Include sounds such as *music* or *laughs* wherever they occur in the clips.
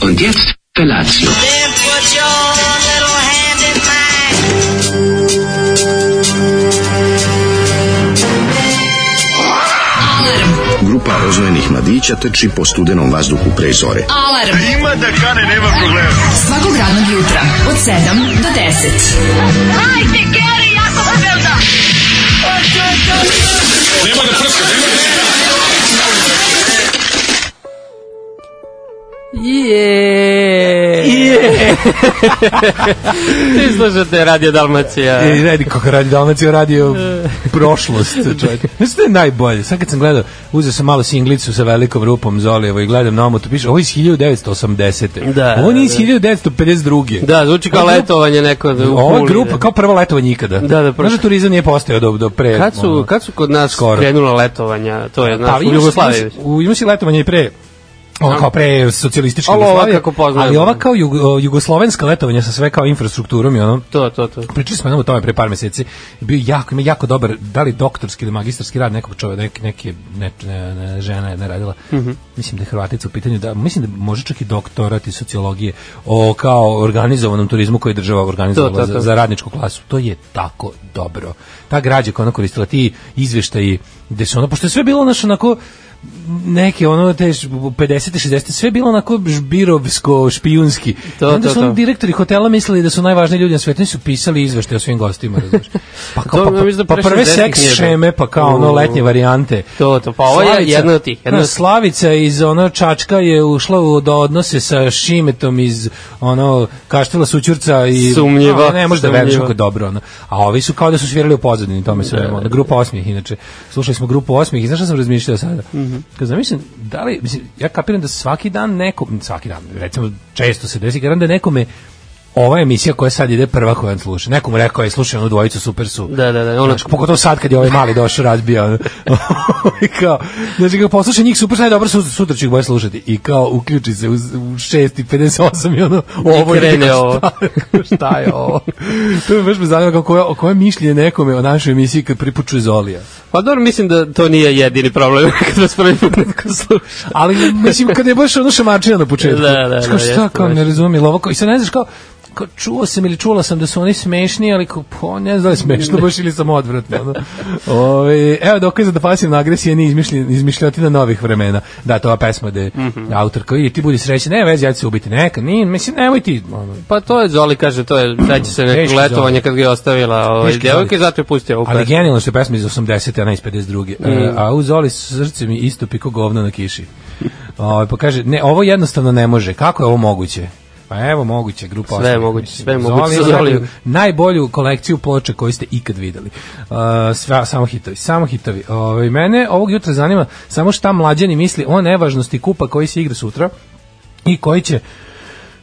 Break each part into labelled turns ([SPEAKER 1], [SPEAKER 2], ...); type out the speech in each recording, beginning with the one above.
[SPEAKER 1] Und jetzt Felatio.
[SPEAKER 2] Then put your little hand in mine.
[SPEAKER 3] Grupa Pa rozvojenih mladića trči po studenom vazduhu pre zore.
[SPEAKER 4] Alarm. Ima da kane, nema problema. Svakog radnog jutra, od 7 do 10.
[SPEAKER 5] Je.
[SPEAKER 6] Vi slušate Radio Dalmacija.
[SPEAKER 7] E, radi kako radi Dalmacija, radio
[SPEAKER 6] E.
[SPEAKER 7] *laughs* prošlost, čovjek. Mislim da je najbolje. Sad kad sam gledao, uzeo sam malo singlicu sa velikom rupom Zolijevo i gledam na omotu, piše, ovo je iz 1980.
[SPEAKER 6] Da,
[SPEAKER 7] Ovo nije iz
[SPEAKER 6] da.
[SPEAKER 7] 1952.
[SPEAKER 6] Da, zvuči kao
[SPEAKER 7] Ovo je-
[SPEAKER 6] letovanje neko. Da, u
[SPEAKER 7] Ova
[SPEAKER 6] Puli,
[SPEAKER 7] grupa,
[SPEAKER 6] da.
[SPEAKER 7] kao prvo letovanje ikada.
[SPEAKER 6] Da, da, prvo.
[SPEAKER 7] Znaš turizam nije postao do, do pre...
[SPEAKER 6] Kad su, kad su kod nas
[SPEAKER 7] Skoro.
[SPEAKER 6] krenula letovanja, to je, znaš,
[SPEAKER 7] ali
[SPEAKER 6] u
[SPEAKER 7] imaš-
[SPEAKER 6] Jugoslaviji.
[SPEAKER 7] imaš- u- Ima si letovanje i pre ono kao pre socijalističke
[SPEAKER 6] Ali ova
[SPEAKER 7] Jugoslavije,
[SPEAKER 6] kako poznajemo.
[SPEAKER 7] ali ova kao jug- jugoslovenska letovanja sa sve kao infrastrukturom i ono,
[SPEAKER 6] To, to, to.
[SPEAKER 7] pričali smo jednom o tome pre par meseci. Bio jako ima jako dobar da li doktorski ili magistarski rad nekog čoveka, nek, neke ne, ne, ne, žena je ne radila.
[SPEAKER 6] Mhm.
[SPEAKER 7] Mislim da je Hrvatica u pitanju da mislim da može čak i doktorat iz sociologije o kao organizovanom turizmu koji je država organizovala
[SPEAKER 6] To, to, to.
[SPEAKER 7] Za, za radničku klasu. To je tako dobro. Ta građa koja je ona koristila ti izveštaji gde su ono pošto je sve bilo naš onako neke ono te š- 50 60 sve je bilo onako žbirovsko špijunski
[SPEAKER 6] To,
[SPEAKER 7] I onda
[SPEAKER 6] to,
[SPEAKER 7] su ono
[SPEAKER 6] to.
[SPEAKER 7] direktori hotela mislili da su najvažniji ljudi na svetu, oni su pisali izveštaje o svim gostima, razumiješ. Pa, kao,
[SPEAKER 6] To,
[SPEAKER 7] pa,
[SPEAKER 6] ja mislim da
[SPEAKER 7] pa,
[SPEAKER 6] pre 60
[SPEAKER 7] prve seks
[SPEAKER 6] nije bilo.
[SPEAKER 7] šeme, pa kao ono letnje varijante.
[SPEAKER 6] To, to, pa ovo je jedna od tih, jedna
[SPEAKER 7] da,
[SPEAKER 6] od tih.
[SPEAKER 7] *laughs* Slavica iz ono Čačka je ušla u do odnose sa Šimetom iz ono Kaštela Sućurca i
[SPEAKER 6] Sumnjivo,
[SPEAKER 7] No, ne može da veruješ
[SPEAKER 6] sumnjivo.
[SPEAKER 7] kako je dobro ono. A ovi su kao da su svirali u pozadini tome sve.
[SPEAKER 6] Da,
[SPEAKER 7] ono. Grupa osmih inače. Slušali smo grupu osmih i znaš šta sam razmišljao sada?
[SPEAKER 6] Mhm.
[SPEAKER 7] Kad zamislim, da li, mislim, ja kapiram da svaki dan neko, svaki dan, recimo često se desi, kapiram da nekome ova emisija koja sad ide prva koja on sluša. Nekom mu rekao je slušaj onu dvojicu super su.
[SPEAKER 6] Da, da, da, ono-
[SPEAKER 7] Znaš, pogotovo sad kad je ovaj mali došao razbija. ono. *laughs* I kao, znači kao poslušaj njih super, sad je dobro, su- sutra ću ih bolje slušati. I kao uključi se u, u 6.58 i ono, ovo je
[SPEAKER 6] krene
[SPEAKER 7] kao,
[SPEAKER 6] ovo.
[SPEAKER 7] šta- Šta je *laughs* ovo? to me baš me zanima kako koje, koje mišljenje nekome o našoj emisiji kad pripučuje Zolija.
[SPEAKER 6] Pa dobro, mislim da to nije jedini problem *laughs* kad vas prvi put neko sluša.
[SPEAKER 7] Ali mislim kad je baš ono šamarčina na početku.
[SPEAKER 6] Da, da, da,
[SPEAKER 7] Znaš kao, šta
[SPEAKER 6] jeste
[SPEAKER 7] kao
[SPEAKER 6] baš.
[SPEAKER 7] ne razumije ovo kao- i sad ne znaš kao kao čuo sam ili čula sam da su oni smešni, ali kao, po, ne znam da li je smešno baš ili sam odvratno. ono. Ove, evo dokaza da pasivna agresija nije izmišljen, izmišljotina novih vremena. Da, to je ova pesma da je
[SPEAKER 6] Mhm.
[SPEAKER 7] autor kao, ili ti budi srećen, ne vezi, ja ću se ubiti neka, nije, mislim, nemoj ti, ono,
[SPEAKER 6] Pa to je Zoli, kaže, to je, daće se
[SPEAKER 7] Teški
[SPEAKER 6] neko
[SPEAKER 7] Zoli.
[SPEAKER 6] letovanje kad ga je ostavila ovaj,
[SPEAKER 7] Teški
[SPEAKER 6] djevojka
[SPEAKER 7] Zoli.
[SPEAKER 6] i zato je pustio ovu
[SPEAKER 7] Ali
[SPEAKER 6] pesmu.
[SPEAKER 7] genijalno što je pesma iz 80. a ne iz 52.
[SPEAKER 6] Mm.
[SPEAKER 7] E, a u Zoli srce mi istupi ko govno na kiši. *laughs* Ovaj pa kaže, ne, ovo jednostavno ne može. Kako je ovo moguće? Pa evo moguće, grupa
[SPEAKER 6] Sve
[SPEAKER 7] osmeh,
[SPEAKER 6] je moguće,
[SPEAKER 7] mislim.
[SPEAKER 6] sve je moguće
[SPEAKER 7] ima
[SPEAKER 6] sa Zolijem.
[SPEAKER 7] najbolju- najbolju kolekciju ploča koju ste ikad videli. Uh, sva, samo hitovi, samo hitovi. Ovaj mene ovog jutra zanima samo šta mlađani misli o nevažnosti kupa koji se igra sutra i koji će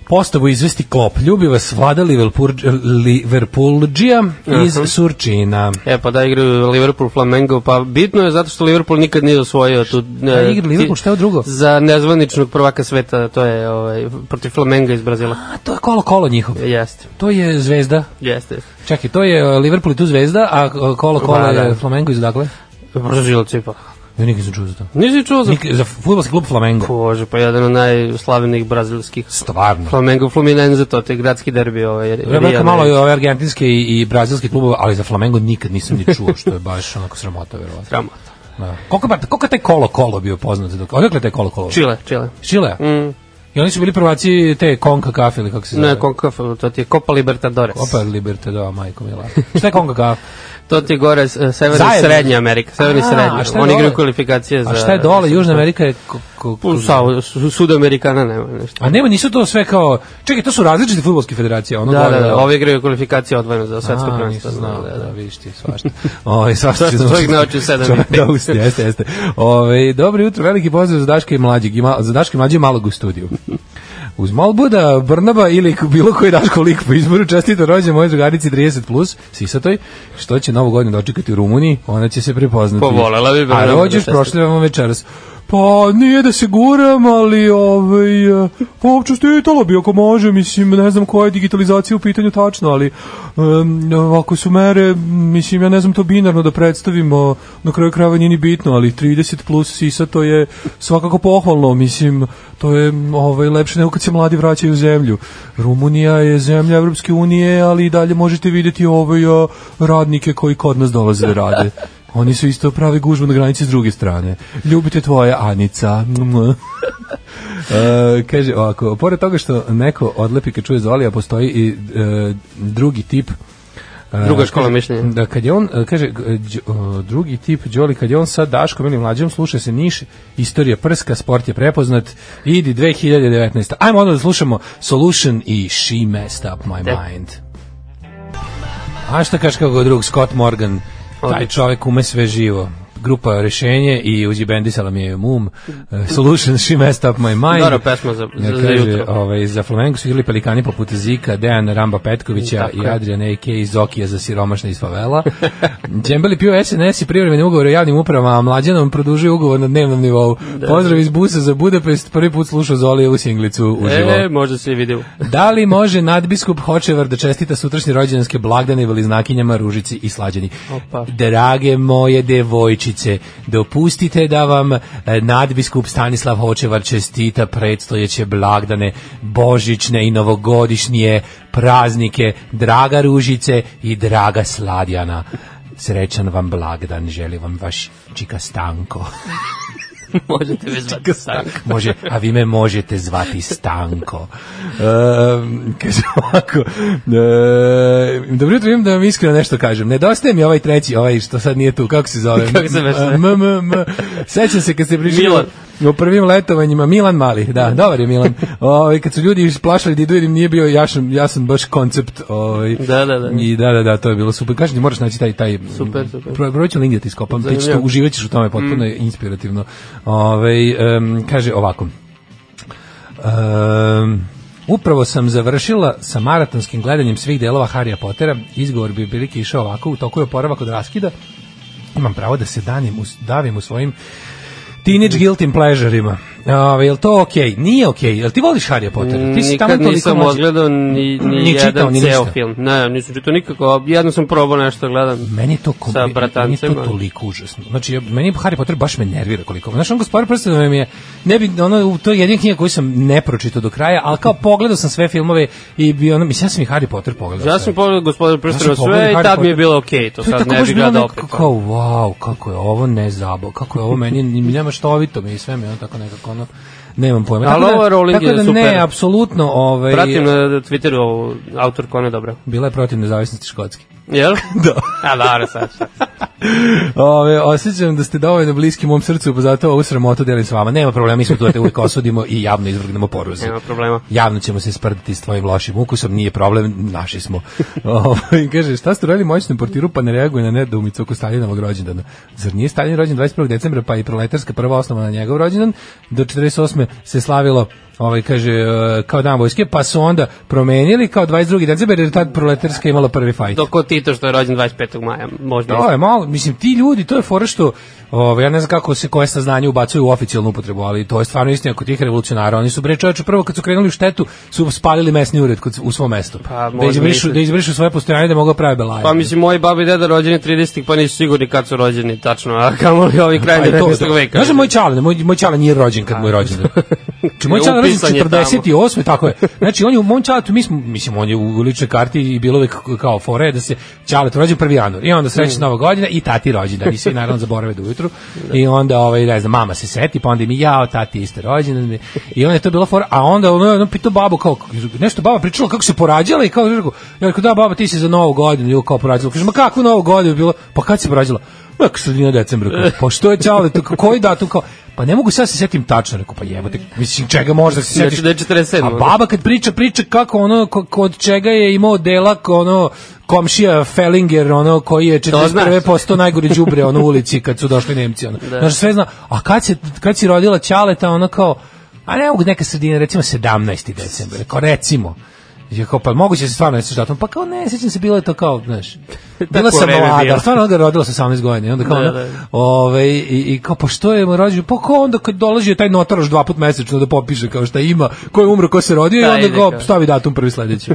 [SPEAKER 7] postavu izvesti klop. Ljubi vas vlada Liverpurg- Liverpoolđija iz Surčina.
[SPEAKER 6] E, pa da igraju Liverpool Flamengo, pa bitno je zato što Liverpool nikad nije osvojio tu...
[SPEAKER 7] Da
[SPEAKER 6] e,
[SPEAKER 7] igra Liverpool,
[SPEAKER 6] ti-
[SPEAKER 7] šta je ovo drugo?
[SPEAKER 6] Za nezvaničnog prvaka sveta, to je ovaj, protiv Flamenga iz Brazila.
[SPEAKER 7] A da. to je kolo kolo njihov.
[SPEAKER 6] Jeste,
[SPEAKER 7] To je zvezda.
[SPEAKER 6] jeste.
[SPEAKER 7] Čekaj, to je e, Liverpool i tu zvezda, a e, kolo kolo
[SPEAKER 6] Da, da.
[SPEAKER 7] je Flamengo iz dakle.
[SPEAKER 6] Brazil cipa.
[SPEAKER 7] Ja nikad nisam čuo za to.
[SPEAKER 6] Nisi čuo za...
[SPEAKER 7] Nik, za futbolski klub Flamengo.
[SPEAKER 6] Bože, pa jedan od najslavnijih brazilskih.
[SPEAKER 7] Stvarno.
[SPEAKER 6] Flamengo Fluminense, to je gradski derbi. Ovaj,
[SPEAKER 7] Rebeka
[SPEAKER 6] Rijana.
[SPEAKER 7] malo i ove argentinske i, i brazilske klubove, ali za Flamengo nikad nisam ni čuo, što je baš onako sramota, verovatno.
[SPEAKER 6] Sramota.
[SPEAKER 7] Da. Koliko, pa, koliko je taj kolo kolo bio poznat? Dok, odakle je taj kolo kolo?
[SPEAKER 6] Chile, Chile.
[SPEAKER 7] Čile.
[SPEAKER 6] Mm.
[SPEAKER 7] I oni su bili prvaci te konka kafe ili kako se zove?
[SPEAKER 6] Ne, Konkaf, to ti je Copa Libertadores.
[SPEAKER 7] Opa, Liberte, da, majko mila. Šta je konka *laughs* kafe?
[SPEAKER 6] To ti je gore, s- eh, severni
[SPEAKER 7] Zajedno.
[SPEAKER 6] srednja Amerika, severni
[SPEAKER 7] A, a šta
[SPEAKER 6] srednja.
[SPEAKER 7] je
[SPEAKER 6] Oni
[SPEAKER 7] dole?
[SPEAKER 6] igraju kvalifikacije za...
[SPEAKER 7] A šta je dole? Južna Amerika je... Ko, ko, ko-
[SPEAKER 6] Sa, su, Sudamerikana nema ništa.
[SPEAKER 7] A nema, nisu to sve kao... Čekaj, to su različite futbolske federacije. Ono
[SPEAKER 6] Da,
[SPEAKER 7] gore,
[SPEAKER 6] da, da, ovi igraju kvalifikacije odvojeno za svetsko
[SPEAKER 7] A,
[SPEAKER 6] prvenstvo.
[SPEAKER 7] nisam znao,
[SPEAKER 6] da,
[SPEAKER 7] da,
[SPEAKER 6] da.
[SPEAKER 7] vidiš ti, svašta.
[SPEAKER 6] *laughs*
[SPEAKER 7] Ove, svašta
[SPEAKER 6] Svašta
[SPEAKER 7] ću naučiti.
[SPEAKER 6] čovjek nauči u sedam i
[SPEAKER 7] Čovjek
[SPEAKER 6] pet.
[SPEAKER 7] nauči, jeste, jeste. Ove, dobro jutro, veliki pozdrav za Daška i mlađeg. Ima, za Daška i mlađeg malog u studiju. Uz Malbuda, Brnaba ili k- bilo koji Daško lik po izboru čestito rođe moje drugarici 30+, plus, sisatoj, što će novu godinu dočekati u Rumuniji, ona će se prepoznati.
[SPEAKER 6] Povolela bi Brnabu
[SPEAKER 7] A
[SPEAKER 6] da
[SPEAKER 7] rođeš
[SPEAKER 6] čestita.
[SPEAKER 7] prošljavamo večeras. Pa nije da se guram, ali ovaj, eh, pa uopće stitalo bi ako može, mislim, ne znam koja je digitalizacija u pitanju tačno, ali em, ako su mere, mislim, ja ne znam to binarno da predstavimo, na kraju krajeva nije ni bitno, ali 30 plus sisa to je svakako pohvalno, mislim, to je ovaj, lepše nego kad se mladi vraćaju u zemlju. Rumunija je zemlja Evropske unije, ali i dalje možete vidjeti ovaj, eh, radnike koji kod nas dolaze da rade. Oni su isto pravi gužbu na granici s druge strane. Ljubite tvoja Anica. *laughs* e, kaže ovako, pored toga što neko odlepi kad čuje Zoli, a postoji i e, drugi tip e,
[SPEAKER 6] Druga škola
[SPEAKER 7] kaže-
[SPEAKER 6] mišljenja.
[SPEAKER 7] Da, kad je on, e, kaže, e, Đ- e, drugi tip Đoli, kad je on sa Daškom ili mlađom, sluša se Niš, istorija prska, sport je prepoznat, idi 2019. Ajmo onda da slušamo Solution i She Messed Up My Mind. A šta kažeš kako drug Scott Morgan, taj čovjek ume sve živo. Grupa Rešenje i uđi bendisala mi je mum, eh, Solution, She Messed Up My Mind.
[SPEAKER 6] Dobra pesma za- za-
[SPEAKER 7] Ja,
[SPEAKER 6] za
[SPEAKER 7] kaže,
[SPEAKER 6] jutro.
[SPEAKER 7] Ovaj, za Flamengo su igrali pelikani poput Zika, Dejan Ramba Petkovića
[SPEAKER 6] Tako
[SPEAKER 7] i
[SPEAKER 6] je.
[SPEAKER 7] Adriana A.K. iz Okija za siromašne iz favela. *laughs* Džembeli pio SNS i privremeni ugovor o javnim upravama, a mlađanom produžuje ugovor na dnevnom nivou.
[SPEAKER 6] Da.
[SPEAKER 7] Pozdrav iz busa za Budapest, prvi put slušao Zolije u singlicu uživo.
[SPEAKER 6] E, možda se i vidimo. *laughs*
[SPEAKER 7] Da li može nadbiskup Hočevar da čestita sutrašnje rođendanske blagdane veliznakinjama Ružici i Slađani?
[SPEAKER 6] Opa.
[SPEAKER 7] Drage moje devojčice, dopustite da vam e, nadbiskup Stanislav Hočevar čestita predstojeće blagdane, božićne i novogodišnje praznike, draga Ružice i draga Sladjana. Srećan vam blagdan, želi vam vaš čika Stanko.
[SPEAKER 6] Možete me zvati Sanko.
[SPEAKER 7] Može, a vi me možete zvati Stanko. E, kaže ovako, e, dobro jutro, imam da vam iskreno nešto kažem. Nedostaje mi ovaj treći, ovaj što sad nije tu, kako se zove?
[SPEAKER 6] Kako se već zove?
[SPEAKER 7] M, m, m. Sećam se kad se prišli
[SPEAKER 6] Milan.
[SPEAKER 7] u prvim letovanjima, Milan Mali, da, dobar je Milan. Ovaj, kad su ljudi isplašali da idu, jer im nije bio jasan, jasan baš koncept. Ovaj,
[SPEAKER 6] Da, da, da.
[SPEAKER 7] I da, da, da, to je bilo super. Kažem ti, moraš naći taj, taj
[SPEAKER 6] Super, super.
[SPEAKER 7] Pro- Broj ću link da ti iskopam, ti ćeš to
[SPEAKER 6] Zanimljivo. Mm.
[SPEAKER 7] uživaćeš u tome, potpuno je inspirativno. Ovaj em, kaže ovako. Em, upravo sam završila sa maratonskim gledanjem svih delova Harrya Pottera. Izgovor bi prilike išao ovako, u toku je oporavak od raskida. Imam pravo da se danim, u, davim u svojim Teenage guilty pleasureima. Ove, jel to okej? Nije okej. Jel ti voliš Harry Pottera? Ti si tamo
[SPEAKER 6] Nikad
[SPEAKER 7] toliko
[SPEAKER 6] nisam da
[SPEAKER 7] mlađi.
[SPEAKER 6] odgledao ni, ni,
[SPEAKER 7] Ni čitao,
[SPEAKER 6] jedan
[SPEAKER 7] ni ništa.
[SPEAKER 6] ceo film. Ne, nisam čitao nikako, a jedno sam probao nešto da gledam.
[SPEAKER 7] Meni je to
[SPEAKER 6] Sa
[SPEAKER 7] kombi, meni je to
[SPEAKER 6] bratancima.
[SPEAKER 7] toliko užasno. Znači ja- meni je Harry Potter baš me nervira koliko. Znaš, on gospodar prstenova mi je ne bi ono u- to je jedina knjiga koju sam ne pročitao do kraja, al kao pogledao sam sve filmove i bi ono mislim ja sam i Harry Potter pogledao.
[SPEAKER 6] Ja
[SPEAKER 7] sve.
[SPEAKER 6] sam pogledao gospodin
[SPEAKER 7] Ja
[SPEAKER 6] prstena
[SPEAKER 7] sam pogledao
[SPEAKER 6] sve
[SPEAKER 7] Harry
[SPEAKER 6] i tad mi je
[SPEAKER 7] Potter.
[SPEAKER 6] bilo okej, to
[SPEAKER 7] To je
[SPEAKER 6] sad
[SPEAKER 7] tako
[SPEAKER 6] ne
[SPEAKER 7] baš
[SPEAKER 6] bih
[SPEAKER 7] bilo
[SPEAKER 6] gledao
[SPEAKER 7] nekako
[SPEAKER 6] opet.
[SPEAKER 7] kao, wow, kako je ovo nezabo, kako je ovo meni, ni- nema štovito mi i sve mi je ono tako nekako ono, nemam pojma.
[SPEAKER 6] Ali
[SPEAKER 7] Tako da-
[SPEAKER 6] ovo je Rowling
[SPEAKER 7] tako
[SPEAKER 6] je
[SPEAKER 7] da ne,
[SPEAKER 6] super.
[SPEAKER 7] apsolutno, ovaj,
[SPEAKER 6] Pratim na Twitteru ovu autorku, ona je dobra.
[SPEAKER 7] bila je protiv nezavisnosti Škotske. *laughs*
[SPEAKER 6] Jel? Da. A dobro sad. šta.
[SPEAKER 7] Ove, osjećam da ste dovoljno bliski mom srcu, pa zato ovu sramotu delim s vama. Nema problema, mi smo tu da te uvijek osudimo i javno izvrgnemo poruzi.
[SPEAKER 6] Nema problema.
[SPEAKER 7] Javno ćemo se sprditi s tvojim lošim ukusom, nije problem, naši smo. Ove, kaže, šta ste uradili moćnom portiru, pa ne reaguje na nedoumicu oko Stalinovog rođendana? Zar nije Stalin rođen 21. decembra, pa i proletarska prva osnova na njegov rođendan? Do 48. se slavilo ovaj, kaže, e, kao dan vojske, pa su onda promenili kao 22. decembar, jer je tad proletarska imala prvi fajt.
[SPEAKER 6] Dok od Tito što je rođen 25. maja, možda.
[SPEAKER 7] To je malo, mislim, ti ljudi, to je fora što, ovaj, ja ne znam kako se koje saznanje ubacuju u oficijalnu upotrebu, ali to je stvarno istina kod tih revolucionara. Oni su, bre, čoveče, prvo kad su krenuli u štetu, su spalili mesni ured kod, u svom mestu.
[SPEAKER 6] Pa,
[SPEAKER 7] da,
[SPEAKER 6] možda
[SPEAKER 7] izbrišu,
[SPEAKER 6] mislite.
[SPEAKER 7] da izbrišu svoje postojanje da mogu da prave belaje.
[SPEAKER 6] Pa mislim, moji babi i deda rođeni 30. pa nisu sigurni kad su rođeni, tačno, a kamo li ovi krajem
[SPEAKER 7] Pa i to,
[SPEAKER 6] 19. veka.
[SPEAKER 7] Znaš da moj čale, moj, moj čale nije rođen kad mu je
[SPEAKER 6] *laughs*
[SPEAKER 7] rođen. Znači, moj čale je rođen
[SPEAKER 6] Upisan je tamo.
[SPEAKER 7] 48. tako je. Znači, on je u mom čaletu, mi smo, mislim, on je u ličnoj karti i bilo uvek kao fore da se čale rođen 1. januar. I onda
[SPEAKER 6] Mm.
[SPEAKER 7] sreće nova godina i tati rođendan. I svi naravno zaborave do ujutru. I onda, ovaj, ne znam, mama se seti, pa onda mi jao, tati isto rođendan. I onda je to bilo fora. A onda ono, ono pitao babu, kao, nešto baba pričala kako se porađala i kao, ja rekao, da, baba, ti si za novu godinu, ju kao porađala. Kaže, ma kakvu novu godinu bilo? Pa kad se porađala? Ma kako sredina decembra, kao, pa što je čale, to, kao, koji datum, kao, pa ne mogu sad se setim tačno, rekao, pa jebote, mislim, čega možda se
[SPEAKER 6] Znači
[SPEAKER 7] setiš?
[SPEAKER 6] da je 47.
[SPEAKER 7] A baba kad priča, priča kako ono, ko- kod čega je imao delak, ono, komšija Fellinger, ono, koji je
[SPEAKER 6] To znaš.
[SPEAKER 7] 41. postao najgore đubre ono, u ulici kad su došli Nemci, ono. Da. Znaš, sve zna, a kad, se, kad si rodila Ćaleta, ono kao, a ne mogu neka sredina, recimo 17. da decembar, kao recimo. Ja kao, pa moguće se stvarno ne sećaš datum, pa kao ne, sećam se, bilo je to kao, znaš, bila sam
[SPEAKER 6] vreme
[SPEAKER 7] mlada,
[SPEAKER 6] bilo.
[SPEAKER 7] stvarno ga rodila sa 18 godina. i Onda kao,
[SPEAKER 6] Da,
[SPEAKER 7] da,
[SPEAKER 6] da.
[SPEAKER 7] Ove, i, i kao, pa što je mu rođen? Pa kao onda kad dolazi taj notaraš dva put mesečno da popiše kao šta ima, ko je umro, ko se rodio i
[SPEAKER 6] Da,
[SPEAKER 7] onda
[SPEAKER 6] ide
[SPEAKER 7] kao
[SPEAKER 6] kao.
[SPEAKER 7] stavi datum
[SPEAKER 6] *laughs*
[SPEAKER 7] prvi sledeći.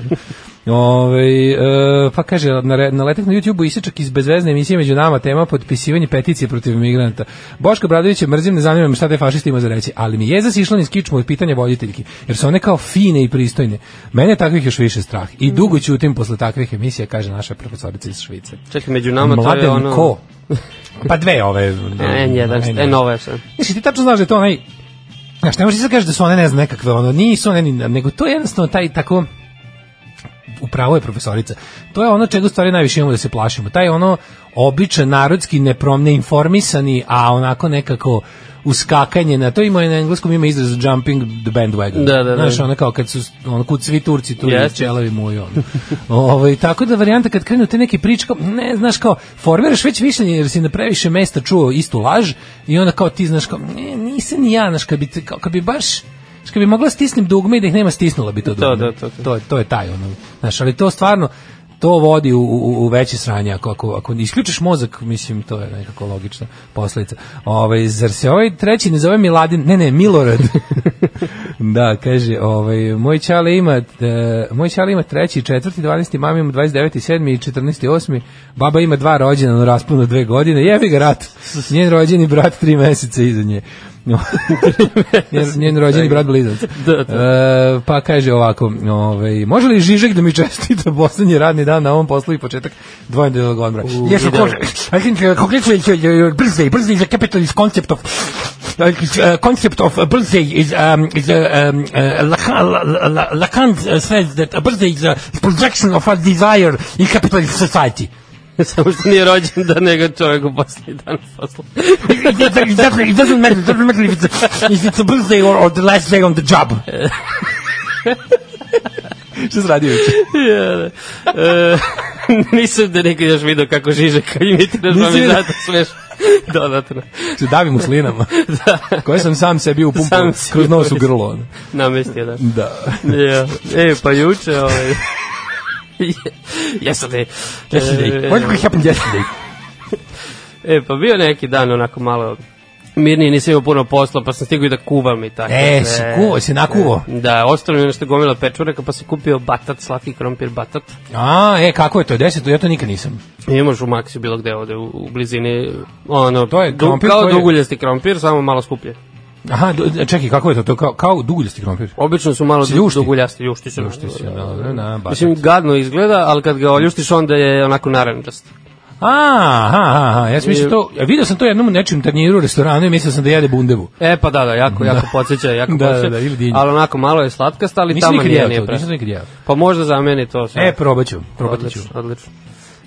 [SPEAKER 7] Ove, e, pa kaže, na, re- na letak na YouTube-u isječak iz bezvezne emisije među nama tema potpisivanje peticije protiv migranta. Boška Bradovića mrzim, ne zanima me šta te fašisti ima za reći, ali mi je zasišla niz kičmu od pitanja voditeljki, jer su one kao fine i pristojne. Mene je takvih još više strah i dugo ćutim posle takvih emisija, kaže naša profesorica iz Švice.
[SPEAKER 6] Čekaj, među nama to je
[SPEAKER 7] Mladen
[SPEAKER 6] ono...
[SPEAKER 7] ko? Pa
[SPEAKER 6] *laughs*
[SPEAKER 7] dve ove...
[SPEAKER 6] N1, N9 je sad.
[SPEAKER 7] Znači, ti tačno znaš da je to onaj... Znaš, ne možeš ti sad kažeš da su one, ne znam, nekakve, ono, nisu one, ni, nego to je jednostavno taj tako upravo je profesorica. To je ono čega u stvari najviše imamo da se plašimo. Taj ono običan narodski neprom neinformisani, a onako nekako uskakanje na to ima i na engleskom ima izraz jumping the bandwagon.
[SPEAKER 6] Da, da, da.
[SPEAKER 7] Znaš, ono kao kad su ono kud svi Turci tu yes.
[SPEAKER 6] Jeste.
[SPEAKER 7] čelavi muju. Ono. *laughs* ovaj tako da varijanta kad krenu te neke priče kao, ne, znaš kao formiraš već mišljenje jer si na previše mesta čuo istu laž i onda kao ti znaš kao ne, nisam ni ja, znaš kad bi te- kao, kad bi baš znaš, kad bi mogla stisnem dugme i da ih nema stisnula bi to
[SPEAKER 6] To,
[SPEAKER 7] dugme.
[SPEAKER 6] to, to, to.
[SPEAKER 7] to, je, to je taj ono. Znaš, ali to stvarno to vodi u, u, u veće sranje ako, ako, ako isključiš mozak, mislim to je nekako logična posledica. Ovaj zar se ovaj treći ne zove Miladin? Ne, ne, Milorad. *laughs* da, kaže, ovaj moj ćale ima e, moj ćale ima treći, četvrti, 12. mama ima 29. 7. i 14. 8. Baba ima dva rođena na rasponu dve godine. Jebi ga
[SPEAKER 6] *laughs*
[SPEAKER 7] rat. Njen rođeni brat tri meseca iza nje. *laughs* njen, njen rođeni brat blizac.
[SPEAKER 6] No. Tak. *laughs* Da, da.
[SPEAKER 7] E, pa kaže ovako, ovaj, može li Žižek da mi čestita poslednji radni dan na ovom poslu i početak dvojedeljnog odmora? Yes, of course. I think uh, congratulations, uh, your birthday, birthday is a capitalist concept of uh, concept of a birthday is um, is a um, uh, Lacan, La- La- Lacan uh, says that a birthday is a projection of a desire in capitalist society.
[SPEAKER 6] Samo što nije rođen da nego čovjek u poslednji dan posla.
[SPEAKER 7] It doesn't- it doesn't- it doesn't matter. It doesn't matter if it's a, if it's a birthday or, or the last day on the job. *laughs* Šta se radi uče?
[SPEAKER 6] E, *laughs* nisam da nikad još vidio kako Žižek imitiraš, pa mi
[SPEAKER 7] vidio.
[SPEAKER 6] zato smeš dodatno
[SPEAKER 7] Se davim u slinama. da. Koje sam sam sebi upumpao
[SPEAKER 6] Sam si
[SPEAKER 7] kroz nos u
[SPEAKER 6] upumpao.
[SPEAKER 7] grlo. ono.
[SPEAKER 6] namestio da.
[SPEAKER 7] Da.
[SPEAKER 6] Ja. E, pa juče, ovaj... *laughs* Yesterday. E,
[SPEAKER 7] happened yesterday?
[SPEAKER 6] E, pa bio neki dan onako malo mirniji, nisam imao puno posla, pa sam stigao i da kuvam i tako.
[SPEAKER 7] E,
[SPEAKER 6] sve.
[SPEAKER 7] si kuvao, si nakuvao?
[SPEAKER 6] Da, ostalo mi je nešto gomila pečuraka, pa sam kupio batat, slatki krompir batat.
[SPEAKER 7] A, e, kako je to? Deseto, ja to nikad nisam.
[SPEAKER 6] Imaš u Maxi bilo gde ovde u, u blizini, ono,
[SPEAKER 7] To je
[SPEAKER 6] du-
[SPEAKER 7] krompir
[SPEAKER 6] kao
[SPEAKER 7] koji je-
[SPEAKER 6] duguljasti krompir, samo malo skuplje.
[SPEAKER 7] Aha, do- čekaj, kako je to? To je kao, kao duguljasti krompir.
[SPEAKER 6] Obično su malo
[SPEAKER 7] Si ljušti?
[SPEAKER 6] ljušti. duguljasti, ljušti se.
[SPEAKER 7] Ljušti da, se, dobro, na, batat.
[SPEAKER 6] Mislim, gadno izgleda, ali kad ga oljuštiš, onda je onako naranđast.
[SPEAKER 7] A, aha, aha, ja sam mislio to, ja video sam to jednom u nečem tanjiru u restoranu i mislio sam da jede bundevu.
[SPEAKER 6] E, pa da, da, jako, jako podsjeća, jako
[SPEAKER 7] *laughs* Da, da,
[SPEAKER 6] podsjeća.
[SPEAKER 7] da, ili dinje.
[SPEAKER 6] Ali onako malo je slatkasta, ali
[SPEAKER 7] Nisam
[SPEAKER 6] tamo
[SPEAKER 7] nikad
[SPEAKER 6] nije,
[SPEAKER 7] jeo
[SPEAKER 6] nije
[SPEAKER 7] to,
[SPEAKER 6] pre.
[SPEAKER 7] nisam nikad jeo.
[SPEAKER 6] Pa možda za mene to sve.
[SPEAKER 7] E, probat ću, probat ću.
[SPEAKER 6] odlično, odlično.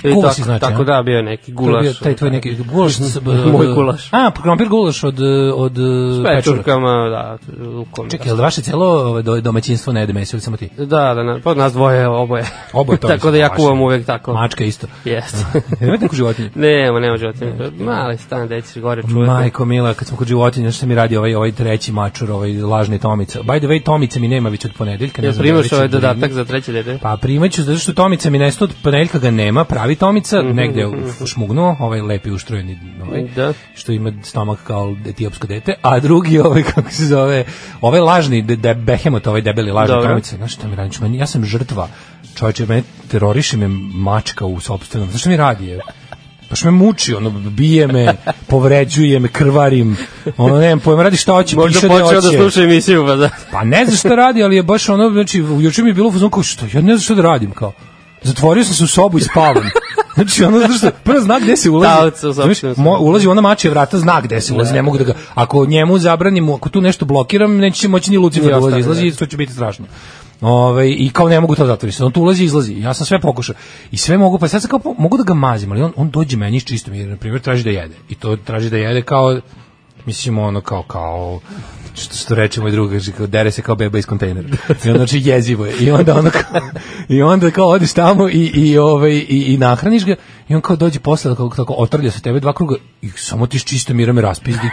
[SPEAKER 6] I
[SPEAKER 7] Kuva
[SPEAKER 6] tako,
[SPEAKER 7] si, znači,
[SPEAKER 6] tako
[SPEAKER 7] a?
[SPEAKER 6] da, bio je neki
[SPEAKER 7] To je bio
[SPEAKER 6] gulaš. da.
[SPEAKER 7] Taj tvoj neki gulaš. s- b-
[SPEAKER 6] Moj gulaš.
[SPEAKER 7] A, krompir gulaš od, eh, od eh, pečurka.
[SPEAKER 6] pečurkama, da, lukom.
[SPEAKER 7] Čekaj, je li vaše celo ovaj, do- domaćinstvo ne jede meso ili samo ti?
[SPEAKER 6] Da, da, na, pa nas dvoje, oboje.
[SPEAKER 7] Oboje
[SPEAKER 6] *laughs*
[SPEAKER 7] to
[SPEAKER 6] tako
[SPEAKER 7] mislim,
[SPEAKER 6] da ja
[SPEAKER 7] baš.
[SPEAKER 6] kuvam uvek tako.
[SPEAKER 7] Mačka isto. *laughs*
[SPEAKER 6] Jeste. *laughs*
[SPEAKER 7] Ima neku životinju?
[SPEAKER 6] Nema, nema životinja. Mali stan, deći gore čuvati.
[SPEAKER 7] Majko Mila, kad smo kod životinja, što mi radi ovaj, ovaj treći mačur, ovaj lažni Tomica. By the way, Tomica mi nema već od ponedeljka. ne
[SPEAKER 6] Jel
[SPEAKER 7] znam da li
[SPEAKER 6] primaš
[SPEAKER 7] će
[SPEAKER 6] ovaj
[SPEAKER 7] da
[SPEAKER 6] dodatak
[SPEAKER 7] primim.
[SPEAKER 6] za treće dete?
[SPEAKER 7] Pa primaću zato što Tomica mi nestao od ponedeljka ga nema, pravi Tomica,
[SPEAKER 6] Mhm,
[SPEAKER 7] negde u- šmugnuo, ovaj lepi uštrojeni ovaj,
[SPEAKER 6] Da.
[SPEAKER 7] što ima stomak kao etiopsko dete, a drugi ovaj *laughs* kako se zove, ovaj lažni de, de behemot, ovaj debeli lažni
[SPEAKER 6] Dobro.
[SPEAKER 7] Tomica, znaš šta mi radi, Znači, meni- ja sam žrtva. Čoveče, mene teroriše me mačka u sopstvenom. Znaš šta mi radi? Je? Pa što me muči, ono, bije
[SPEAKER 6] *laughs*
[SPEAKER 7] me, povređuje me, krvarim, ono, nemam pojma, radi šta hoće,
[SPEAKER 6] Možda
[SPEAKER 7] piše da
[SPEAKER 6] počeo
[SPEAKER 7] hoće.
[SPEAKER 6] da sluša emisiju, pa da.
[SPEAKER 7] Pa ne znam šta radi, ali je baš ono, znači, juče mi je bilo u fazonu kao, što, ja ne znam šta da radim, kao. Zatvorio sam se u sobu i
[SPEAKER 6] *laughs*
[SPEAKER 7] spavam. Znači, ono, znaš šta, prvo zna gde se ulazi.
[SPEAKER 6] Taoc u
[SPEAKER 7] Znaš,
[SPEAKER 6] sopstvenu sobu.
[SPEAKER 7] mo, ulazi ona mače vrata, zna gde se ulazi, ne mogu da ga, ako njemu zabranim, ako tu nešto blokiram, neće moći ni Lucifer
[SPEAKER 6] Ni
[SPEAKER 7] da ulazi,
[SPEAKER 6] ostane,
[SPEAKER 7] izlazi, i to će biti strašno. Ove, i kao ne mogu to da zatvorim se, on tu ulazi i izlazi, ja sam sve pokušao i sve mogu, pa sad sam kao, po- mogu da ga mazim ali on, on dođe meni s čistom, jer na primjer traži da jede i to traži da jede kao mislim ono kao, kao što, što reče moj drug, kaže, kao, dere se kao beba iz kontejnera. I onda, znači, jezivo je. I onda, ono kao, i onda kao odeš tamo i, i, ovaj, i, i nahraniš ga i on kao dođe posle, kao, tako, otrlja se tebe dva kruga i samo ti s čistom mirom je raspizdi.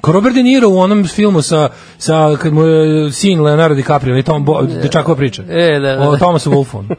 [SPEAKER 7] Kao Robert De Niro u onom filmu sa, sa kad mu je sin Leonardo DiCaprio ili Tom Bo, dečakova priča.
[SPEAKER 6] E, da, da.
[SPEAKER 7] O Thomasu Wolfom.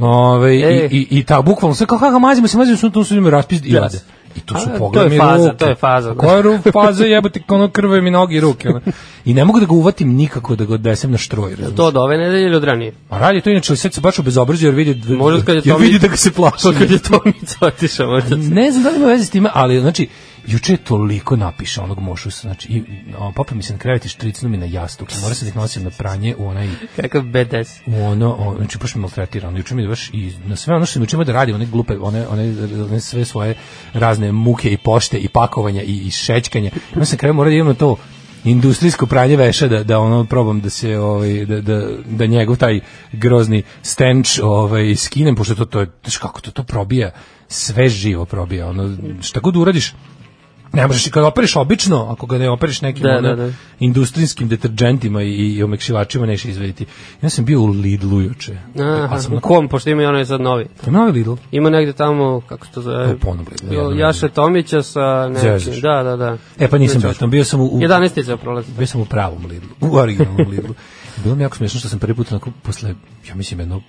[SPEAKER 7] Ove,
[SPEAKER 6] E.
[SPEAKER 7] Ovaj, i, i, I ta, bukvalno, sve kao kako mazimo se, mazimo se, tu su im raspis i lade. I tu su
[SPEAKER 6] A,
[SPEAKER 7] pogledi
[SPEAKER 6] to
[SPEAKER 7] mi
[SPEAKER 6] je faza,
[SPEAKER 7] ruke.
[SPEAKER 6] to je faza, da.
[SPEAKER 7] Koja je ru- faza, jebote, ono krve mi noge i ruke. Ono. I ne mogu da ga uvatim nikako da ga odvesem na štroj. razumeš?
[SPEAKER 6] To od ove nedelje ili od ranije?
[SPEAKER 7] A radi to inače, ali sad se baš obezobrazio jer vidi,
[SPEAKER 6] Možda kad je
[SPEAKER 7] *laughs* jer
[SPEAKER 6] Tomi-
[SPEAKER 7] vidi da ga se
[SPEAKER 6] *laughs*
[SPEAKER 7] plaši.
[SPEAKER 6] To kad je Tomica otišao, možda se...
[SPEAKER 7] Ne znam da li ima veze s time, ali znači, juče je toliko napiša onog mošusa, znači, i, o, popio mi se na krevet i štricnu mi na jastuk, mora se da ih nosim na pranje u onaj,
[SPEAKER 6] Kakav B10.
[SPEAKER 7] u ono, o, znači, baš mi maltretira, ono, juče mi je baš i na sve ono što sam juče imao da radi, one glupe, one, one, one sve svoje razne muke i pošte i pakovanja i, i šećkanja, ima sam krevet, mora da imam na to industrijsko pranje veša da da ono probam da se ovaj da da da njegov taj grozni stench ovaj skinem pošto to to je znaš kako to to probija sve živo probija ono šta god uradiš Ne možeš i kad operiš obično, ako ga ne operiš nekim da,
[SPEAKER 6] Da,
[SPEAKER 7] ono, da,
[SPEAKER 6] da,
[SPEAKER 7] da.
[SPEAKER 6] da.
[SPEAKER 7] industrijskim deterđentima i, i omekšivačima neš izvediti. Ja sam bio u Lidlu juče.
[SPEAKER 6] Aha,
[SPEAKER 7] Pa sam
[SPEAKER 6] u
[SPEAKER 7] na
[SPEAKER 6] kom, pošto ima i onaj sad novi.
[SPEAKER 7] Ima novi Lidl?
[SPEAKER 6] Ima negde tamo, kako se to zove?
[SPEAKER 7] U Ponavlju, u jednom
[SPEAKER 6] Jo, Jaše Tomića sa nečim.
[SPEAKER 7] Zezaš.
[SPEAKER 6] Da, da, da.
[SPEAKER 7] E Da, pa nisam bio tamo, bio sam u, u
[SPEAKER 6] 11. za prolazi.
[SPEAKER 7] bio sam u pravom Lidlu, u originalnom Lidlu. Bilo mi jako smiješno što sam prvi put onako posle, ja mislim jedno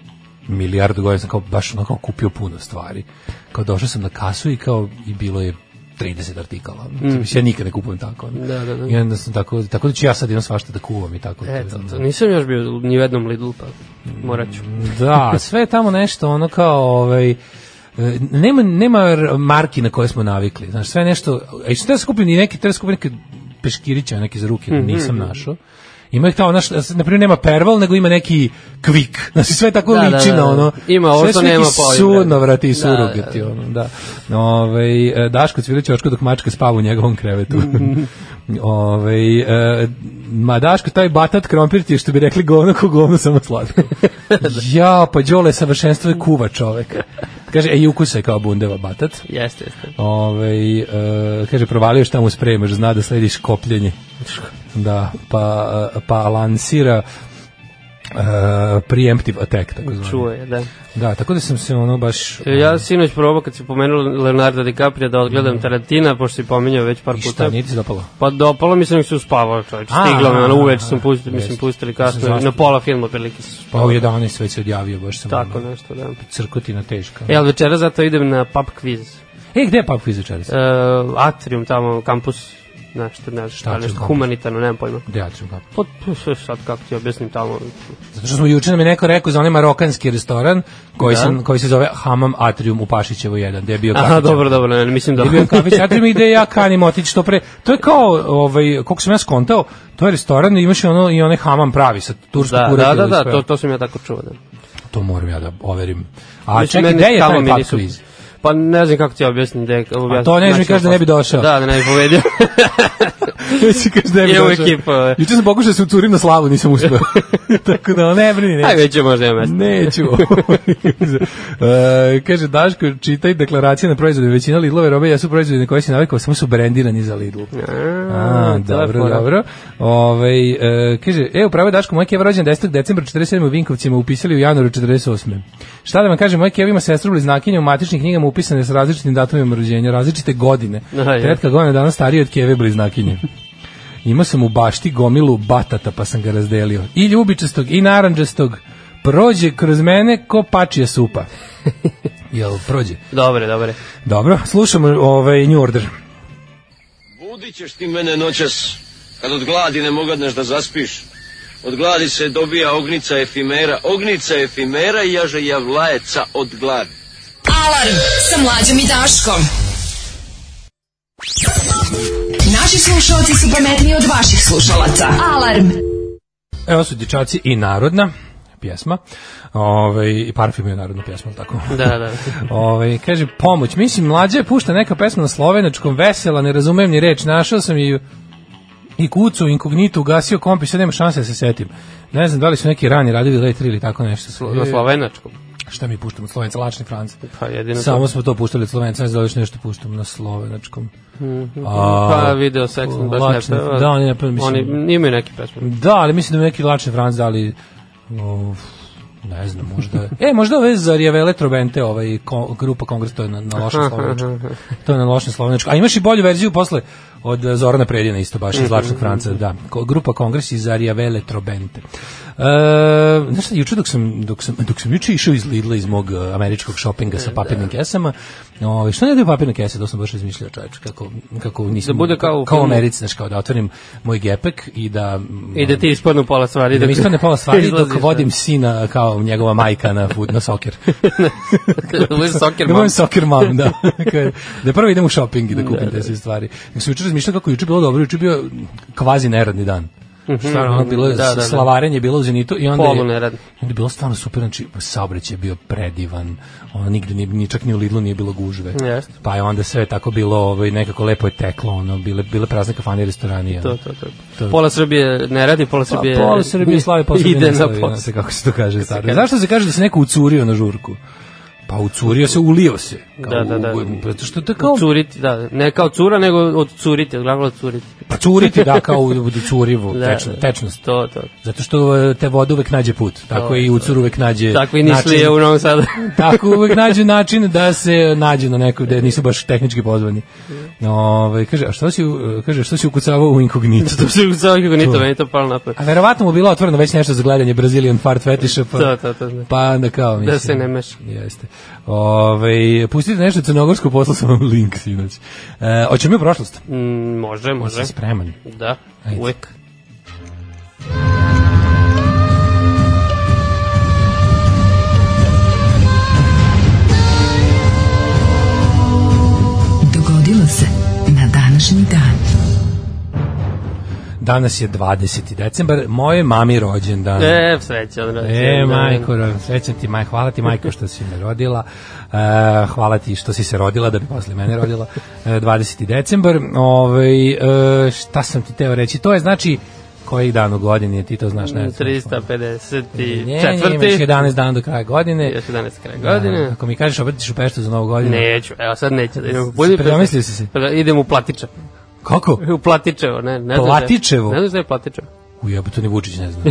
[SPEAKER 7] milijardu godina sam kao baš onako kupio puno stvari. Kao došao sam na kasu i kao i bilo je 30 artikala. Mm. Ja nikad ne kupujem tako. ono.
[SPEAKER 6] Da, da, da.
[SPEAKER 7] I onda sam tako, tako da ću ja sad imam svašta da kuvam i tako.
[SPEAKER 6] Eto, to, nisam još bio ni u jednom Lidlu, pa morat ću.
[SPEAKER 7] Da, sve je tamo nešto ono kao ovaj e, nema nema r- marki na koje smo navikli. Znaš, sve je nešto, a i što se kupim i neki treba skupim neke peškirića, neki za ruke,
[SPEAKER 6] Mhm.
[SPEAKER 7] nisam našao. Ima ih tamo, naš, na primjer nema perval, nego ima neki kvik. Znači sve tako da,
[SPEAKER 6] Da, da,
[SPEAKER 7] liči
[SPEAKER 6] da,
[SPEAKER 7] na
[SPEAKER 6] da.
[SPEAKER 7] ono.
[SPEAKER 6] Ima ovo
[SPEAKER 7] sve
[SPEAKER 6] što
[SPEAKER 7] su neki
[SPEAKER 6] nema pa ovim,
[SPEAKER 7] Surno
[SPEAKER 6] da.
[SPEAKER 7] vrati i
[SPEAKER 6] Da,
[SPEAKER 7] suroge
[SPEAKER 6] da, da.
[SPEAKER 7] ti ono, da. Ove, e, Daško cvira ćoško dok mačka spava u njegovom
[SPEAKER 6] *laughs*
[SPEAKER 7] krevetu. Ove, e, ma Daško, taj batat krompir ti je što bi rekli govno ko govno samo
[SPEAKER 6] *laughs*
[SPEAKER 7] slatko. ja, pa Đole, savršenstvo je kuva čovek. Kaže, e, i ukusa je kao bundeva batat.
[SPEAKER 6] Jeste, jeste.
[SPEAKER 7] Ove, e, kaže, provalio šta mu spremaš, zna da slediš kopljenje. Da, pa, e, pa lansira e, preemptive attack, tako zvani.
[SPEAKER 6] Čuje, da.
[SPEAKER 7] Da, tako da sam se ono baš...
[SPEAKER 6] E, Ja sinoć probao kad si pomenuo Leonardo DiCaprio da odgledam Tarantina, pošto si pominjao već par
[SPEAKER 7] I šta,
[SPEAKER 6] puta.
[SPEAKER 7] nije ti se dopalo?
[SPEAKER 6] Pa dopalo mi se nek se uspavao čovječ.
[SPEAKER 7] A,
[SPEAKER 6] Stiglo me, ono
[SPEAKER 7] a,
[SPEAKER 6] uveč
[SPEAKER 7] a,
[SPEAKER 6] sam pustili, mislim
[SPEAKER 7] jeste.
[SPEAKER 6] pustili
[SPEAKER 7] Mislim,
[SPEAKER 6] kasno,
[SPEAKER 7] zašto?
[SPEAKER 6] na pola filma prilike se
[SPEAKER 7] Pa u
[SPEAKER 6] uspavao.
[SPEAKER 7] 11 već se odjavio, baš sam
[SPEAKER 6] Tako
[SPEAKER 7] ono,
[SPEAKER 6] nešto, da.
[SPEAKER 7] crkotina teška.
[SPEAKER 6] E, ali večera zato idem na pub quiz.
[SPEAKER 7] E, gde je pub quiz večeras?
[SPEAKER 6] E, atrium tamo, kampus, nešto, ne
[SPEAKER 7] Šta
[SPEAKER 6] šta,
[SPEAKER 7] će
[SPEAKER 6] nešto
[SPEAKER 7] kampus?
[SPEAKER 6] humanitarno, nemam pojma.
[SPEAKER 7] Gde ja ću ga?
[SPEAKER 6] Pa, tu, sad kako ti objasnim tamo.
[SPEAKER 7] Zato što smo juče nam je neko rekao za onaj marokanski restoran koji, da. sam, koji se zove Hamam Atrium u Pašićevo 1, gde je bio kafić.
[SPEAKER 6] Aha, dobro, dobro, ne, ne, mislim da... *laughs*
[SPEAKER 7] Gde je bio kafić Atrium i gde ja kanim otići što pre. To je kao, ovaj, koliko sam ja skontao, to je restoran i imaš i, ono, i onaj Hamam pravi sa tursku
[SPEAKER 6] Da,
[SPEAKER 7] kuratilu
[SPEAKER 6] da, da,
[SPEAKER 7] i
[SPEAKER 6] da,
[SPEAKER 7] sve.
[SPEAKER 6] to, to sam ja tako čuo, da.
[SPEAKER 7] to moram ja da overim. A
[SPEAKER 6] Mislim,
[SPEAKER 7] čekaj,
[SPEAKER 6] Znači, meni
[SPEAKER 7] gde je
[SPEAKER 6] stalno
[SPEAKER 7] taj
[SPEAKER 6] mi
[SPEAKER 7] pub
[SPEAKER 6] nisu-
[SPEAKER 7] *laughs* quiz?
[SPEAKER 6] Pa ne znam kako ti ja objasnim da je...
[SPEAKER 7] A to ne znam, mi kaže da ne bi došao.
[SPEAKER 6] Da, da ne bi *laughs* povedio.
[SPEAKER 7] Već kaš da
[SPEAKER 6] Je u ekipu, ovaj.
[SPEAKER 7] Juče sam pokušao da se uturim na slavu, nisam
[SPEAKER 6] *laughs*
[SPEAKER 7] uspeo. Tako da ne brini, ne.
[SPEAKER 6] Ajde, će možda ima mesta.
[SPEAKER 7] Neću. e, kaže Daško, čitaj deklaracije na proizvode. Većina Lidlove robe jesu proizvodi na koje si navikao, samo su brendirani za Lidl. A,
[SPEAKER 6] to je
[SPEAKER 7] dobro,
[SPEAKER 6] fora.
[SPEAKER 7] dobro. Ove, e, kaže, e, upravo je Daško, moja keva rođena 10. decembra 47. u Vinkovcima, upisali u januaru 48. Šta da vam kažem, moja keva ima sestru bliznakinja u matičnim knjigama upisane sa različitim datumima rođenja, različite godine.
[SPEAKER 6] Aha, je.
[SPEAKER 7] Tetka godina je danas starija od keve bliznakinje. *laughs* Imao sam u bašti gomilu batata pa sam ga razdelio. I ljubičastog i naranđastog. Prođe kroz mene ko pačija
[SPEAKER 6] *laughs*
[SPEAKER 7] supa. Jel, prođe.
[SPEAKER 6] Dobre, dobre.
[SPEAKER 7] Dobro, slušamo ovaj New Order.
[SPEAKER 1] Budit ćeš ti mene noćas, kad od gladi ne mogadneš da zaspiš. Od gladi se dobija ognica efimera, ognica efimera i jaže javlajeca od gladi.
[SPEAKER 4] Alarm sa mlađom i Daškom. Naši slušalci su pametniji od vaših slušalaca. Alarm.
[SPEAKER 7] Evo su dječaci i narodna pjesma. Ove, I parfim je narodna pjesma, jel
[SPEAKER 6] *laughs*
[SPEAKER 7] tako?
[SPEAKER 6] Da, da.
[SPEAKER 7] Ove, kaže, pomoć. Mislim, mlađa je pušta neka pesma na slovenačkom, vesela, ne razumem ni reč. Našao sam i i kucu, inkognitu, ugasio kompi, sad nema šanse da se setim. Ne znam da li su neki rani radili Late 3 ili tako nešto.
[SPEAKER 6] Slo- Na slovenačkom.
[SPEAKER 7] Šta mi puštamo od Slovenca, lačni Franc.
[SPEAKER 6] Pa jedino
[SPEAKER 7] Samo smo to puštali od Slovenca, ne znam da li još nešto puštamo na slovenačkom.
[SPEAKER 6] to. Pa video Sexton baš
[SPEAKER 7] Lačni-
[SPEAKER 6] ne peva.
[SPEAKER 7] da, oni ne peva, mislim.
[SPEAKER 6] Oni imaju neke pesme.
[SPEAKER 7] Da, ali mislim da mi neki lačni Franc dali uf, ne znam, možda je. E, možda ove za Rijavele Trobente, ovaj ko, grupa Kongres, to je na, na lošem slovenačku. To je na lošem slovenačku. A imaš i bolju verziju posle od e, Zorana Predina isto baš
[SPEAKER 6] Mhm.
[SPEAKER 7] iz Zlačnog Franca, da. Ko- Grupa Kongres iz Arijavele Trobente. E, znaš šta, juče dok sam, dok sam, dok sam juče išao iz Lidla iz mog e, američkog shoppinga sa
[SPEAKER 6] Da.
[SPEAKER 7] papirnim kesama, ovaj što ne daju papirne kese, to sam baš razmišljao čovječe, kako, kako nisam,
[SPEAKER 6] Da bude kao u
[SPEAKER 7] kao u
[SPEAKER 6] filmu.
[SPEAKER 7] Americi, znaš, kao da otvorim moj gepek i da... mm,
[SPEAKER 6] I da ti ispadnu pola stvari.
[SPEAKER 7] da mi ispane pola stvari dok
[SPEAKER 6] *laughs* izlaziš, da.
[SPEAKER 7] vodim sina kao njegova majka na fut na
[SPEAKER 6] *laughs*
[SPEAKER 7] soker.
[SPEAKER 6] Da budeš soccer
[SPEAKER 7] Da
[SPEAKER 6] mom.
[SPEAKER 7] budem soccer
[SPEAKER 6] *laughs*
[SPEAKER 7] mom, da. Kao, da prvo idem u shopping i da kupim te sve stvari. Nek sam juče razmišljao kako je juče bilo dobro, juče je bio kvazi neradni dan. Stvarno, ono bilo je
[SPEAKER 6] Da, da, da.
[SPEAKER 7] slavarenje je bilo u Zenitu i onda
[SPEAKER 6] Polu
[SPEAKER 7] je,
[SPEAKER 6] neradno.
[SPEAKER 7] i onda je bilo stvarno super, znači saobraćaj je bio predivan, ono nigde nije, ni čak ni u Lidlu nije bilo gužve.
[SPEAKER 6] Jeste.
[SPEAKER 7] Pa je onda sve tako bilo, ovaj, nekako lepo je teklo, ono, bile, bile prazne kafane i restorani. ono.
[SPEAKER 6] To, to, to. Pola Srbije ne radi, pola
[SPEAKER 7] Pa,
[SPEAKER 6] Srbije...
[SPEAKER 7] pola Srbije slavi, pola Srbije
[SPEAKER 6] Ide
[SPEAKER 7] ne
[SPEAKER 6] na
[SPEAKER 7] slavi,
[SPEAKER 6] pola.
[SPEAKER 7] ne znam kako se to kaže. Staro. Zašto se kaže da se neko ucurio na žurku? Pa ucurio se, ulio se.
[SPEAKER 6] Da, da, da.
[SPEAKER 7] u- Zato što to je kao...
[SPEAKER 6] Curiti, da. Ne kao cura, nego od curiti, od glagola curiti.
[SPEAKER 7] Pa curiti, da, kao u, u curivu,
[SPEAKER 6] *laughs* Da.
[SPEAKER 7] tečno, tečnost.
[SPEAKER 6] To, to.
[SPEAKER 7] Zato što e, te voda uvek nađe put, tako i ucur uvek nađe
[SPEAKER 6] Tako i nišli je u Novom Sadu.
[SPEAKER 7] *laughs* tako uvek nađu način da se nađu na nekoj gde nisu baš tehnički pozvani.
[SPEAKER 6] Da.
[SPEAKER 7] Ovaj kaže, a što si, u- kaže, što si ukucavao
[SPEAKER 6] *laughs*
[SPEAKER 7] u inkognito?
[SPEAKER 6] To se uzao kako nito,
[SPEAKER 7] To.
[SPEAKER 6] meni to palo napad.
[SPEAKER 7] A verovatno mu bilo otvoreno već nešto za gledanje Brazilian fart fetiša, pa,
[SPEAKER 6] To, to, to.
[SPEAKER 7] pa onda kao mislim.
[SPEAKER 6] Da se ne meša.
[SPEAKER 7] Jeste. Ove, pustite nešto crnogorsko, poslao sam vam link sinoć. E, oćemo mi u prošlost?
[SPEAKER 6] Mm, može, može.
[SPEAKER 7] Jesi spreman?
[SPEAKER 6] Da,
[SPEAKER 7] Ajde.
[SPEAKER 6] uvek.
[SPEAKER 4] Dogodilo se na današnji dan.
[SPEAKER 7] Danas je 20. decembar, moje mami rođendan.
[SPEAKER 6] E, sreće, Da, odrezi.
[SPEAKER 7] E, majko, srećan ti, maj, hvala ti, majko, što si me rodila. E, hvala ti što si se rodila, da bi posle mene rodila. E, 20. decembar. Ovaj, e, šta sam ti teo reći? To je, znači, koji dan u godini, je, ti to
[SPEAKER 6] da,
[SPEAKER 7] znaš, ne?
[SPEAKER 6] 354.
[SPEAKER 7] 11 dana do kraja godine.
[SPEAKER 6] Još 11 kraj godine.
[SPEAKER 7] Da, ako mi kažeš obratiš u Peštu za novu godinu.
[SPEAKER 6] Neću, evo sad neću da idem u
[SPEAKER 7] Si
[SPEAKER 6] Budimpeštu.
[SPEAKER 7] predomislio si se?
[SPEAKER 6] Pre- Idem u Platičevo.
[SPEAKER 7] Kako?
[SPEAKER 6] U Platičevo, ne, ne znam. šta je-
[SPEAKER 7] Platičevo?
[SPEAKER 6] Ne znam šta je Platičevo.
[SPEAKER 7] Ujebe, to ni Vučić ne zna.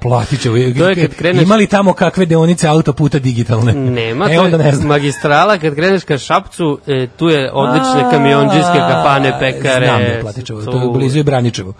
[SPEAKER 7] Platićevo.
[SPEAKER 6] To je kad kreneš-
[SPEAKER 7] Ima li tamo kakve deonice autoputa digitalne?
[SPEAKER 6] Nema,
[SPEAKER 7] E,
[SPEAKER 6] to
[SPEAKER 7] onda
[SPEAKER 6] je
[SPEAKER 7] ne znam.
[SPEAKER 6] magistrala, kad kreneš ka Šapcu, e, tu je odlične
[SPEAKER 7] A,
[SPEAKER 6] kamionđijske kafane, pekare.
[SPEAKER 7] Znam da je Platičevo, to je
[SPEAKER 6] tu-
[SPEAKER 7] blizu i Braničevo.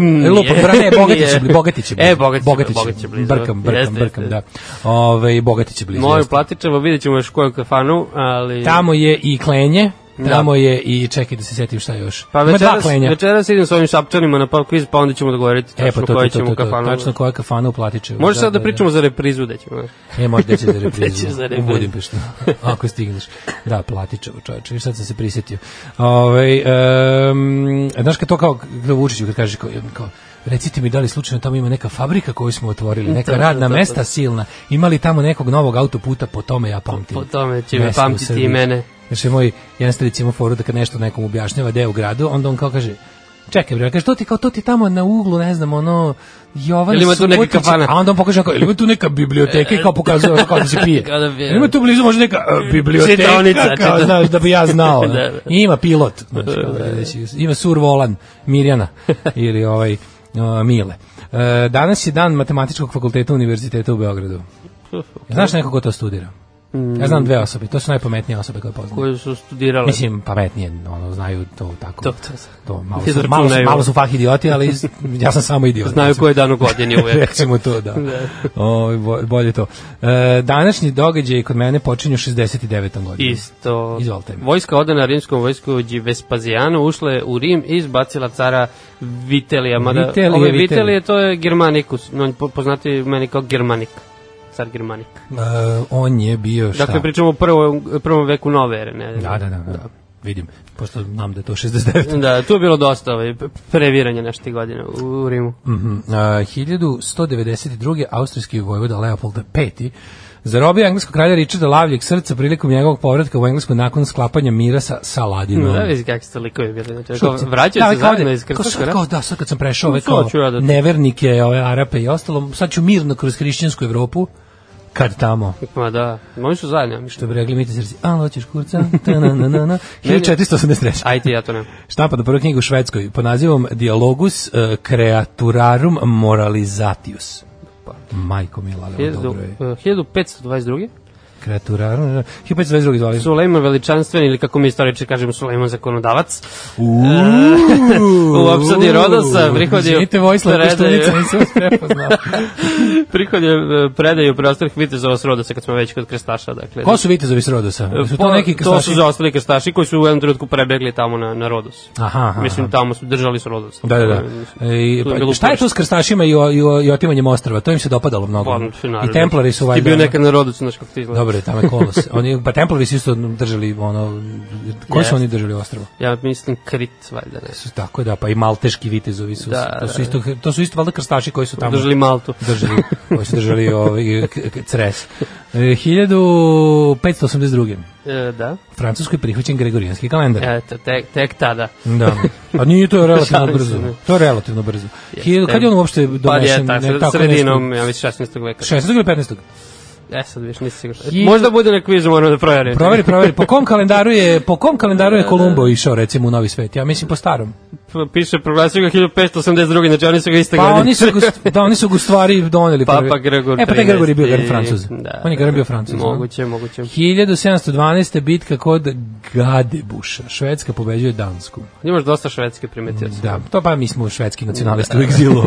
[SPEAKER 6] Nije,
[SPEAKER 7] E, lupo,
[SPEAKER 6] *laughs*
[SPEAKER 7] brane, Bogatiće,
[SPEAKER 6] nije.
[SPEAKER 7] Bogatiće.
[SPEAKER 6] Mm, *laughs* E, Bogatiće, Bogatiće
[SPEAKER 7] Bogatiće,
[SPEAKER 6] blizu.
[SPEAKER 7] Brkam, brkam,
[SPEAKER 6] Jeste,
[SPEAKER 7] brkam,
[SPEAKER 6] jeste.
[SPEAKER 7] da. Ove, Bogatiće blizu.
[SPEAKER 6] Moju
[SPEAKER 7] jeste.
[SPEAKER 6] Platičevo, vidjet ćemo još koju kafanu, ali...
[SPEAKER 7] Tamo je i Klenje, tamo je i, čekaj da se setim šta još.
[SPEAKER 6] Da. Pa
[SPEAKER 7] Ima dva
[SPEAKER 6] večeras,
[SPEAKER 7] Klenja.
[SPEAKER 6] večeras idem s ovim šapčanima na pop quiz, pa onda ćemo dogovoriti
[SPEAKER 7] E, pa
[SPEAKER 6] tačno
[SPEAKER 7] to, to,
[SPEAKER 6] koju
[SPEAKER 7] to,
[SPEAKER 6] ćemo
[SPEAKER 7] to, to,
[SPEAKER 6] kafanu.
[SPEAKER 7] tačno koja kafana u Platićevu.
[SPEAKER 6] Može sad da pričamo za reprizu da ćemo.
[SPEAKER 7] E, možda
[SPEAKER 6] *laughs*
[SPEAKER 7] će za
[SPEAKER 6] Da će
[SPEAKER 7] reprizu.
[SPEAKER 6] za
[SPEAKER 7] u
[SPEAKER 6] reprizu.
[SPEAKER 7] Budimpeštu. *laughs* Ako stigneš. Da, Platićevo čoveče. Viš sad sam se prisjetio. Ove, um, znaš kad to kao da Vučiću kad kažeš kao, kao recite mi da li slučajno tamo ima neka fabrika koju smo otvorili, neka
[SPEAKER 6] To, to,
[SPEAKER 7] radna
[SPEAKER 6] to, to.
[SPEAKER 7] mesta silna, ima li tamo nekog novog autoputa, po tome ja pamtim.
[SPEAKER 6] Po tome će me
[SPEAKER 7] Mesto u
[SPEAKER 6] pamtiti
[SPEAKER 7] Srbiji.
[SPEAKER 6] i mene.
[SPEAKER 7] Znaš, je moj jedan staric ima foru da kad nešto nekom objašnjava da je u gradu, onda on kao kaže, čekaj bre, kaže, to ti kao, to ti tamo na uglu, ne znam, ono, Jovan
[SPEAKER 6] Ili ima tu neka
[SPEAKER 7] Subotić-
[SPEAKER 6] kafana?
[SPEAKER 7] A onda on pokaže kao, ili ima tu neka biblioteka i kao pokazuje ono kao da se pije.
[SPEAKER 6] *laughs* Kao da pije.
[SPEAKER 7] Ili Ima tu blizu možda neka e, biblioteka,
[SPEAKER 6] Čitaonica,
[SPEAKER 7] kao,
[SPEAKER 6] čita-
[SPEAKER 7] znaš, da bi ja znao.
[SPEAKER 6] *laughs* Da, da.
[SPEAKER 7] I ima
[SPEAKER 6] *laughs*
[SPEAKER 7] pilot, znaš, kao da reći, ima survolan Mirjana ili ovaj o, Mile. E, danas je dan matematičkog fakulteta Univerziteta u
[SPEAKER 6] *laughs*
[SPEAKER 7] Beogradu. Znaš neko ko to studira? Ja znam dve osobe, to su najpametnije osobe koje poznam.
[SPEAKER 6] Koju su studirale.
[SPEAKER 7] Mislim, pametnije, ono, znaju to tako.
[SPEAKER 6] To, to,
[SPEAKER 7] to malo, su,
[SPEAKER 6] Izračunaju.
[SPEAKER 7] malo, su, malo su fah idioti, ali iz- ja sam samo idiot.
[SPEAKER 6] Znaju koji je dan u
[SPEAKER 7] *laughs*
[SPEAKER 6] godini uvek.
[SPEAKER 7] Recimo to, da. O, bolje to. E, današnji događaj kod mene počinju 69. godinom.
[SPEAKER 6] Isto.
[SPEAKER 7] Izvolite.
[SPEAKER 6] Vojska odana rimskom vojsku Vespazijanu ušla je u Rim i izbacila cara Vitelija. Mada,
[SPEAKER 7] Vitelije,
[SPEAKER 6] ove
[SPEAKER 7] Vitelije.
[SPEAKER 6] Vitelije to je Germanicus. No, on po- poznati meni kao Germanik. Car Germanik.
[SPEAKER 7] E, on je bio šta?
[SPEAKER 6] Dakle, pričamo o prvom, prvom veku nove ere. Ne?
[SPEAKER 7] Da, da, da, da. Vidim, pošto znam da je to
[SPEAKER 6] *laughs*
[SPEAKER 7] 69.
[SPEAKER 6] Da, tu je bilo dosta ovaj, p- previranja nešto godina u, u Rimu.
[SPEAKER 7] Mhm. A, 1192. austrijski vojvoda Leopold V zarobio engleskog kralja Richarda Lavljeg srca prilikom njegovog povratka u Englesku nakon sklapanja mira sa Saladinom.
[SPEAKER 6] Da, vidi kakvi ste likovi bili. Znači, kao,
[SPEAKER 7] Šupci.
[SPEAKER 6] vraćaju
[SPEAKER 7] Da,
[SPEAKER 6] se
[SPEAKER 7] kao
[SPEAKER 6] zajedno
[SPEAKER 7] da-
[SPEAKER 6] iz
[SPEAKER 7] kao
[SPEAKER 6] Krstog
[SPEAKER 7] sad,
[SPEAKER 6] rata.
[SPEAKER 7] Kao da, sad kad sam prešao ove
[SPEAKER 6] Sad
[SPEAKER 7] kao
[SPEAKER 6] ću ja da-
[SPEAKER 7] nevernike, ove Arape i ostalo, sad ću mirno kroz hrišćansku Evropu, kad tamo.
[SPEAKER 6] Ma da, oni su zajedno, ja mislim.
[SPEAKER 7] Što bi rekli mi srci, alo, hoćeš kurca, ta na
[SPEAKER 6] *laughs*
[SPEAKER 7] na na na, 1483.
[SPEAKER 6] Ajde, ja to nemam.
[SPEAKER 7] Štampa na prvu knjigu u Švedskoj pod nazivom Dialogus eh, Creaturarum
[SPEAKER 6] e,
[SPEAKER 7] Moralizatius. Majko mila, ali ovo dobro je.
[SPEAKER 6] Hiljadu- eh, 1522.
[SPEAKER 7] Kreturar. 1522. izvoli.
[SPEAKER 6] Sulejman veličanstveni ili kako mi istoričari kažemo Sulejman zakonodavac. *laughs*
[SPEAKER 7] Uuu.
[SPEAKER 6] U opsadi Rodosa prihodi-
[SPEAKER 7] Izvinite, Vojislav
[SPEAKER 6] predaju-
[SPEAKER 7] Koštunica, nisam vas prepoznao.
[SPEAKER 6] *laughs* Prihod je e, predaju preostalih vitezova s Rodosa kad smo već kod krstaša, dakle.
[SPEAKER 7] Ko su vitezovi s Rodosa?
[SPEAKER 6] E,
[SPEAKER 7] Su
[SPEAKER 6] po-
[SPEAKER 7] to neki
[SPEAKER 6] To su
[SPEAKER 7] krstaši?
[SPEAKER 6] zaostali krstaši koji su u jednom trenutku prebegli tamo na, na Rodos.
[SPEAKER 7] Aha, aha,
[SPEAKER 6] Mislim, tamo su držali su Rodos.
[SPEAKER 7] Da, da, da. E,
[SPEAKER 6] Tu je
[SPEAKER 7] pa,
[SPEAKER 6] bilo
[SPEAKER 7] šta je to s krstašima i, o, i, o, i otimanjem ostrava? To im se dopadalo mnogo. I templari su
[SPEAKER 6] valjda. Pa, Ti bio
[SPEAKER 7] valjda...
[SPEAKER 6] nekad na Rodosu, znaš kako ti izgleda.
[SPEAKER 7] Dobro, je, tamo je
[SPEAKER 6] *laughs*
[SPEAKER 7] kolos. Oni, pa templari su isto držali, ono... Koji
[SPEAKER 6] Jeste.
[SPEAKER 7] su oni držali ostrava?
[SPEAKER 6] Ja mislim Krit, valjda ne.
[SPEAKER 7] Su, tako da, pa i malteški vitezovi su.
[SPEAKER 6] Da,
[SPEAKER 7] to, su
[SPEAKER 6] da.
[SPEAKER 7] isto, to su isto valjda krstaši koji su tamo...
[SPEAKER 6] Držali Maltu.
[SPEAKER 7] *laughs* držali, koji su držali ovaj, k- k- cres. E, 1582.
[SPEAKER 6] E, da. E,
[SPEAKER 7] U Francuskoj je prihvaćen gregorijanski kalendar.
[SPEAKER 6] Eto, tek, tek tada.
[SPEAKER 7] Da. A nije
[SPEAKER 6] *laughs*
[SPEAKER 7] to je relativno
[SPEAKER 6] Šalim se,
[SPEAKER 7] brzo.
[SPEAKER 6] ne.
[SPEAKER 7] To je relativno brzo. Hiljadu- Kad je on uopšte donesen?
[SPEAKER 6] Pa je,
[SPEAKER 7] Ne,
[SPEAKER 6] tako,
[SPEAKER 7] tako
[SPEAKER 6] sredinom,
[SPEAKER 7] nešto.
[SPEAKER 6] ja mislim, 16. veka.
[SPEAKER 7] 16. ili 15.
[SPEAKER 6] E, sad više nisam siguran.
[SPEAKER 7] Hiljadu-
[SPEAKER 6] Možda bude na kvizu, moram da proverim.
[SPEAKER 7] Proveri, proveri. Po kom kalendaru je, po kom kalendaru
[SPEAKER 6] Da,
[SPEAKER 7] je Kolumbo išao recimo u Novi svet? Ja mislim po starom.
[SPEAKER 6] P- Piše, proglasio ga 1582. Znači, oni su ga iste
[SPEAKER 7] Pa
[SPEAKER 6] godine.
[SPEAKER 7] oni su ga- da oni su ga u stvari doneli
[SPEAKER 6] Papa
[SPEAKER 7] prvi.
[SPEAKER 6] Gregor
[SPEAKER 7] E pa taj
[SPEAKER 6] 13.
[SPEAKER 7] Gregor je bio gar Francuz.
[SPEAKER 6] Da.
[SPEAKER 7] On je gar bio Francuz. no?
[SPEAKER 6] Moguće, moguće.
[SPEAKER 7] 1712. bitka kod Gadebuša. Švedska pobeđuje Dansku.
[SPEAKER 6] Imaš dosta švedske primetio sam.
[SPEAKER 7] Da, to pa mi smo švedski nacionalisti u
[SPEAKER 6] *laughs*
[SPEAKER 7] egzilu.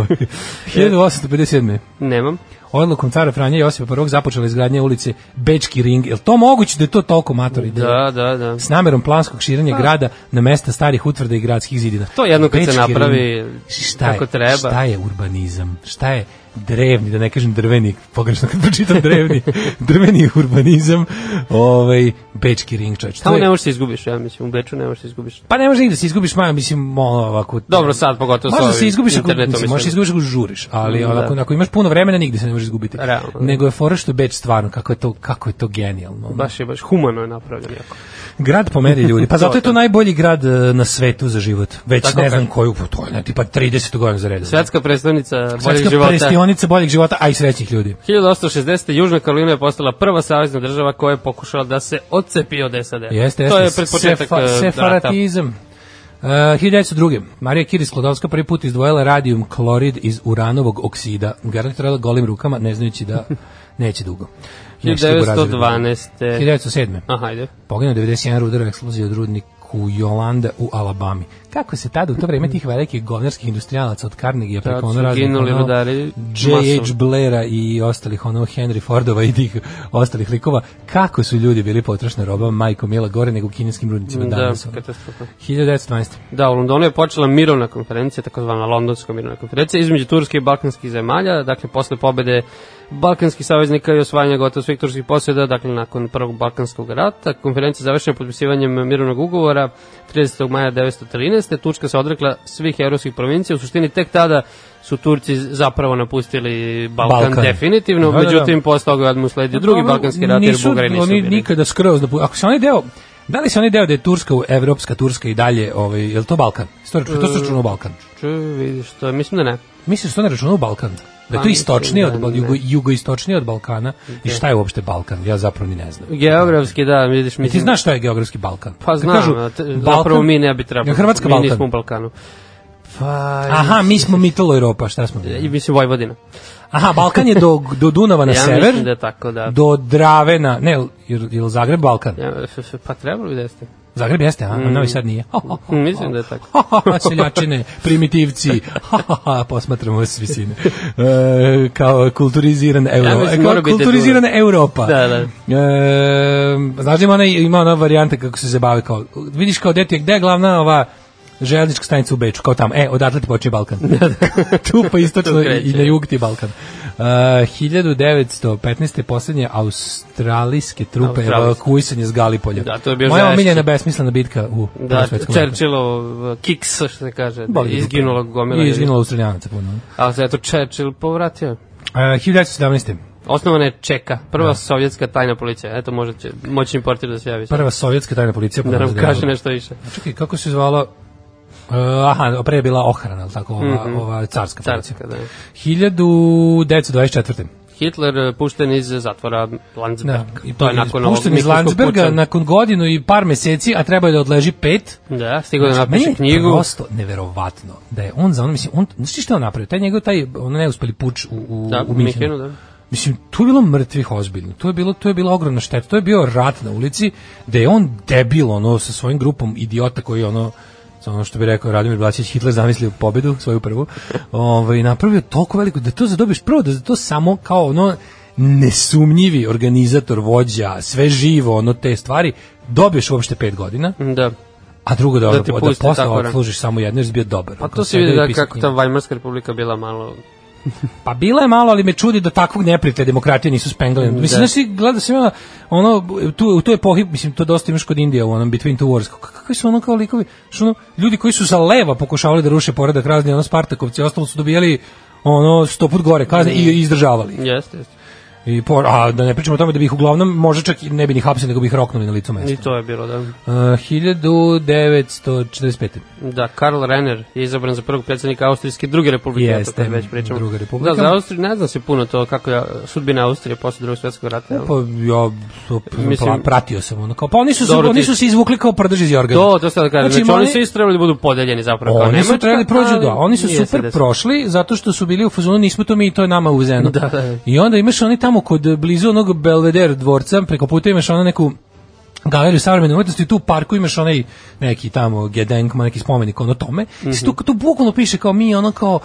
[SPEAKER 7] 1857.
[SPEAKER 6] Nemam.
[SPEAKER 7] Odlukom cara Franja Josipa I započela izgradnja ulice Bečki ring. Je li to moguće da je to toliko mator ideja?
[SPEAKER 6] Da, da, da.
[SPEAKER 7] S namerom planskog širenja grada na mesta starih utvrda i gradskih zidina.
[SPEAKER 6] To jedno kad se
[SPEAKER 7] Bečki
[SPEAKER 6] napravi
[SPEAKER 7] ring. šta je,
[SPEAKER 6] kako treba.
[SPEAKER 7] Šta je urbanizam? Šta je drevni, da ne kažem drveni, pogrešno kad
[SPEAKER 6] *laughs*
[SPEAKER 7] pročitam drevni, drveni urbanizam, ovaj, Bečki ring čovječ. To
[SPEAKER 6] Tamo
[SPEAKER 7] je-
[SPEAKER 6] ne možeš se izgubiš, ja mislim. U Beču ne možeš se izgubiš.
[SPEAKER 7] Pa ne može nigde da se izgubiš, ma, mislim, ono, ovako...
[SPEAKER 6] Dobro, sad pogotovo sa
[SPEAKER 7] Možda da se
[SPEAKER 6] ovim
[SPEAKER 7] izgubiš ako,
[SPEAKER 6] internetom,
[SPEAKER 7] mislim, možeš se
[SPEAKER 6] mislim.
[SPEAKER 7] izgubiš ako žuriš, ali
[SPEAKER 6] Da.
[SPEAKER 7] onako, ako imaš puno vremena, nigde se ne možeš izgubiti.
[SPEAKER 6] Realno.
[SPEAKER 7] Nego je fora što je Beč stvarno, kako je to, kako je to genijalno.
[SPEAKER 6] Baš je, baš humano je napravljen jako.
[SPEAKER 7] Grad po meri
[SPEAKER 6] *laughs*
[SPEAKER 7] ljudi. Pa zato je to najbolji grad e, na svetu za život. Već
[SPEAKER 6] da. Tako
[SPEAKER 7] ne znam
[SPEAKER 6] kažu.
[SPEAKER 7] koju, pa to je ne, tipa 30 godina za redom.
[SPEAKER 6] Svetska predstavnica boljeg
[SPEAKER 7] Svetska
[SPEAKER 6] života.
[SPEAKER 7] prestionica boljeg života, a i srećnih ljudi.
[SPEAKER 6] 1860. Južna Karolina je postala prva savezna država koja je pokušala da se odcepi od SAD.
[SPEAKER 7] Jeste, jeste.
[SPEAKER 6] to je pred početak
[SPEAKER 7] Sefa-
[SPEAKER 6] eh, rata.
[SPEAKER 7] sefaratizam. Uh, 1902. Marija Kiris Klodovska prvi put izdvojila radijum klorid iz uranovog oksida. Garantirala golim rukama, ne
[SPEAKER 6] *laughs*
[SPEAKER 7] znajući da neće dugo. Neće dugo razviti.
[SPEAKER 6] 1912.
[SPEAKER 7] 1907.
[SPEAKER 6] Aha, ajde.
[SPEAKER 7] Poginuo 91 rudara eksplozija od rudniku Jolanda u Alabami. Kako se tada u to vreme tih velikih govnarskih industrijalaca od Carnegie preko
[SPEAKER 6] Tad
[SPEAKER 7] ono
[SPEAKER 6] Da, su
[SPEAKER 7] raznih
[SPEAKER 6] ginuli
[SPEAKER 7] ono,
[SPEAKER 6] rudari
[SPEAKER 7] J.H.
[SPEAKER 6] masovno.
[SPEAKER 7] Blaira i ostalih ono Henry Fordova i tih ostalih likova kako su ljudi bili potrošna roba majko Mila gore nego u kineskim rudnicima
[SPEAKER 6] Da,
[SPEAKER 7] danas. ono.
[SPEAKER 6] katastrofa.
[SPEAKER 7] 1912.
[SPEAKER 6] Da, u Londonu je počela mirovna konferencija, takozvana londonska mirovna konferencija, između Turske i Balkanskih zemalja, dakle posle pobede Balkanskih saveznika i osvajanja gotovo svih turskih posjeda, dakle nakon prvog Balkanskog rata. Konferencija je završena potpisivanjem mirovnog ugovora 30. maja 1913. Turska se odrekla svih evropskih provincija, u suštini tek tada su Turci zapravo napustili Balkan,
[SPEAKER 7] Balkan.
[SPEAKER 6] definitivno,
[SPEAKER 7] Da, da, da.
[SPEAKER 6] međutim posle toga odmah usledio drugi
[SPEAKER 7] Ono,
[SPEAKER 6] Balkanski rat jer
[SPEAKER 7] nisu
[SPEAKER 6] Bugari nisu
[SPEAKER 7] oni
[SPEAKER 6] bili.
[SPEAKER 7] nikada skroz napu- Ako se onaj deo Da li se onaj deo da je Turska, u- evropska Turska i dalje, ovaj, je li to Balkan? Istorija, to se računa u Balkan.
[SPEAKER 6] Ču, vidiš to, mislim da ne.
[SPEAKER 7] Misliš da to ne računa u Balkan?
[SPEAKER 6] Pa,
[SPEAKER 7] Da je to
[SPEAKER 6] mislim
[SPEAKER 7] istočnije
[SPEAKER 6] da
[SPEAKER 7] od, Bal-
[SPEAKER 6] ne.
[SPEAKER 7] jugo, jugoistočnije od Balkana? I šta je uopšte Balkan? Ja zapravo ni ne znam.
[SPEAKER 6] Geografski, da, vidiš, mislim...
[SPEAKER 7] Ti znaš šta je geografski Balkan?
[SPEAKER 6] Pa
[SPEAKER 7] Kad
[SPEAKER 6] znam,
[SPEAKER 7] kažu
[SPEAKER 6] a te- zapravo mi ne bi trebalo.
[SPEAKER 7] Hrvatska
[SPEAKER 6] mi
[SPEAKER 7] Balkan.
[SPEAKER 6] nismo u Balkanu. Pa...
[SPEAKER 7] Aha, mi smo Mitalo Europa, šta smo?
[SPEAKER 6] I mislim Vojvodina.
[SPEAKER 7] Aha, Balkan je do, do Dunava na
[SPEAKER 6] ja
[SPEAKER 7] sever,
[SPEAKER 6] mislim da je tako, da.
[SPEAKER 7] do Drave na... Ne, jel, jel Zagreb Balkan?
[SPEAKER 6] Ja, f- f- pa trebalo bi da jeste.
[SPEAKER 7] Zagreb jeste, a Novi Sad nije. Ho, ho, ho.
[SPEAKER 6] Mm. *laughs* Mislim da je tako.
[SPEAKER 7] *laughs* Ha, ha, ha, seljačine, primitivci, ha, ha, ha, posmatramo vas s visine. E, kao kulturiziran Euro,
[SPEAKER 6] Ja mislim,
[SPEAKER 7] e, kao
[SPEAKER 6] mora biti
[SPEAKER 7] kulturizirana Europa.
[SPEAKER 6] Da, da.
[SPEAKER 7] E, znaš da ima ona, ima ona varijanta kako se zabave kao, vidiš kao deti, gde je glavna ova željeznička stanica u Beču, kao tamo, e, odatle ti počeo
[SPEAKER 6] *laughs*
[SPEAKER 7] Balkan. *laughs* tu pa istočno
[SPEAKER 6] Da, Tu kreće.
[SPEAKER 7] i, i na jug ti je Balkan. E, 1915. posljednje australijske trupe
[SPEAKER 6] Australijske.
[SPEAKER 7] evakuisanje s Galipolja.
[SPEAKER 6] Da, to je bio
[SPEAKER 7] Moja
[SPEAKER 6] žešće.
[SPEAKER 7] omiljena besmislena bitka u
[SPEAKER 6] Da,
[SPEAKER 7] Prvom svetskom ratu.
[SPEAKER 6] Churchillov uh, kiks, što se kaže,
[SPEAKER 7] Boli ga
[SPEAKER 6] izginulo
[SPEAKER 7] dupe.
[SPEAKER 6] gomila.
[SPEAKER 7] I
[SPEAKER 6] ljudi.
[SPEAKER 7] izginulo Australijanaca puno.
[SPEAKER 6] Ali se eto Churchill povratio.
[SPEAKER 7] Uh, 1917.
[SPEAKER 6] Osnovana je Čeka, prva
[SPEAKER 7] Da.
[SPEAKER 6] sovjetska tajna policija. Eto, možda će moćni portir da se javi.
[SPEAKER 7] Prva sovjetska tajna policija.
[SPEAKER 6] Da nam
[SPEAKER 7] poznata
[SPEAKER 6] kaže
[SPEAKER 7] je-
[SPEAKER 6] nešto više.
[SPEAKER 7] Čekaj, kako se zvala? Uh, aha, pre je bila ohrana, ali tako, ova, ova carska policija.
[SPEAKER 6] Mhm. Carska, da.
[SPEAKER 7] 1924.
[SPEAKER 6] Hitler eh, pušten iz zatvora
[SPEAKER 7] Da,
[SPEAKER 6] Landsberg.
[SPEAKER 7] i
[SPEAKER 6] to je nakon ovog
[SPEAKER 7] pušten iz
[SPEAKER 6] Mikljuškog
[SPEAKER 7] Landsberga
[SPEAKER 6] puča.
[SPEAKER 7] nakon godinu i par meseci, a treba je da odleži pet.
[SPEAKER 6] Da, stigao da
[SPEAKER 7] Znači, Meni
[SPEAKER 6] napiše
[SPEAKER 7] je
[SPEAKER 6] knjigu.
[SPEAKER 7] prosto neverovatno da je on za on mislim on znači šta je on napravio taj njegov taj on neuspeli puč u u,
[SPEAKER 6] Da,
[SPEAKER 7] u
[SPEAKER 6] u
[SPEAKER 7] Minhenu
[SPEAKER 6] Minhenu, da.
[SPEAKER 7] Mislim, tu je bilo mrtvih ozbiljno. Tu je bilo, tu je bilo ogromna šteta. To je bio rat na ulici gde je on debil ono sa svojim grupom idiota koji ono sa ono što bi rekao Radomir Blačić Hitler zamislio pobedu svoju prvu. Ovaj napravio toliko veliko da to zadobiš prvo da to samo kao ono nesumnjivi organizator, vođa, sve živo, ono te stvari, dobiješ uopšte pet godina,
[SPEAKER 6] Da.
[SPEAKER 7] a drugo da,
[SPEAKER 6] Da
[SPEAKER 7] da,
[SPEAKER 6] ti
[SPEAKER 7] da
[SPEAKER 6] puste
[SPEAKER 7] posle
[SPEAKER 6] tako, ne?
[SPEAKER 7] odslužiš samo jedno, jer si bio dobar.
[SPEAKER 6] Pa
[SPEAKER 7] Ako
[SPEAKER 6] to se
[SPEAKER 7] sedeo
[SPEAKER 6] vidi
[SPEAKER 7] i
[SPEAKER 6] da
[SPEAKER 7] pisao
[SPEAKER 6] kako
[SPEAKER 7] knjige.
[SPEAKER 6] ta Weimarska republika bila malo...
[SPEAKER 7] Pa bila je malo, ali me čudi da takvog neprijatelja demokratije nisu spengali. Mislim,
[SPEAKER 6] Da.
[SPEAKER 7] znaš, ti gleda sam ja, ono, tu, u toj epohi, mislim, to dosta imaš kod Indije, u onom Between Two Wars, kako kakvi su ono kao likovi, što ono, ljudi koji su za leva pokušavali da ruše poredak razni, ono, Spartakovci, ostalo su dobijali ono, sto put gore kazne i, i izdržavali. ih.
[SPEAKER 6] Jeste, jeste.
[SPEAKER 7] I por, a da ne pričamo o tome da bi ih uglavnom, možda čak i ne bi ni hapsili, nego bi ih roknuli na licu mesta.
[SPEAKER 6] I to je bilo, da.
[SPEAKER 7] Uh, 1945.
[SPEAKER 6] Da, Karl Renner je izabran za prvog predsednika Austrijske druge republike,
[SPEAKER 7] Jeste,
[SPEAKER 6] o tome već pričamo.
[SPEAKER 7] druga republika.
[SPEAKER 6] Da, za Austriju ne zna se puno to kako je sudbina Austrije posle drugog svetskog rata. jel?
[SPEAKER 7] Pa ja so,
[SPEAKER 6] Da. Mislim-
[SPEAKER 7] Mislim, pratio sam ono kao, pa oni su, se,
[SPEAKER 6] Dobro,
[SPEAKER 7] oni
[SPEAKER 6] ti-
[SPEAKER 7] su se izvukli kao prdeži iz Jorgana.
[SPEAKER 6] To, to sad da kažem. Znači,
[SPEAKER 7] Znači,
[SPEAKER 6] oni
[SPEAKER 7] mali-
[SPEAKER 6] su isto trebali da budu podeljeni zapravo kao
[SPEAKER 7] Oni
[SPEAKER 6] Nemačka.
[SPEAKER 7] su trebali prođu, da,
[SPEAKER 6] ali
[SPEAKER 7] oni su
[SPEAKER 6] nije se
[SPEAKER 7] super
[SPEAKER 6] desilo.
[SPEAKER 7] prošli zato što su bili u fazonu nismo to mi i to je nama uzeno.
[SPEAKER 6] Da, da.
[SPEAKER 7] I onda imaš oni tamo kod blizu onog Belvedere dvorca, preko puta imaš ono neku galeriju savremene umetnosti, tu u parku imaš onaj neki tamo gedenk, ma neki spomenik ono tome, mm -hmm.
[SPEAKER 6] Mhm.
[SPEAKER 7] tu, tu bukvalno piše kao mi ono kao,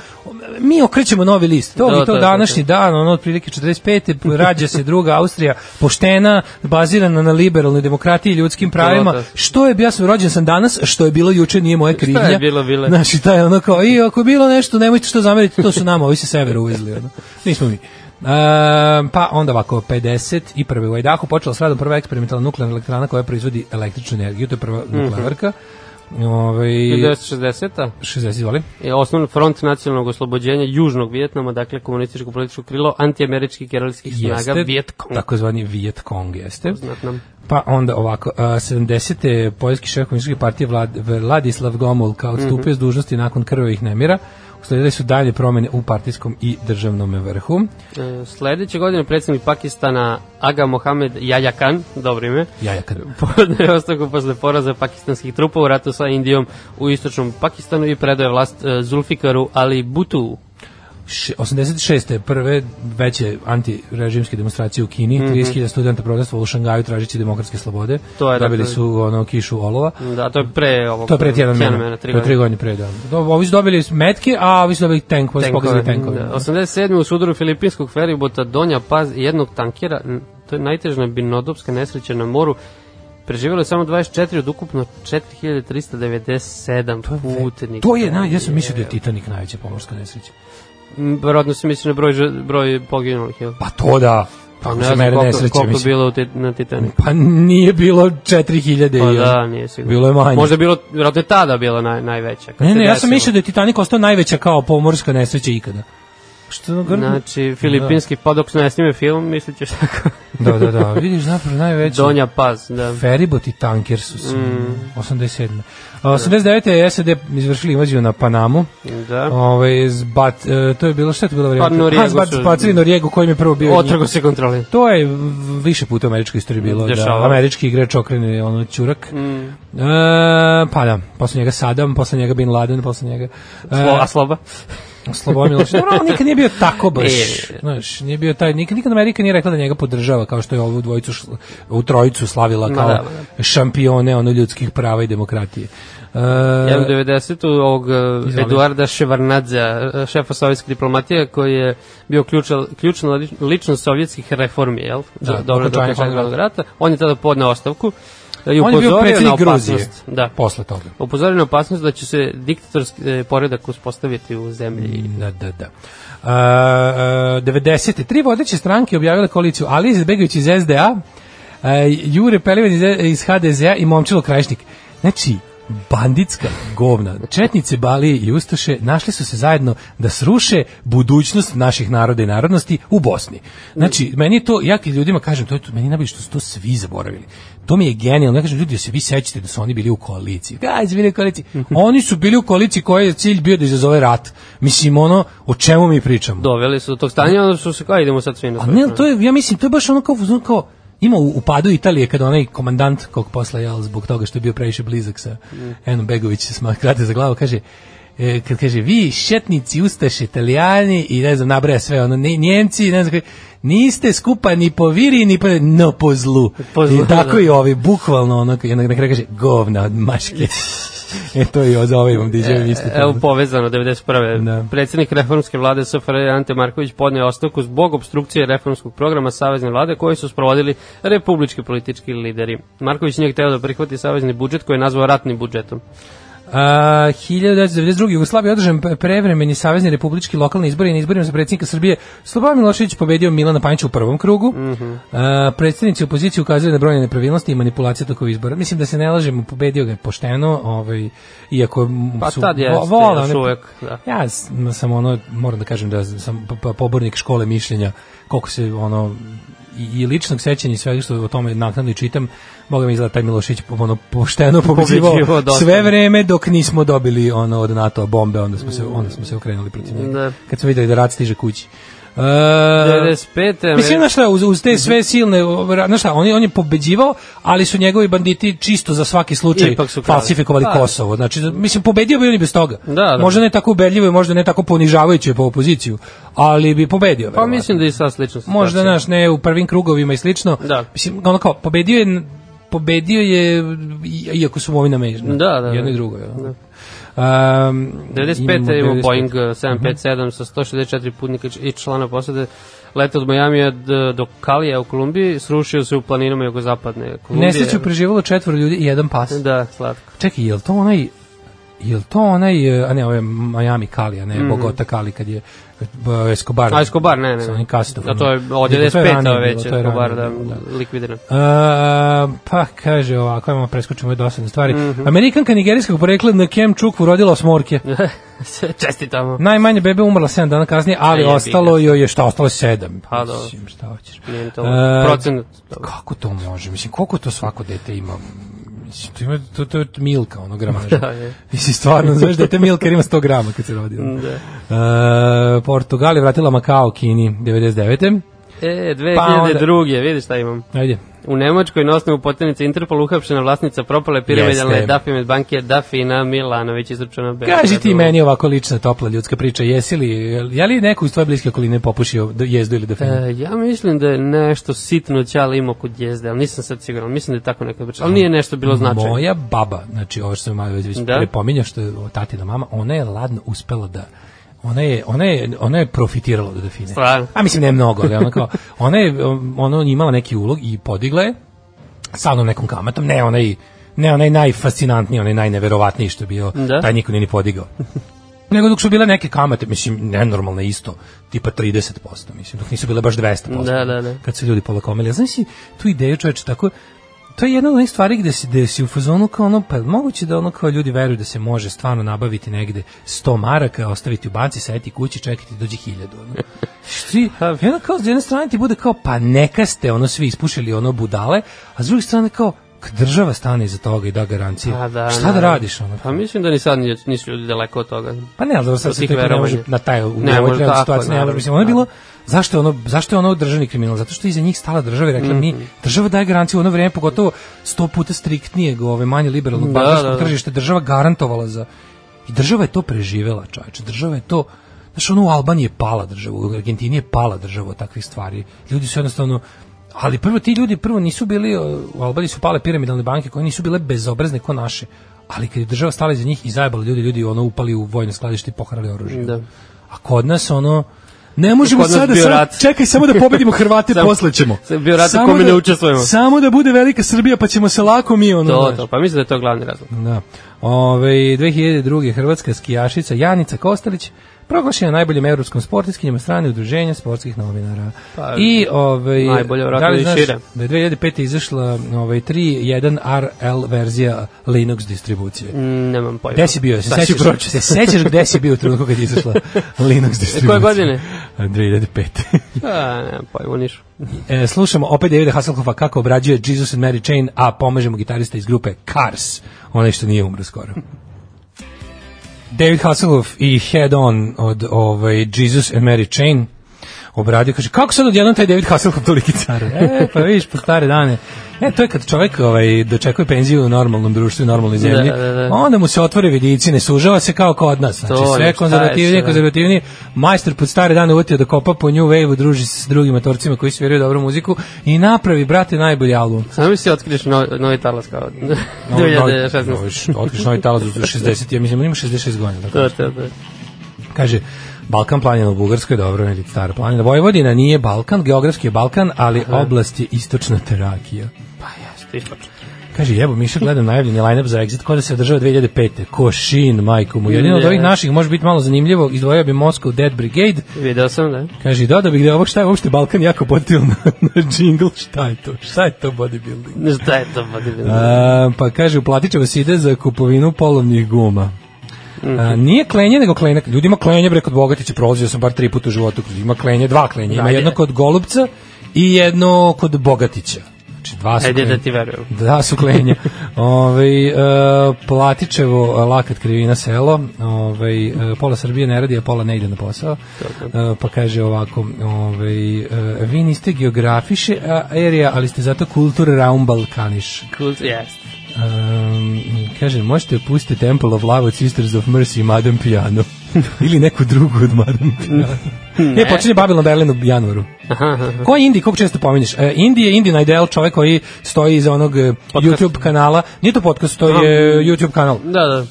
[SPEAKER 7] mi okrećemo novi list, to
[SPEAKER 6] Da,
[SPEAKER 7] da, bi
[SPEAKER 6] to
[SPEAKER 7] to
[SPEAKER 6] je,
[SPEAKER 7] današnji dan, ono otprilike 45. rađa se druga Austrija, poštena, bazirana na liberalnoj demokratiji i ljudskim pravima,
[SPEAKER 6] da.
[SPEAKER 7] što je, ja sam rođen sam danas, što je bilo juče nije moje krivnja.
[SPEAKER 6] bilo, bilo je.
[SPEAKER 7] Znaš, i taj ono kao, i ako je bilo nešto, nemojte što zameriti, to su nama, ovi se severu uvezli, ono. Nismo mi. Um, pa onda ovako, 50 i prve u Idahu počela s radom prva eksperimentalna nuklearna elektrana koja proizvodi električnu energiju, to je prva
[SPEAKER 6] Mhm.
[SPEAKER 7] nuklearka. Ove,
[SPEAKER 6] 1960-a
[SPEAKER 7] 60, izvoli.
[SPEAKER 6] je osnovan front nacionalnog oslobođenja Južnog Vijetnama, dakle komunističko političko krilo antiameričkih keralskih snaga Vijetkong.
[SPEAKER 7] takozvani Viet Cong, jeste.
[SPEAKER 6] Znatno.
[SPEAKER 7] Pa onda ovako, a, 70. poljski šef komunističke partije Vlad, Vladislav Gomol kao
[SPEAKER 6] Mhm.
[SPEAKER 7] odstupio s dužnosti nakon krvavih nemira. Usledile su dalje promene u partijskom i državnom vrhu.
[SPEAKER 6] E, Sledeće godine predsednik Pakistana Aga Mohamed Yahya Khan, dobro ime, *laughs*
[SPEAKER 7] Jaja kad...
[SPEAKER 6] podne ostavku posle poraza pakistanskih trupa u ratu sa Indijom u istočnom Pakistanu i predaje vlast e, Zulfikaru Ali Butu.
[SPEAKER 7] Š- 86. prve veće antirežimske demonstracije u Kini, mm -hmm. 30.000 studenta protestvovalo u Šangaju tražeći demokratske slobode.
[SPEAKER 6] Mhm. To je,
[SPEAKER 7] Dobili
[SPEAKER 6] dakle-
[SPEAKER 7] su ono kišu olova.
[SPEAKER 6] Da, to je pre ovog...
[SPEAKER 7] To je pre tjedan
[SPEAKER 6] tjedan
[SPEAKER 7] mena.
[SPEAKER 6] tri
[SPEAKER 7] To je tri
[SPEAKER 6] godine.
[SPEAKER 7] godine pre, da. Do- Ovi su dobili metke, a ovi su dobili tank, ovi su pokazali tenkove.
[SPEAKER 6] Da, 87. u sudaru filipinskog feribota Donja Paz i jednog tankera, n- to je najtežna binodopska nesreća na moru, preživjelo je samo 24 od ukupno 4397 putnika.
[SPEAKER 7] To je, na, ja sam mislio da je Titanic najveća pomorska nesreća.
[SPEAKER 6] M, Mm, Verovatno se misli na broj, žr- broj poginulih, jel?
[SPEAKER 7] Pa to da, pa
[SPEAKER 6] ne
[SPEAKER 7] se
[SPEAKER 6] znam
[SPEAKER 7] mene
[SPEAKER 6] koliko,
[SPEAKER 7] nesreće,
[SPEAKER 6] koliko
[SPEAKER 7] mislim.
[SPEAKER 6] bilo u tit, na Titanic.
[SPEAKER 7] Pa nije bilo 4000
[SPEAKER 6] Pa
[SPEAKER 7] i još.
[SPEAKER 6] da, nije sigurno.
[SPEAKER 7] Bilo je manje.
[SPEAKER 6] Možda je bilo, vjerojatno je tada bila naj, najveća. kad
[SPEAKER 7] Ne,
[SPEAKER 6] se
[SPEAKER 7] ne, ja sam
[SPEAKER 6] desilo.
[SPEAKER 7] mislio da je Titanic ostao najveća kao pomorska nesreća ikada. Što je Da. grdno?
[SPEAKER 6] Znači, filipinski, pa dok se ne snime film, mislit ćeš tako.
[SPEAKER 7] Da, da, da, vidiš zapravo najveća.
[SPEAKER 6] Donja Mm. Paz, da.
[SPEAKER 7] Feribot i tanker su se, 87. A, 89. je SAD izvršili invaziju na Panamu.
[SPEAKER 6] Da.
[SPEAKER 7] Ovaj zbat, e, to je bilo šta je to bilo vrijeme?
[SPEAKER 6] Pa Noriegu
[SPEAKER 7] *laughs* Ha, zbat,
[SPEAKER 6] su-
[SPEAKER 7] Spacili Noriegu kojim je prvo bio
[SPEAKER 6] Otrago se kontroli.
[SPEAKER 7] To je v- više puta u američkoj istoriji bilo
[SPEAKER 6] Dešava.
[SPEAKER 7] da američki igrač okrene ono ćurak. Mm. E, pa da, posle njega Saddam, posle njega Bin Laden, posle njega
[SPEAKER 6] Slo, a
[SPEAKER 7] e,
[SPEAKER 6] sloba?
[SPEAKER 7] Slobodan Miloš. Dobro, on nikad nije bio tako baš.
[SPEAKER 6] E.
[SPEAKER 7] Znaš, nije bio taj, nikad, nikad Amerika nije rekla da njega podržava kao što je ovu dvojicu, šl- u trojicu slavila
[SPEAKER 6] Ma
[SPEAKER 7] kao
[SPEAKER 6] da, ma
[SPEAKER 7] šampione ono ljudskih prava i demokratije. E,
[SPEAKER 6] Ja da u 90. ovog e,
[SPEAKER 7] Izvoli.
[SPEAKER 6] Eduarda Ševarnadzea, e, šefa sovjetske diplomatije, koji je bio ključal, ključna lič- ličnost sovjetskih reformi, jel?
[SPEAKER 7] Da,
[SPEAKER 6] Do- Dobro, do
[SPEAKER 7] okončanja
[SPEAKER 6] okončanja
[SPEAKER 7] hladnog
[SPEAKER 6] hladnog rata. On je tada podneo ostavku e, i
[SPEAKER 7] on je bio
[SPEAKER 6] upozorio na
[SPEAKER 7] predsjednik Gruzije
[SPEAKER 6] opasnost. Da.
[SPEAKER 7] posle toga.
[SPEAKER 6] Upozorio na opasnost da će se diktatorski e, poredak uspostaviti u zemlji.
[SPEAKER 7] Da, da, da. Uh, 90. Tri vodeće stranke objavile koaliciju Ali Izetbegović iz SDA, uh, Jure Pelivan iz, iz HDZ-a i Momčilo Krajišnik. Znači, banditska govna. Četnice, Balije i Ustaše našli su se zajedno da sruše budućnost naših naroda i narodnosti u Bosni. Znači, meni je to, ja kad ljudima kažem, to je to, meni je najbolje što su to svi zaboravili. To mi je genijalno. Ja kažem, ljudi, da se vi sećate da su oni bili u koaliciji. Gaj, su bili u koaliciji. Oni su bili u koaliciji koji je cilj bio da izazove rat. Mislim, ono, o čemu mi pričamo?
[SPEAKER 6] Doveli su do tog stanja, onda su se kao idemo sad svi na
[SPEAKER 7] A
[SPEAKER 6] svoje
[SPEAKER 7] ne,
[SPEAKER 6] strane.
[SPEAKER 7] to je, ja mislim, to je baš ono kao, fuzon kao ima u, u padu Italije kada onaj
[SPEAKER 6] Mm.
[SPEAKER 7] komandant kog posla jel, zbog toga što je bio previše blizak sa Enom Begović se smakrate za glavu, kaže e, kad kaže vi šetnici, ustaše, italijani i ne znam, nabraja sve, ono, ne, njemci, ne znam, kako, niste skupa ni po viri, ni po, no po zlu.
[SPEAKER 6] Po zlu,
[SPEAKER 7] I tako
[SPEAKER 6] da.
[SPEAKER 7] i ovi, bukvalno, ono, i onda na kraju kaže, govna od
[SPEAKER 6] *laughs*
[SPEAKER 7] maške. e, to i od ovaj vam diđe, isto.
[SPEAKER 6] E, Evo povezano 91.
[SPEAKER 7] Da.
[SPEAKER 6] Da. Predsjednik reformske vlade SFRJ Ante Marković podneo ostavku zbog obstrukcije reformskog programa savezne vlade koji su sprovodili republički politički lideri. Marković nije hteo da prihvati savezni budžet koji je nazvao ratnim budžetom.
[SPEAKER 7] A, 1992. Jugoslavije održan pre- prevremeni savezni republički lokalni izbori i na izborima za predsjednika Srbije Slobodan Milošević pobedio Milana Panića u prvom krugu. Mm
[SPEAKER 6] Mhm.
[SPEAKER 7] predstavnici opozicije ukazali na brojne nepravilnosti i manipulacije tokom izbora. Mislim da se ne lažemo, pobedio ga je pošteno, ovaj, iako m-
[SPEAKER 6] Pa
[SPEAKER 7] su
[SPEAKER 6] tad
[SPEAKER 7] vo-
[SPEAKER 6] jeste,
[SPEAKER 7] vole
[SPEAKER 6] još
[SPEAKER 7] one-
[SPEAKER 6] uvek, da.
[SPEAKER 7] Ja s- m- sam ono, moram da kažem da sam p- p- pobornik škole mišljenja, koliko se ono i, i ličnog sećanja i svega što o tome naknadno i čitam, Boga mi izgleda taj Milošević po- ono, pošteno pobeđivao
[SPEAKER 6] Pobeđivao dosta.
[SPEAKER 7] sve vreme dok nismo dobili ono od NATO bombe, onda smo se, onda smo se okrenuli protiv njega.
[SPEAKER 6] Da.
[SPEAKER 7] Kad smo videli da rat stiže kući. E,
[SPEAKER 6] 95.
[SPEAKER 7] Mislim, znaš šta, uz, uz
[SPEAKER 6] Mhm.
[SPEAKER 7] te sve silne, ovaj, ra- znaš šta, on je, on je pobeđivao, ali su njegovi banditi čisto za svaki slučaj
[SPEAKER 6] Ipak su krali.
[SPEAKER 7] falsifikovali
[SPEAKER 6] Pa.
[SPEAKER 7] Kosovo. Znači, da- mislim, pobedio bi on i bez toga.
[SPEAKER 6] Da, da.
[SPEAKER 7] Možda ne tako ubedljivo i možda ne tako ponižavajuće po opoziciju, ali bi pobedio.
[SPEAKER 6] Pa
[SPEAKER 7] verovatno.
[SPEAKER 6] mislim da je i sad slično.
[SPEAKER 7] Možda, znaš, ne u prvim krugovima i slično.
[SPEAKER 6] Da.
[SPEAKER 7] Mislim, ono kao, pobedio je, pobedio je, i- iako su mu ovi na mežno.
[SPEAKER 6] Da, da,
[SPEAKER 7] Jedno
[SPEAKER 6] da.
[SPEAKER 7] i drugo. jel?
[SPEAKER 6] Da.
[SPEAKER 7] Um,
[SPEAKER 6] 95. je imao Boeing 757 sa 164 putnika i člana posade leta od Majamija d- do Kalija u Kolumbiji, srušio se u planinama jugozapadne Kolumbije.
[SPEAKER 7] Nesreću preživjelo četvoro ljudi i jedan pas.
[SPEAKER 6] Da, slatko.
[SPEAKER 7] Čekaj, je li to onaj je li to onaj, e, a ne, ovo je Miami Kali, a ne Bogota Kali, kad je e, Escobar.
[SPEAKER 6] Mhm. A Escobar, ne, ne.
[SPEAKER 7] Sa onim kastom.
[SPEAKER 6] A to je od
[SPEAKER 7] Nego, to je
[SPEAKER 6] 95.
[SPEAKER 7] ranije
[SPEAKER 6] već
[SPEAKER 7] bilo, to je
[SPEAKER 6] Escobar, da,
[SPEAKER 7] ranije bilo,
[SPEAKER 6] likvidiran.
[SPEAKER 7] E, pa kaže ovako, ajmo preskočimo ove dosadne stvari.
[SPEAKER 6] Mhm.
[SPEAKER 7] Amerikanka nigerijskog porekla na Kem Čukvu
[SPEAKER 6] *laughs*
[SPEAKER 7] rodila osmorke.
[SPEAKER 6] *laughs* Čestitamo.
[SPEAKER 7] Najmanje bebe umrla 7 dana kasnije, ali
[SPEAKER 6] E, jebi ga.
[SPEAKER 7] ostalo joj je šta, ostalo 7.
[SPEAKER 6] Pa, dobro.
[SPEAKER 7] šta hoćeš.
[SPEAKER 6] Nije to
[SPEAKER 7] E,
[SPEAKER 6] procenat.
[SPEAKER 7] Kako to može? Mislim, koliko to svako dete ima? Mislim, to, ima, to, to je milka, ono
[SPEAKER 6] *laughs*
[SPEAKER 7] gramaža.
[SPEAKER 6] Da, je. Mm,
[SPEAKER 7] Mislim, stvarno, znaš, dete milka jer ima 100 grama kad se rodi. Da. E, Portugal je vratila Makao Kini 99.
[SPEAKER 6] E,
[SPEAKER 7] Pa onda-
[SPEAKER 6] 2002. Vidiš šta imam.
[SPEAKER 7] Ajde.
[SPEAKER 6] U Nemačkoj na osnovu potenice Interpol uhapšena vlasnica propale
[SPEAKER 7] Jeste.
[SPEAKER 6] piramidalne Dafimed banke Dafina Milanović izručena Beogradu.
[SPEAKER 7] Kaži ti meni ovako lična, topla ljudska priča. Jesi li, je li neko iz tvoje bliske okoline popušio d- jezdu ili da definu?
[SPEAKER 6] E, ja mislim da je nešto sitno ćale imao kod jezde, ali nisam sad siguran. Mislim da je tako neka priča, ali nije nešto bilo značajno.
[SPEAKER 7] Moja baba, znači ovo što sam Maja već
[SPEAKER 6] Da.
[SPEAKER 7] da? pominja, što je o, tatina mama, ona je ladno uspela da ona je, ona je, ona je profitirala od Dafine.
[SPEAKER 6] Stvarno?
[SPEAKER 7] A mislim ne mnogo, ali
[SPEAKER 6] *laughs*
[SPEAKER 7] ona kao, ona je, um, ona imala neki ulog i podigla je sa onom nekom kamatom, ne onaj, ne onaj najfascinantniji, onaj najneverovatniji što je bio,
[SPEAKER 6] Da.
[SPEAKER 7] taj niko nije ni podigao. Nego dok su bile neke kamate, mislim, nenormalne isto, tipa 30%, mislim, dok nisu bile baš 200%.
[SPEAKER 6] Da, da, da.
[SPEAKER 7] Kad su ljudi polakomili. A Znaš si tu ideju čoveče tako, to je jedna od onih stvari gde si, gde si u fazonu kao ono, pa moguće da ono kao ljudi veruju da se može stvarno nabaviti negde 100 maraka, ostaviti u banci, sajeti kući, čekati da dođe 1000. Ono. Šti, I onda kao s jedne strane ti bude kao, pa neka ste ono svi ispušili ono budale, a s druge strane kao, k- država stane iza toga i da garancije.
[SPEAKER 6] Pa da,
[SPEAKER 7] Šta da
[SPEAKER 6] naravno.
[SPEAKER 7] radiš? Ono?
[SPEAKER 6] Pa mislim da ni sad nije- nisu ljudi daleko od toga.
[SPEAKER 7] Pa ne, ali dobro, sad
[SPEAKER 6] Od
[SPEAKER 7] se
[SPEAKER 6] tih
[SPEAKER 7] to ipak ne
[SPEAKER 6] verovanja.
[SPEAKER 7] može na taj, u
[SPEAKER 6] Ne,
[SPEAKER 7] ovoj
[SPEAKER 6] može
[SPEAKER 7] trenutnoj
[SPEAKER 6] tako,
[SPEAKER 7] situaciji, ne,
[SPEAKER 6] naravno, Da.
[SPEAKER 7] ali mislim, ono je bilo,
[SPEAKER 6] naravno.
[SPEAKER 7] zašto je ono, zašto je ono državni kriminal? Zato što je iza njih stala država i rekla, mi,
[SPEAKER 6] Mhm.
[SPEAKER 7] država daje garanciju u ono vrijeme, pogotovo sto puta striktnijeg, ove, manje liberalnog
[SPEAKER 6] Da,
[SPEAKER 7] bankarskog
[SPEAKER 6] da, da.
[SPEAKER 7] tržišta, država garantovala za, i država je to preživela, čovječe, država je to, znaš, ono u Albaniji je pala država, u Argentini je pala država od takvih stvari, ljudi su jednostavno, ali prvo ti ljudi prvo nisu bili, e, u Albaniji su pale piramidalne banke koje nisu bile bezobrazne ko naše, ali kad je država stala iza njih i zajebala ljudi, ljudi ono upali u vojno skladište i poharali oružje.
[SPEAKER 6] Da.
[SPEAKER 7] A kod nas ono ne možemo
[SPEAKER 6] Kod nas
[SPEAKER 7] sada
[SPEAKER 6] bio
[SPEAKER 7] sad,
[SPEAKER 6] rat.
[SPEAKER 7] čekaj samo da pobedimo
[SPEAKER 6] *laughs*
[SPEAKER 7] Hrvate
[SPEAKER 6] Samo-
[SPEAKER 7] posle ćemo.
[SPEAKER 6] sad bio rat u kome ne učestvujemo.
[SPEAKER 7] Samo da bude velika Srbija pa ćemo se lako mi ono.
[SPEAKER 6] To,
[SPEAKER 7] znaš.
[SPEAKER 6] to, pa mislim da je to glavni razlog.
[SPEAKER 7] Da. Ove, 2002. hrvatska skijašica Janica Kostelić proglašena najboljim evropskom sportiskinjem od strane udruženja sportskih novinara.
[SPEAKER 6] Pa,
[SPEAKER 7] I ovaj
[SPEAKER 6] najbolje, vjerojatno
[SPEAKER 7] da li
[SPEAKER 6] i
[SPEAKER 7] znaš
[SPEAKER 6] šire.
[SPEAKER 7] Da je 2005. izašla ovaj 3.1 RL verzija Linux distribucije.
[SPEAKER 6] Mm, nemam pojma.
[SPEAKER 7] Gde si bio? Se
[SPEAKER 6] Sad ću
[SPEAKER 7] sećaš,
[SPEAKER 6] pročitati.
[SPEAKER 7] se sećaš gde si bio u trenutku kad
[SPEAKER 6] *laughs*
[SPEAKER 7] je izašla Linux distribucija?
[SPEAKER 6] Koje godine?
[SPEAKER 7] 2005.
[SPEAKER 6] A, Pa, nemam pojma, u Nišu.
[SPEAKER 7] e, slušamo opet Davida Hasselhoffa kako obrađuje Jesus and Mary Chain, a pomažemo gitarista iz grupe Cars, onaj što nije
[SPEAKER 6] *laughs*
[SPEAKER 7] umro skoro. David Hasselhoff i Head On od ovaj, Jesus and Mary Chain. obradio, kaže, kako sad odjednom taj David Hasselhoff toliki car? E, pa vidiš, po stare dane. E, to je kad čovjek ovaj, dočekuje penziju u normalnom društvu i normalnoj zemlji,
[SPEAKER 6] Da, da, da.
[SPEAKER 7] onda mu se otvore vidici, ne sužava se kao kod nas. Znači,
[SPEAKER 6] To je, šta
[SPEAKER 7] sve
[SPEAKER 6] je
[SPEAKER 7] konzervativnije,
[SPEAKER 6] sve.
[SPEAKER 7] konzervativnije. Majster pod stare dane uvetio da kopa po New Wave-u, druži se s drugim matorcima koji sviraju dobru muziku i napravi, brate, najbolji album.
[SPEAKER 6] Samo mi si otkriš no, novi talas kao *laughs*
[SPEAKER 7] Novi- novi-
[SPEAKER 6] 2016.
[SPEAKER 7] novi- Otkriš novi talas u 60, ja mislim, on ima 66 godina. Tako. da.
[SPEAKER 6] To, to, to.
[SPEAKER 7] Kaže, Balkan planina u Bugarskoj, dobro, ili stara planina. Vojvodina nije Balkan, geografski je Balkan, ali oblast je istočna terakija.
[SPEAKER 6] Pa jeste, istočno.
[SPEAKER 7] Kaže, jebo, Miša, gledam najavljeni line-up za Exit, kod da se održava 2005. Košin, majku mu. Jedino od
[SPEAKER 6] Ne.
[SPEAKER 7] ovih naših može biti malo zanimljivo, izdvojio bi Moscow Dead Brigade,
[SPEAKER 6] Video sam, da.
[SPEAKER 7] Kaže, i dodao bih da je ovog šta je uopšte Balkan jako potil na, na jingle, šta je to? Šta je to bodybuilding?
[SPEAKER 6] Ne, Šta je to, pa ti bilo?
[SPEAKER 7] A, pa kaže, uplatit će vas ide za kupovinu polovnih guma.
[SPEAKER 6] Mhm.
[SPEAKER 7] A, nije klenje, nego klenje. Ljudi ima klenje, bre, kod Bogatića prolazio sam bar tri puta u životu. Ima klenje, dva klenje. Ima
[SPEAKER 6] Ajde.
[SPEAKER 7] jedno kod Golubca i jedno kod Bogatića. Znači, dva su
[SPEAKER 6] Ajde da
[SPEAKER 7] klenja.
[SPEAKER 6] ti verujem.
[SPEAKER 7] *laughs* Da, su klenje. Ove, e, Platičevo, e, lakat krivina selo, ove, e, pola Srbije ne radi, a pola ne ide na posao. E, pa kaže ovako, ove, e, vi niste geografiše erija, ali ste zato kultur raum Balkaniš.
[SPEAKER 6] Cool, jeste.
[SPEAKER 7] Um, kaže, možete pustiti Temple of Love od Sisters of Mercy i Madame Piano. *laughs* Ili neku drugu od Madame Piano. ne, počinje Babylon Berlin u januaru. Ko je Indi, kog često pominješ? E, Indi je Indina ideal čovek koji stoji iza onog e, YouTube kanala. Nije to podcast, to je YouTube kanal.
[SPEAKER 6] Da, da.
[SPEAKER 7] Uh,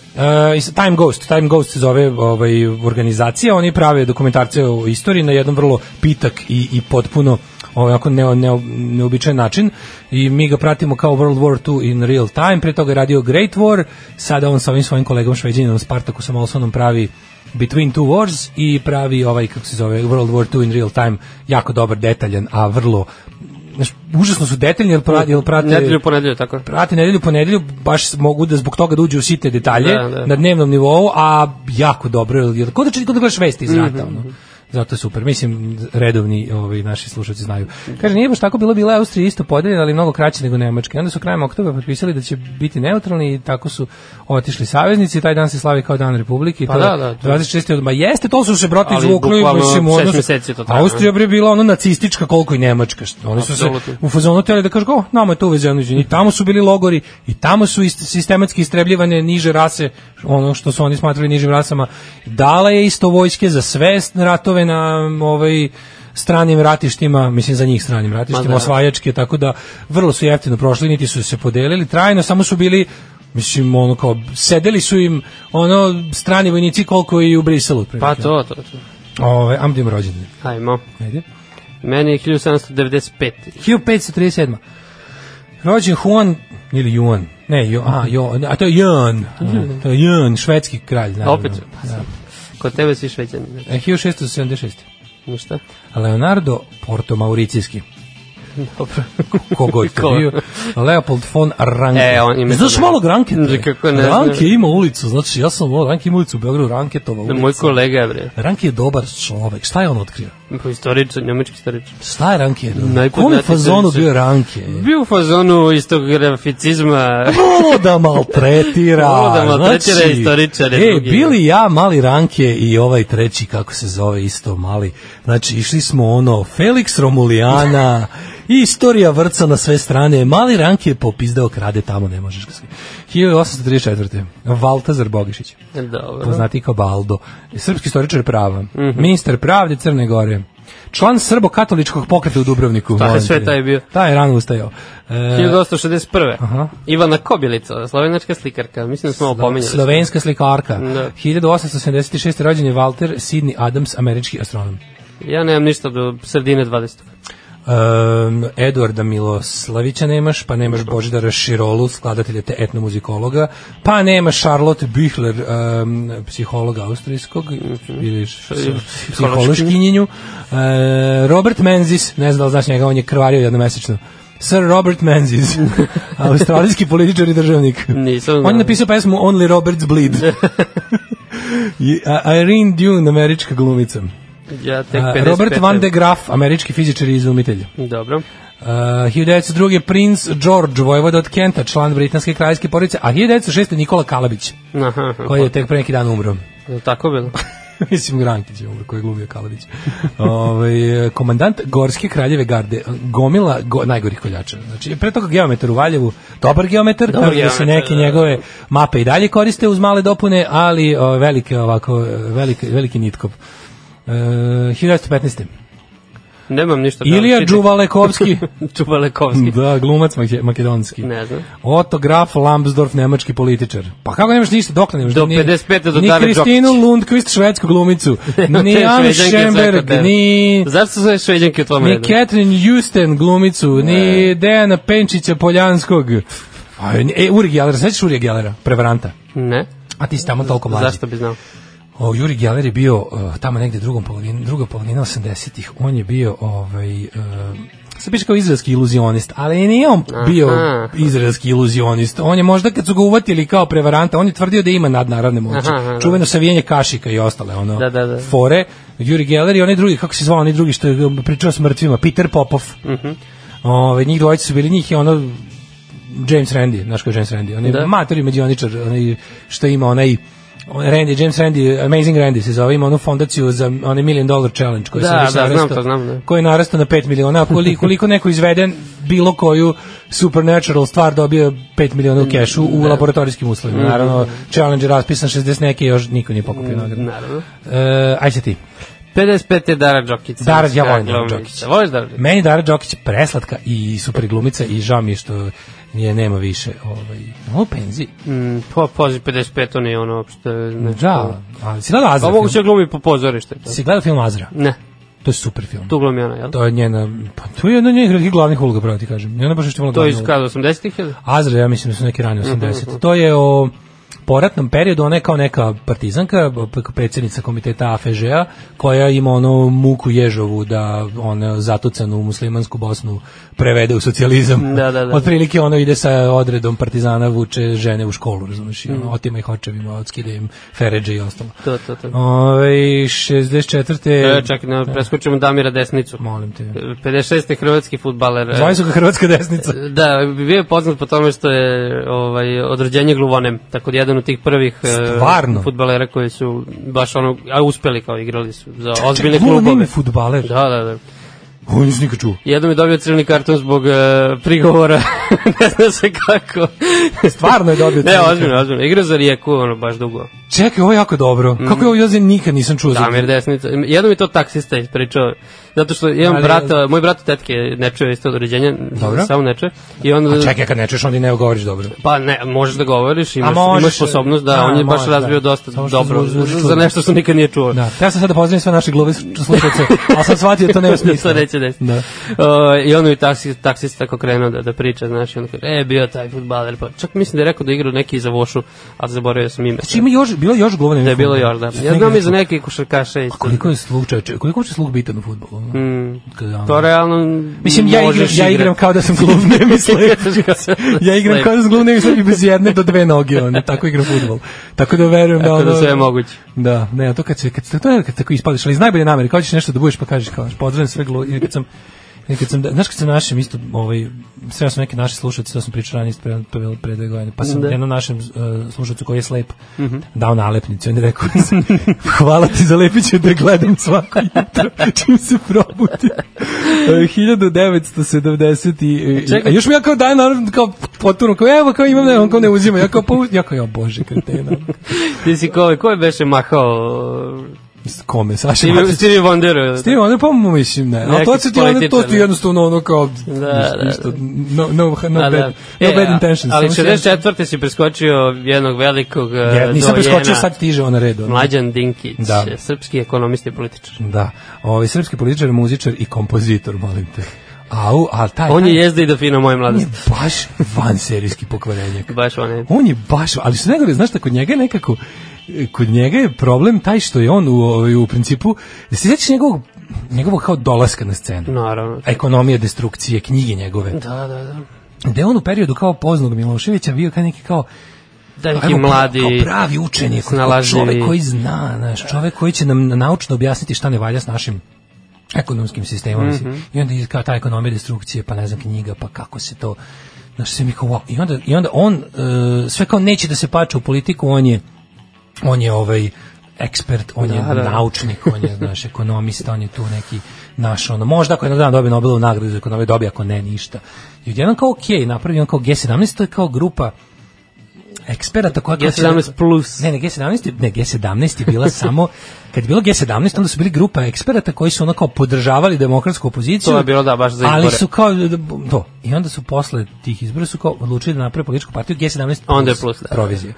[SPEAKER 7] is- Time Ghost, Time Ghost se zove ovaj, organizacija, oni prave dokumentarce o istoriji na jedan vrlo pitak i, i potpuno ovaj, ovako ne, ne, neobičajen način i mi ga pratimo kao World War II in real time, pre toga je radio Great War, sada on sa ovim svojim kolegom Šveđaninom Spartakusom Olsonom pravi Between Two Wars i pravi ovaj, kako se zove, World War II in real time, jako dobar, detaljan, a vrlo znaš, užasno su detaljni, jer, pra, jer prate
[SPEAKER 6] Nedelju ponedelju, tako.
[SPEAKER 7] prate nedelju po nedelju, baš mogu da zbog toga da uđu u sitne detalje
[SPEAKER 6] Da, da.
[SPEAKER 7] na dnevnom nivou, a jako dobro, jer- jer kod da, čit- ko da gledaš vesti iz
[SPEAKER 6] Mhm,
[SPEAKER 7] rata, ono. Zato je super. Mislim, redovni ovaj, naši slušalci znaju. Kaže, nije baš tako bilo, bila je Austrija isto podeljena, ali mnogo kraće nego Nemačka. I Onda su krajem oktobra potpisali da će biti neutralni i tako su otišli saveznici. Taj dan se slavi kao dan Republike. i
[SPEAKER 6] Pa
[SPEAKER 7] to
[SPEAKER 6] da,
[SPEAKER 7] je
[SPEAKER 6] da, to je-
[SPEAKER 7] 26. od- Ma jeste, to su se brati
[SPEAKER 6] Ali
[SPEAKER 7] izvukli.
[SPEAKER 6] bukvalno
[SPEAKER 7] mislim, u
[SPEAKER 6] šest
[SPEAKER 7] odnosu-
[SPEAKER 6] meseci je to trajalo.
[SPEAKER 7] Austrija bre bila ono nacistička koliko i Nemačka. što Oni su se
[SPEAKER 6] Apsolutno.
[SPEAKER 7] u fazonu teli da kažu, "O, nama je to uvezeno i tamo su bili logori i tamo su ist, sistematski istrebljivane niže rase, ono što su oni smatrali nižim rasama. Dala je isto vojske za sve ratove na m, ovaj stranim ratištima, mislim za njih stranim ratištima,
[SPEAKER 6] Ma da.
[SPEAKER 7] osvajačke, tako da vrlo su jeftino prošli, niti su se podelili trajno, samo su bili Mislim, ono kao, sedeli su im ono strani vojnici koliko i u Briselu. otprilike.
[SPEAKER 6] Pa to, to, to.
[SPEAKER 7] Ove, amdim rođendan.
[SPEAKER 6] Hajmo.
[SPEAKER 7] Ajde.
[SPEAKER 6] Meni je 1795.
[SPEAKER 7] 1537. Rođen Juan ili Juan. Ne, jo, a, jo, a to je Jan. A, To je Jan, švedski kralj. Naravno.
[SPEAKER 6] Opet, pa
[SPEAKER 7] Da.
[SPEAKER 6] sad. Kod tebe si šveđan.
[SPEAKER 7] E, 1676.
[SPEAKER 6] Ništa.
[SPEAKER 7] Leonardo Porto Mauricijski.
[SPEAKER 6] Dobro.
[SPEAKER 7] Kogo je to
[SPEAKER 6] Ko?
[SPEAKER 7] bio? Leopold von Ranke.
[SPEAKER 6] E, on ime
[SPEAKER 7] Znaš
[SPEAKER 6] to ne-
[SPEAKER 7] malo Ranke?
[SPEAKER 6] Ne, kako ne
[SPEAKER 7] Ranke
[SPEAKER 6] znam.
[SPEAKER 7] ima ulicu, znači ja sam ovo, Ranke ima ulicu u Beogradu, Ranketova ulica.
[SPEAKER 6] Da, Moj kolega je, bre.
[SPEAKER 7] Ranke je dobar čovek, šta je on otkrio?
[SPEAKER 6] Po Istoričan, njemački istoričan.
[SPEAKER 7] Šta je Ranke?
[SPEAKER 6] Najpoznatiji
[SPEAKER 7] Kom je fazonu
[SPEAKER 6] istoričar.
[SPEAKER 7] bio Ranke?
[SPEAKER 6] Bio u fazonu istog *laughs* graficizma.
[SPEAKER 7] Volo da maltretira.
[SPEAKER 6] Volo da maltretira
[SPEAKER 7] znači,
[SPEAKER 6] istoričare
[SPEAKER 7] E,
[SPEAKER 6] drugi.
[SPEAKER 7] bili ja, mali Ranke i ovaj treći, kako se zove, isto mali. Znači, išli smo ono, Felix
[SPEAKER 6] *laughs*
[SPEAKER 7] Romulijana, i istorija vrca na sve strane. Mali Ranke je popizdao krade tamo, ne možeš ga svi. 1834. Valtazar Bogišić,
[SPEAKER 6] Dobro. Mhm.
[SPEAKER 7] poznati kao Baldo, srpski istoričar prava, ministar pravde Crne Gore, član srbo-katoličkog pokreta u Dubrovniku.
[SPEAKER 6] je
[SPEAKER 7] molim te.
[SPEAKER 6] sve taj bio.
[SPEAKER 7] Taj je rano ustajao. E,
[SPEAKER 6] 1861.
[SPEAKER 7] Aha.
[SPEAKER 6] Ivana Kobilica, slovenačka slikarka. Mislim da smo ovo pominjali.
[SPEAKER 7] Slovenska slikarka.
[SPEAKER 6] Da.
[SPEAKER 7] 1876. rođen je Walter Sidney Adams, američki astronom.
[SPEAKER 6] Ja nemam ništa do sredine 20.
[SPEAKER 7] Um, Eduarda Miloslavića nemaš, pa nemaš Božidara Širolu, skladatelja te etnomuzikologa, pa nemaš Charlotte Büchler, um, psihologa austrijskog,
[SPEAKER 6] Mhm.
[SPEAKER 7] ili š- psihološkinjenju, uh, Robert Menzies, ne znam da li znaš njega, on je krvario jednomesečno, Sir Robert
[SPEAKER 6] *laughs*
[SPEAKER 7] Menzies, australijski političar i državnik.
[SPEAKER 6] Nisam
[SPEAKER 7] On je
[SPEAKER 6] znao.
[SPEAKER 7] napisao pesmu Only Roberts
[SPEAKER 6] *laughs*
[SPEAKER 7] Bleed. I- a- Irene Dune, američka glumica.
[SPEAKER 6] Ja tek
[SPEAKER 7] A,
[SPEAKER 6] 55.
[SPEAKER 7] Robert Van de Graf, američki fizičar i izumitelj.
[SPEAKER 6] Dobro.
[SPEAKER 7] Uh, 1902. princ George, vojvoda od Kenta, član britanske kraljevske porodice, a 1906. Nikola Kalabić,
[SPEAKER 6] Aha, aha.
[SPEAKER 7] koji je tek pre neki dan umro. *laughs*
[SPEAKER 6] Je li Tako bilo.
[SPEAKER 7] Mislim Grankić je ovaj koji je glumio
[SPEAKER 6] *laughs*
[SPEAKER 7] Kaladić. ovaj komandant Gorske kraljeve garde, gomila go, najgorih koljača. Znači, pre toga geometar u Valjevu, dobar geometar,
[SPEAKER 6] Dobar
[SPEAKER 7] dobar da se
[SPEAKER 6] geometar,
[SPEAKER 7] neke
[SPEAKER 6] da.
[SPEAKER 7] njegove mape i dalje koriste uz male dopune, ali o, velike ovako, veliki, veliki nitkop. E, 1915.
[SPEAKER 6] Nemam ništa. Pa da
[SPEAKER 7] Ilija
[SPEAKER 6] čitam. *laughs*
[SPEAKER 7] Đuvalekovski.
[SPEAKER 6] Đuvalekovski.
[SPEAKER 7] da, glumac make- makedonski.
[SPEAKER 6] Ne znam.
[SPEAKER 7] Otto Graf Lambsdorff, nemački političar. Pa kako nemaš ništa dokle nemaš?
[SPEAKER 6] Do
[SPEAKER 7] Ni-
[SPEAKER 6] 55. do
[SPEAKER 7] Ni
[SPEAKER 6] Dave
[SPEAKER 7] Kristinu Lundqvist, švedsku glumicu,
[SPEAKER 6] Te
[SPEAKER 7] ni Anu
[SPEAKER 6] Šveđanke svaka
[SPEAKER 7] Schemberg,
[SPEAKER 6] tebe.
[SPEAKER 7] ni...
[SPEAKER 6] Zašto su sve šveđanke u tome
[SPEAKER 7] Ni Catherine Houston glumicu, ni Dejana Penčića Poljanskog. A, e, Uri Gjelera, sećaš Uri Gjelera, prevaranta?
[SPEAKER 6] Ne.
[SPEAKER 7] A ti si tamo toliko mlađi.
[SPEAKER 6] Zašto bi znao?
[SPEAKER 7] O, Juri Geller je bio uh, tamo negde drugom polovin, druga polovina 80-ih. On je bio ovaj uh, sad piše kao izraelski iluzionist, ali nije on Aha. bio izraelski iluzionist. On je možda kad su ga uvatili kao prevaranta, on je tvrdio da ima nadnaravne moći.
[SPEAKER 6] Aha, aha,
[SPEAKER 7] Čuveno savijenje kašika i ostale ono
[SPEAKER 6] Da, da, da.
[SPEAKER 7] fore. Juri Geller i onaj drugi, kako se zvao onaj drugi što je pričao s mrtvima, Peter Popov. Mhm. Ove, njih dvojica su bili njih i ono James Randi, znaš ko je James Randi, on je
[SPEAKER 6] Da.
[SPEAKER 7] da. matori medioničar, onaj što ima onaj on Randy, James Randy, Amazing Randy se zove, ima onu fondaciju za onaj Million Dollar Challenge koji
[SPEAKER 6] Da,
[SPEAKER 7] se
[SPEAKER 6] da, znam to, znam, da.
[SPEAKER 7] koji je narastao na 5 miliona, a koliko, koliko neko izveden bilo koju supernatural stvar dobio 5 miliona
[SPEAKER 6] Mm,
[SPEAKER 7] u kešu u
[SPEAKER 6] da.
[SPEAKER 7] laboratorijskim uslovima. Naravno,
[SPEAKER 6] Mm-hmm.
[SPEAKER 7] challenge je raspisan 60 neke i još niko nije
[SPEAKER 6] Mm,
[SPEAKER 7] pokupio nagradu.
[SPEAKER 6] Naravno.
[SPEAKER 7] E, aj se ti.
[SPEAKER 6] 55. je Dara Đokić.
[SPEAKER 7] Dara, ja volim Dara
[SPEAKER 6] Glavnica.
[SPEAKER 7] Đokić.
[SPEAKER 6] Voliš Dara Đokić?
[SPEAKER 7] Meni je Dara Đokić preslatka i super glumica i žao mi je što nje nema više. Ovaj, u penziji.
[SPEAKER 6] Mm, po, pozi 55. on je ono uopšte... Nešto.
[SPEAKER 7] Žao. Ali si gledala Azra?
[SPEAKER 6] Pa
[SPEAKER 7] film?
[SPEAKER 6] moguće glumi po pozorište.
[SPEAKER 7] Da. Si gledala film Azra?
[SPEAKER 6] Ne,
[SPEAKER 7] To je super film.
[SPEAKER 6] tu glumi ona, jel? To,
[SPEAKER 7] To je njena, pa tu je jedna od njenih redkih glavnih uloga, pravo ti kažem. I ona baš što je
[SPEAKER 6] to
[SPEAKER 7] glavnu
[SPEAKER 6] je iz
[SPEAKER 7] ulogu.
[SPEAKER 6] kada 80-ih ili?
[SPEAKER 7] Azra, ja mislim da su neki rani
[SPEAKER 6] Mhm,
[SPEAKER 7] 80. To je o poratnom periodu, ona je kao neka partizanka, p- predsednica komiteta AFŽ-a, koja ima ono muku Ježovu da ona zatucanu muslimansku Bosnu prevede u socijalizam.
[SPEAKER 6] Da, da, da.
[SPEAKER 7] Otprilike ono ide sa odredom partizana, vuče žene u školu, razumiješ, i
[SPEAKER 6] Mhm.
[SPEAKER 7] ono, otima ih očevima, odskide im feređe i ostalo. Ovaj,
[SPEAKER 6] To, to, to.
[SPEAKER 7] Ove, 64.
[SPEAKER 6] E, čekaj, ne, preskočimo Damira Desnicu.
[SPEAKER 7] Molim te.
[SPEAKER 6] 56. hrvatski futbaler. e,
[SPEAKER 7] Zvali su ga Hrvatska desnica.
[SPEAKER 6] Da, bio je poznat po tome što je ovaj, od rođenja gluvonem, tako da jedan od tih prvih
[SPEAKER 7] Stvarno?
[SPEAKER 6] futbalera koji su baš ono, a uspeli kao igrali su za ozbiljne
[SPEAKER 7] Gluman
[SPEAKER 6] klubove.
[SPEAKER 7] ime futbaler.
[SPEAKER 6] Da, da, da.
[SPEAKER 7] Ovo nisam nikad čuo.
[SPEAKER 6] Jednom je dobio crveni karton zbog e, prigovora, *laughs* ne zna se kako.
[SPEAKER 7] Stvarno je
[SPEAKER 6] ne,
[SPEAKER 7] dobio crveni
[SPEAKER 6] ozbiljno, ozbiljno. Igra za Rijeku, ono, baš dugo.
[SPEAKER 7] Čekaj, ovo je jako dobro. Kako je ovo Joze nikad nisam čuo. za-
[SPEAKER 6] Mm. Damir Desnica. Jednom je to taksista ispričao. Zato što imam
[SPEAKER 7] Ali-
[SPEAKER 6] brata, moj brat od tetke ne čuje isto od rođenja,
[SPEAKER 7] Dobro.
[SPEAKER 6] samo ne čuje. I on,
[SPEAKER 7] A čekaj, kad ne čuješ, onda i ne govoriš dobro.
[SPEAKER 6] Pa ne, možeš da govoriš, imaš,
[SPEAKER 7] možeš,
[SPEAKER 6] imaš sposobnost, da,
[SPEAKER 7] da,
[SPEAKER 6] on je baš
[SPEAKER 7] možeš,
[SPEAKER 6] razvio
[SPEAKER 7] da.
[SPEAKER 6] dosta
[SPEAKER 7] Samo što
[SPEAKER 6] dobro
[SPEAKER 7] zvuči čudno.
[SPEAKER 6] za nešto što nikad nije čuo.
[SPEAKER 7] Da. Ja sam sada pozdravim sve naše glove slušalce, ali sam shvatio da to nema
[SPEAKER 6] *laughs*
[SPEAKER 7] smisla.
[SPEAKER 6] to neće desiti.
[SPEAKER 7] Da.
[SPEAKER 6] Uh, I on je taksi, taksista tako krenuo da, da priča, znaš, i on kaže, e, bio je taj futbaler, pa čak mislim da je rekao da je igrao neki za vošu, ali zaboravio sam ime.
[SPEAKER 7] Znači ima još, bilo je još glove.
[SPEAKER 6] Da je bilo još, da. Ja znam i za neke košarkaše isto.
[SPEAKER 7] Znači, Koliko je sluh, čoveče, koliko je uopšte sluh bitan u futbolu? Mm.
[SPEAKER 6] To realno
[SPEAKER 7] Mislim, ja igram,
[SPEAKER 6] možeš
[SPEAKER 7] ja
[SPEAKER 6] *laughs*
[SPEAKER 7] igram
[SPEAKER 6] igrati.
[SPEAKER 7] kao da sam gluv
[SPEAKER 6] *laughs*
[SPEAKER 7] nemisleći. ja igram
[SPEAKER 6] Slep.
[SPEAKER 7] kao da sam gluv nemisleći
[SPEAKER 6] *laughs*
[SPEAKER 7] bez jedne do dve noge, ono, tako igram futbol. Tako da verujem da...
[SPEAKER 6] Tako da
[SPEAKER 7] ono-
[SPEAKER 6] sve je moguće.
[SPEAKER 7] Da, ne, a to kad se, kad, se- to je kad tako ispališ, ali iz najbolje namere, kao ćeš nešto da budeš pa kažeš kao, pozdravim sve glu, i kad sam, i kad sam, da, znaš kad sam našem isto, ovaj, sve sam neke naše slušalce, to sam pričao ranije isto pre, pre, pre dve godine, pa sam
[SPEAKER 6] Da. Mhm.
[SPEAKER 7] da. jednom našem uh, slušalcu koji je slep dao nalepnicu, on je rekao, *laughs* hvala ti za lepiću da je gledam svako jutro, čim se
[SPEAKER 6] *laughs*
[SPEAKER 7] probudim. E, 1970 i, i-
[SPEAKER 6] Čekaj.
[SPEAKER 7] eh, a još mi ja kao dajem, naravno, kao potpuno, kao evo, kao imam, ne, on kao ne uzima, ja kao, pa, uz- ja kao, ja bože, kretena,
[SPEAKER 6] Ti si ko, ko je beše mahao?
[SPEAKER 7] kome, Saša
[SPEAKER 6] Stevie,
[SPEAKER 7] Matić?
[SPEAKER 6] Stevie Wonderu.
[SPEAKER 7] Stevie Wonder, pa mislim, ne.
[SPEAKER 6] Neki
[SPEAKER 7] Ali to se ti, ono, to ti
[SPEAKER 6] političar,
[SPEAKER 7] jednostavno ono kao, da,
[SPEAKER 6] da,
[SPEAKER 7] ništa, no, no,
[SPEAKER 6] Da,
[SPEAKER 7] no, bad,
[SPEAKER 6] da.
[SPEAKER 7] no bad
[SPEAKER 6] a-
[SPEAKER 7] intentions.
[SPEAKER 6] Ali
[SPEAKER 7] Samo što jednostavno-
[SPEAKER 6] 64. si preskočio jednog velikog eh,
[SPEAKER 7] Ja, nisam
[SPEAKER 6] dojena.
[SPEAKER 7] preskočio, sad tiže ona red. Ono.
[SPEAKER 6] Mlađan Dinkić,
[SPEAKER 7] Da.
[SPEAKER 6] eh, srpski ekonomista i političar.
[SPEAKER 7] Da, ovi srpski političar, muzičar i kompozitor, molim te. Au, ali taj...
[SPEAKER 6] On je
[SPEAKER 7] taj-
[SPEAKER 6] jezda i do fina moje
[SPEAKER 7] on je
[SPEAKER 6] mladosti.
[SPEAKER 7] baš van serijski pokvarenjak.
[SPEAKER 6] Baš on je.
[SPEAKER 7] On je baš, ali što najgore, znaš da kod njega je nekako, e, kod njega je problem taj što je on u, ovaj, u principu, da se sjećaš njegovog, njegovog kao dolaska na scenu.
[SPEAKER 6] Naravno.
[SPEAKER 7] ekonomija destrukcije, knjige njegove. Da.
[SPEAKER 6] Da, da, da.
[SPEAKER 7] Gde je on u periodu kao poznog Miloševića bio kao neki kao
[SPEAKER 6] Da neki
[SPEAKER 7] ajmo,
[SPEAKER 6] mladi...
[SPEAKER 7] kao pravi učenik, kao
[SPEAKER 6] snalažljivi.
[SPEAKER 7] čovek koji zna, znaš, čovek koji će nam naučno objasniti šta ne valja s našim ekonomskim sistemom. Mm
[SPEAKER 6] Mhm.
[SPEAKER 7] -hmm. I onda iz- kao ta ekonomija destrukcije, pa ne znam, knjiga, pa kako se to... Znaš, sve mi kao, wow. I onda, i onda on, e, sve kao neće da se pače u politiku, on je on je ovaj ekspert, on je
[SPEAKER 6] Da, da.
[SPEAKER 7] naučnik, on je
[SPEAKER 6] *laughs*
[SPEAKER 7] znaš, ekonomista, on je tu neki naš, ono, možda ako jedan dan dobije Nobelovu nagradu za ekonomiju, dobije ako ne, ništa. I odjednom kao okej, napravi on kao G17, to je kao grupa eksperata koja... kao
[SPEAKER 6] G17
[SPEAKER 7] se-
[SPEAKER 6] plus.
[SPEAKER 7] Ne, ne, G17, je- ne, G17 je
[SPEAKER 6] *laughs*
[SPEAKER 7] bila samo... Kad je bilo G17, onda su bili grupa eksperata koji su ono kao podržavali demokratsku opoziciju.
[SPEAKER 6] To je bilo, da, baš za
[SPEAKER 7] Ali
[SPEAKER 6] izbore.
[SPEAKER 7] su kao, to, i onda su posle tih izbora su kao odlučili da naprave političku partiju G17 plus
[SPEAKER 6] Onda je plus, da.
[SPEAKER 7] proviziju.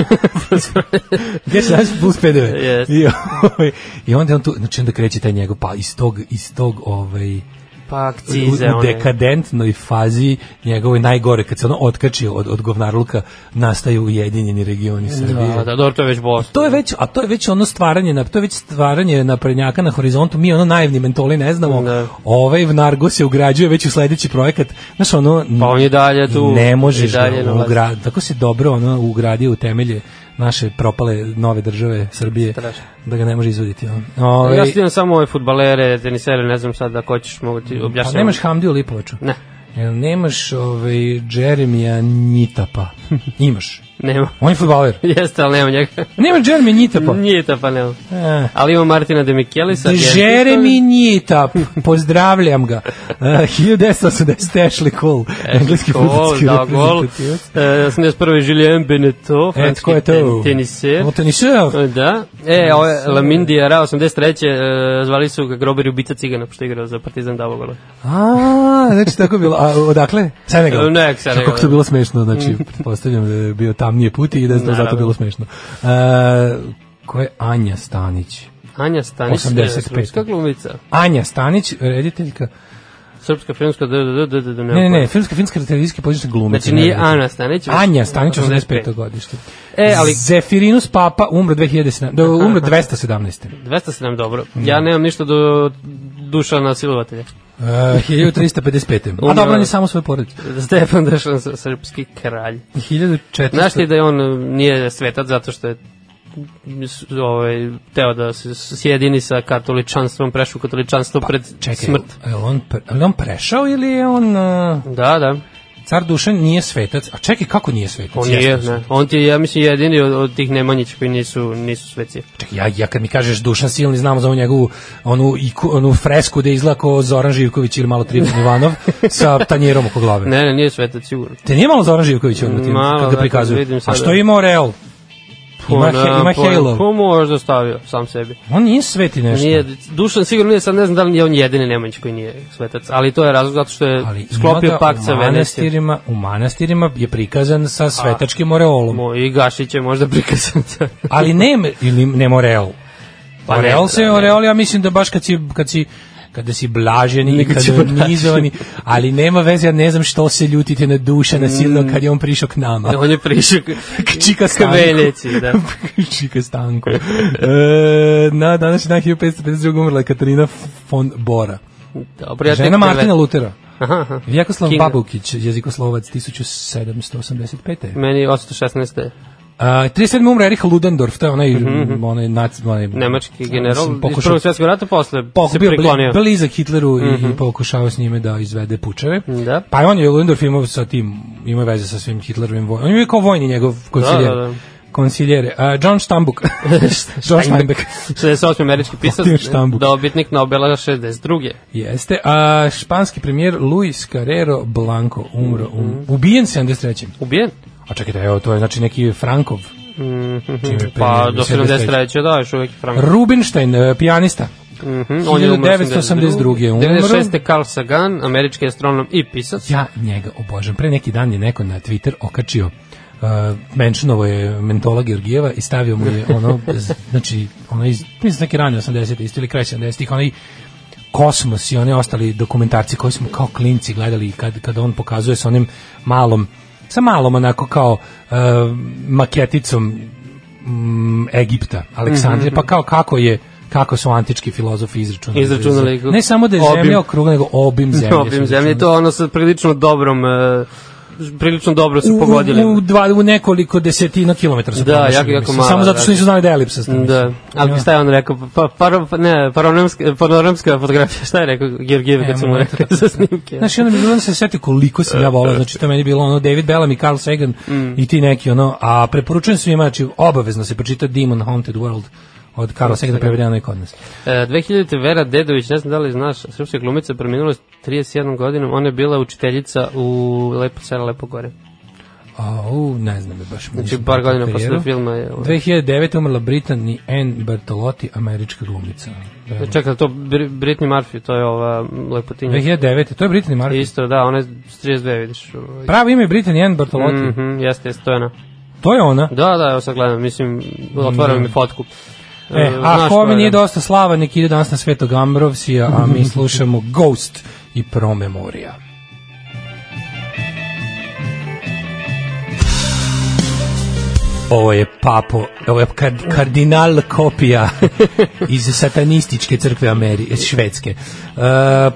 [SPEAKER 6] *laughs*
[SPEAKER 7] G17 plus PDV.
[SPEAKER 6] Yes.
[SPEAKER 7] I, ovaj, I onda je on tu, znači onda kreće taj njegov, pa iz tog, iz tog, ovaj,
[SPEAKER 6] Pa akcize,
[SPEAKER 7] u, u
[SPEAKER 6] one.
[SPEAKER 7] dekadentnoj fazi njegove najgore, kad se ono otkači od, od govnarluka, nastaju ujedinjeni regioni Srbije.
[SPEAKER 6] Da, da, dobro, to je već boss.
[SPEAKER 7] To je već, a to je već ono stvaranje, na, to je već stvaranje naprednjaka na horizontu, mi ono naivni mentoli ne znamo,
[SPEAKER 6] Da.
[SPEAKER 7] ovaj Vnargo se ugrađuje već u sledeći projekat, znaš ono,
[SPEAKER 6] Pa on je dalje tu,
[SPEAKER 7] ne možeš
[SPEAKER 6] i dalje
[SPEAKER 7] da
[SPEAKER 6] na vlasti.
[SPEAKER 7] ugra, tako se dobro ono ugradio u temelje naše propale nove države Srbije,
[SPEAKER 6] Strašno.
[SPEAKER 7] da ga ne može izvoditi. Ono.
[SPEAKER 6] Ja
[SPEAKER 7] Ovaj,
[SPEAKER 6] stigam samo ove futbalere, tenisere, ne znam sad da ko ćeš mogu ti
[SPEAKER 7] pa
[SPEAKER 6] objašnjati.
[SPEAKER 7] nemaš Hamdiju Lipovaču?
[SPEAKER 6] Ne.
[SPEAKER 7] Jel nemaš ovaj, Jeremija Njitapa? *laughs* Imaš.
[SPEAKER 6] Nema.
[SPEAKER 7] On je futbaler.
[SPEAKER 6] *laughs* Jeste, ali nema njega.
[SPEAKER 7] Nemaš Jeremija Njitapa?
[SPEAKER 6] Nije ta pa nema.
[SPEAKER 7] Eh.
[SPEAKER 6] Ali ima Martina de Mikelisa.
[SPEAKER 7] Jeremy Nitap, pozdravljam ga. Uh, 1980 Ashley Cole, engleski *laughs* futbolski
[SPEAKER 6] E, da, gol.
[SPEAKER 7] reprezentativac.
[SPEAKER 6] E, 81. Julien Beneteau,
[SPEAKER 7] E,
[SPEAKER 6] francuski
[SPEAKER 7] tko je to?
[SPEAKER 6] ten- teniser.
[SPEAKER 7] O, teniser.
[SPEAKER 6] Da. E, ovo je Lamin Diarra, 83. E, zvali su ga Grober i ubica cigana, pošto je igrao za Partizan Davogola.
[SPEAKER 7] A, znači tako je bilo. A odakle? Senegal.
[SPEAKER 6] Ne, Senegal. da. Mm.
[SPEAKER 7] Kako to bilo smešno, znači, pretpostavljam da je bio tamnije put i da je to zato
[SPEAKER 6] Naravno.
[SPEAKER 7] bilo smešno. Uh, ko je Anja Stanić?
[SPEAKER 6] Anja Stanić, e,
[SPEAKER 7] 85.
[SPEAKER 6] srpska glumica.
[SPEAKER 7] Anja Stanić, rediteljka,
[SPEAKER 6] Srpska filmska, da, da, da, da, da,
[SPEAKER 7] ne, ne, ne, filmska, finska televizijska područna glumica.
[SPEAKER 6] Znači nije
[SPEAKER 7] ne, ne, ne.
[SPEAKER 6] Ana Stanić. već-
[SPEAKER 7] Anja Stanić, 85. godište.
[SPEAKER 6] E, ali-
[SPEAKER 7] Zefirinus Papa umro 2017. Da, umro 217.
[SPEAKER 6] 207 dobro. Ja nemam ništa do duša na silovatelja.
[SPEAKER 7] Uh, 1355. A
[SPEAKER 6] Umro-
[SPEAKER 7] dobro, on je samo svoje porodice.
[SPEAKER 6] Stefan Dešan, srpski kralj.
[SPEAKER 7] 1400.
[SPEAKER 6] Znaš ti da je on e, nije svetac zato što je s- ovaj, teo da se s- sjedini sa katoličanstvom, prešu katoličanstvo pred
[SPEAKER 7] Pa, Čekaj,
[SPEAKER 6] smrt.
[SPEAKER 7] Je li on, pre, je li on prešao ili je on... Uh,
[SPEAKER 6] Da, da,
[SPEAKER 7] car Dušan nije svetac. A čekaj, kako nije svetac?
[SPEAKER 6] on
[SPEAKER 7] Jeste
[SPEAKER 6] je,
[SPEAKER 7] svetac.
[SPEAKER 6] ne. on ti je, ja mislim, jedini od, od tih Nemanjića koji nisu, nisu sveci.
[SPEAKER 7] Čekaj, ja, ja kad mi kažeš Dušan Silni, znam za onu njegovu onu, iku, onu fresku da izgleda kao Zoran Živković ili malo Trifon Ivanov sa tanjerom oko glave.
[SPEAKER 6] Ne, ne, nije svetac, sigurno.
[SPEAKER 7] Te nije malo Zoran Živković ono tim,
[SPEAKER 6] Malo,
[SPEAKER 7] kad
[SPEAKER 6] da,
[SPEAKER 7] ga
[SPEAKER 6] kad
[SPEAKER 7] prikazuju.
[SPEAKER 6] vidim
[SPEAKER 7] A
[SPEAKER 6] sada.
[SPEAKER 7] što je imao Real? Ima, he, ima
[SPEAKER 6] pojma.
[SPEAKER 7] Halo.
[SPEAKER 6] Ko možda stavio sam sebi?
[SPEAKER 7] On nije sveti nešto.
[SPEAKER 6] Nije, Dušan sigurno nije, sad ne znam da li je on jedini Nemanjić koji nije svetac, ali to je razlog zato što je
[SPEAKER 7] ali
[SPEAKER 6] sklopio
[SPEAKER 7] ima ga
[SPEAKER 6] pakt sa
[SPEAKER 7] u
[SPEAKER 6] Venecijom.
[SPEAKER 7] manastirima, u manastirima je prikazan sa svetačkim oreolom.
[SPEAKER 6] Mo- I Gašić je možda prikazan. da. za-
[SPEAKER 7] Ali ne, ili nema oreol.
[SPEAKER 6] Pa
[SPEAKER 7] Pa
[SPEAKER 6] ne,
[SPEAKER 7] oreol se,
[SPEAKER 6] da, ne.
[SPEAKER 7] oreol, ja mislim da baš kad si, kad si kada si blaženi i
[SPEAKER 6] Nikad si
[SPEAKER 7] kada
[SPEAKER 6] blažen.
[SPEAKER 7] nizovani, ali nema veze, ja ne znam što se ljutite na duša na
[SPEAKER 6] Mm.
[SPEAKER 7] silno kad je on prišao k nama.
[SPEAKER 6] on je prišao k-
[SPEAKER 7] Čika
[SPEAKER 6] ka
[SPEAKER 7] Stanko.
[SPEAKER 6] Veneciji,
[SPEAKER 7] *laughs*
[SPEAKER 6] da.
[SPEAKER 7] Čika Stanko. E, na današnji dan 1552 umrla je Katarina von Bora.
[SPEAKER 6] Dobro, ja
[SPEAKER 7] Žena
[SPEAKER 6] tek
[SPEAKER 7] Martina
[SPEAKER 6] prve- *laughs*
[SPEAKER 7] Lutera.
[SPEAKER 6] Aha, aha.
[SPEAKER 7] Vjakoslav
[SPEAKER 6] Kinga.
[SPEAKER 7] Babukić, jezikoslovac 1785.
[SPEAKER 6] Meni je 816.
[SPEAKER 7] A, 37. umre Erich Ludendorff, to je onaj, onaj, nac, onaj
[SPEAKER 6] Mhm, Nemački general
[SPEAKER 7] mislim,
[SPEAKER 6] iz
[SPEAKER 7] pokušao,
[SPEAKER 6] Prvog svjetskog rata, posle
[SPEAKER 7] pokušao,
[SPEAKER 6] se
[SPEAKER 7] bio bli-
[SPEAKER 6] priklonio. Mhm.
[SPEAKER 7] blizak Hitleru i, i pokušao s njime da izvede pučeve.
[SPEAKER 6] Da.
[SPEAKER 7] Pa i on je Ludendorff imao sa tim, ima veze sa svim Hitlerovim vojnim. On je bio kao vojni njegov
[SPEAKER 6] da,
[SPEAKER 7] konsiljer.
[SPEAKER 6] da.
[SPEAKER 7] Konsiljere. A, John
[SPEAKER 6] *laughs*
[SPEAKER 7] Stambuk. John Steinbeck.
[SPEAKER 6] 68. američki pisac,
[SPEAKER 7] Otim Štambuk.
[SPEAKER 6] dobitnik Nobela 62.
[SPEAKER 7] Jeste. A španski premijer Luis Carrero Blanco umro.
[SPEAKER 6] Mhm.
[SPEAKER 7] Um, ubijen 73.
[SPEAKER 6] Ubijen?
[SPEAKER 7] A čekajte, evo, to je znači neki Frankov. Čime
[SPEAKER 6] Pa, do
[SPEAKER 7] premijer,
[SPEAKER 6] 73. da, još uvijek je Frank.
[SPEAKER 7] Rubinstein, e, pijanista.
[SPEAKER 6] Mhm, on je umro
[SPEAKER 7] 1982. je umro.
[SPEAKER 6] 96. Carl Sagan, američki astronom i pisac. *laughs*
[SPEAKER 7] Ja njega obožavam. Pre neki dan je neko na Twitter okačio uh, menšinovo je mentola Georgijeva i stavio mu je ono, z- znači, ono iz, mislim neki rani 80. isto ili kraj 70. onaj kosmos i one ostali dokumentarci koji smo kao klinci gledali kad, kad on pokazuje sa onim malom, sa malom onako kao uh, maketicom mm, Egipta, Aleksandrije,
[SPEAKER 6] Mhm.
[SPEAKER 7] pa kao kako je kako su antički filozofi izračunali.
[SPEAKER 6] Izračunali ga.
[SPEAKER 7] Ne samo da je
[SPEAKER 6] Obim.
[SPEAKER 7] zemlja okrugla, nego
[SPEAKER 6] *laughs*
[SPEAKER 7] obim zemlje. su
[SPEAKER 6] Obim zemlje,
[SPEAKER 7] izračunali.
[SPEAKER 6] to ono sa prilično dobrom e, prilično dobro su
[SPEAKER 7] U-
[SPEAKER 6] pogodili.
[SPEAKER 7] U, u, dva, u nekoliko desetina kilometara su
[SPEAKER 6] Da,
[SPEAKER 7] promašili,
[SPEAKER 6] jako, jako
[SPEAKER 7] mislim.
[SPEAKER 6] malo,
[SPEAKER 7] Samo zato što
[SPEAKER 6] da.
[SPEAKER 7] nisu znali da je elipsasta.
[SPEAKER 6] Da,
[SPEAKER 7] mislim.
[SPEAKER 6] ali šta je on rekao? Pa, paro, pa- ne, panoramska, panoramska fotografija, šta je rekao Georgijev kad
[SPEAKER 7] E,
[SPEAKER 6] su mu
[SPEAKER 7] molim
[SPEAKER 6] rekli
[SPEAKER 7] te.
[SPEAKER 6] za snimke?
[SPEAKER 7] Znaš, i onda mi je bilo da se seti koliko sam ja
[SPEAKER 6] Da.
[SPEAKER 7] volao, znači to je meni bilo ono David Bellamy, i Carl
[SPEAKER 6] Mm.
[SPEAKER 7] Sagan i ti neki ono, a preporučujem svima, znači obavezno se pročita Demon Haunted World od Karla Segeda prevedeno i kod nas.
[SPEAKER 6] E, 2000. Vera Dedović, ne znam da li znaš, srpska glumica preminula s 31 godinom, ona je bila učiteljica u Lepo selo, Lepo gore.
[SPEAKER 7] A, u, ne znam je baš.
[SPEAKER 6] Znači, par godina posle filma je... ovaj,
[SPEAKER 7] 2009. umrla Britanni Anne Bertolotti, američka glumica. Da.
[SPEAKER 6] Čekaj, to Br- Britney Murphy, to je ova lepotinja.
[SPEAKER 7] 2009. To je Britanni Marko.
[SPEAKER 6] Isto, da, ona je s 32, vidiš. ovaj.
[SPEAKER 7] Pravo ime je Britanni Anne Bertolotti.
[SPEAKER 6] Mhm, jeste, jeste, to je ona.
[SPEAKER 7] To je ona.
[SPEAKER 6] Da, da, evo sad gledam, mislim, otvaram mi fotku.
[SPEAKER 7] Mhm. E, a
[SPEAKER 6] znaš
[SPEAKER 7] kome
[SPEAKER 6] koja
[SPEAKER 7] nije
[SPEAKER 6] je.
[SPEAKER 7] dosta slava, nek ide danas na Svetog Ambrovsija, a
[SPEAKER 6] *laughs*
[SPEAKER 7] mi slušamo Ghost i Promemorija. Ovo je papo, ovo je kard, kardinal
[SPEAKER 6] *laughs*
[SPEAKER 7] kopija iz satanističke crkve Ameri, iz Švedske. E,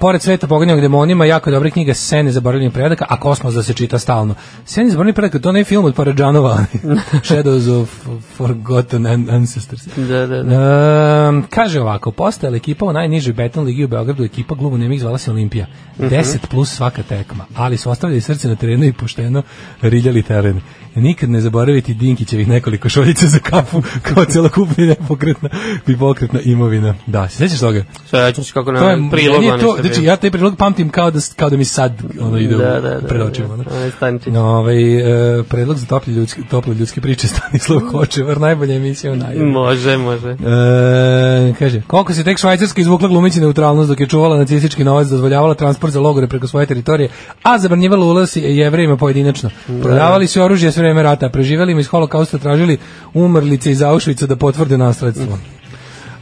[SPEAKER 7] pored sveta pogonjenog demonima, jako je dobra knjiga Sene zaboravljenih predaka, a Kosmos da se čita stalno. Sene zaboravljenih predaka, to ne je film od Paradžanova, *laughs* Shadows of Forgotten An- Ancestors.
[SPEAKER 6] Da, da, da.
[SPEAKER 7] Um, kaže ovako, postojala ekipa u najnižoj beton ligi u Beogradu, ekipa glubo nemih zvala se Olimpija. 10 plus svaka tekma, ali su ostavljali srce na terenu i pošteno riljali teren. Nikad ne zaboraviti Dinkićevih nekoliko šoljica za kafu *laughs* kao celokupna i nepokretna i pokretna imovina. Da, se sećaš toga?
[SPEAKER 6] Sećam se kako
[SPEAKER 7] To je
[SPEAKER 6] nam prilog
[SPEAKER 7] meni je
[SPEAKER 6] onaj
[SPEAKER 7] to,
[SPEAKER 6] što je
[SPEAKER 7] znači,
[SPEAKER 6] bio.
[SPEAKER 7] ja taj prilog pamtim kao da, s- kao da mi sad ono ide da, da, da, pred očima. ono.
[SPEAKER 6] jeste, onaj stančić.
[SPEAKER 7] No, ovaj, e, predlog za tople ljudske, tople ljudske priče Stanislav Hočevar, najbolja emisija u najavi.
[SPEAKER 6] Može, može.
[SPEAKER 7] E, kaže, koliko se tek Švajcarska izvukla glumići neutralnost dok je čuvala nacistički novac, dozvoljavala transport za logore preko svoje teritorije, a zabranjivala ulaz jevrejima pojedinačno. Prodavali su oružje sve vreme rata, preživeli im iz holokausta, tražili umrlice iz Auschwitza da potvrde nasledstvo.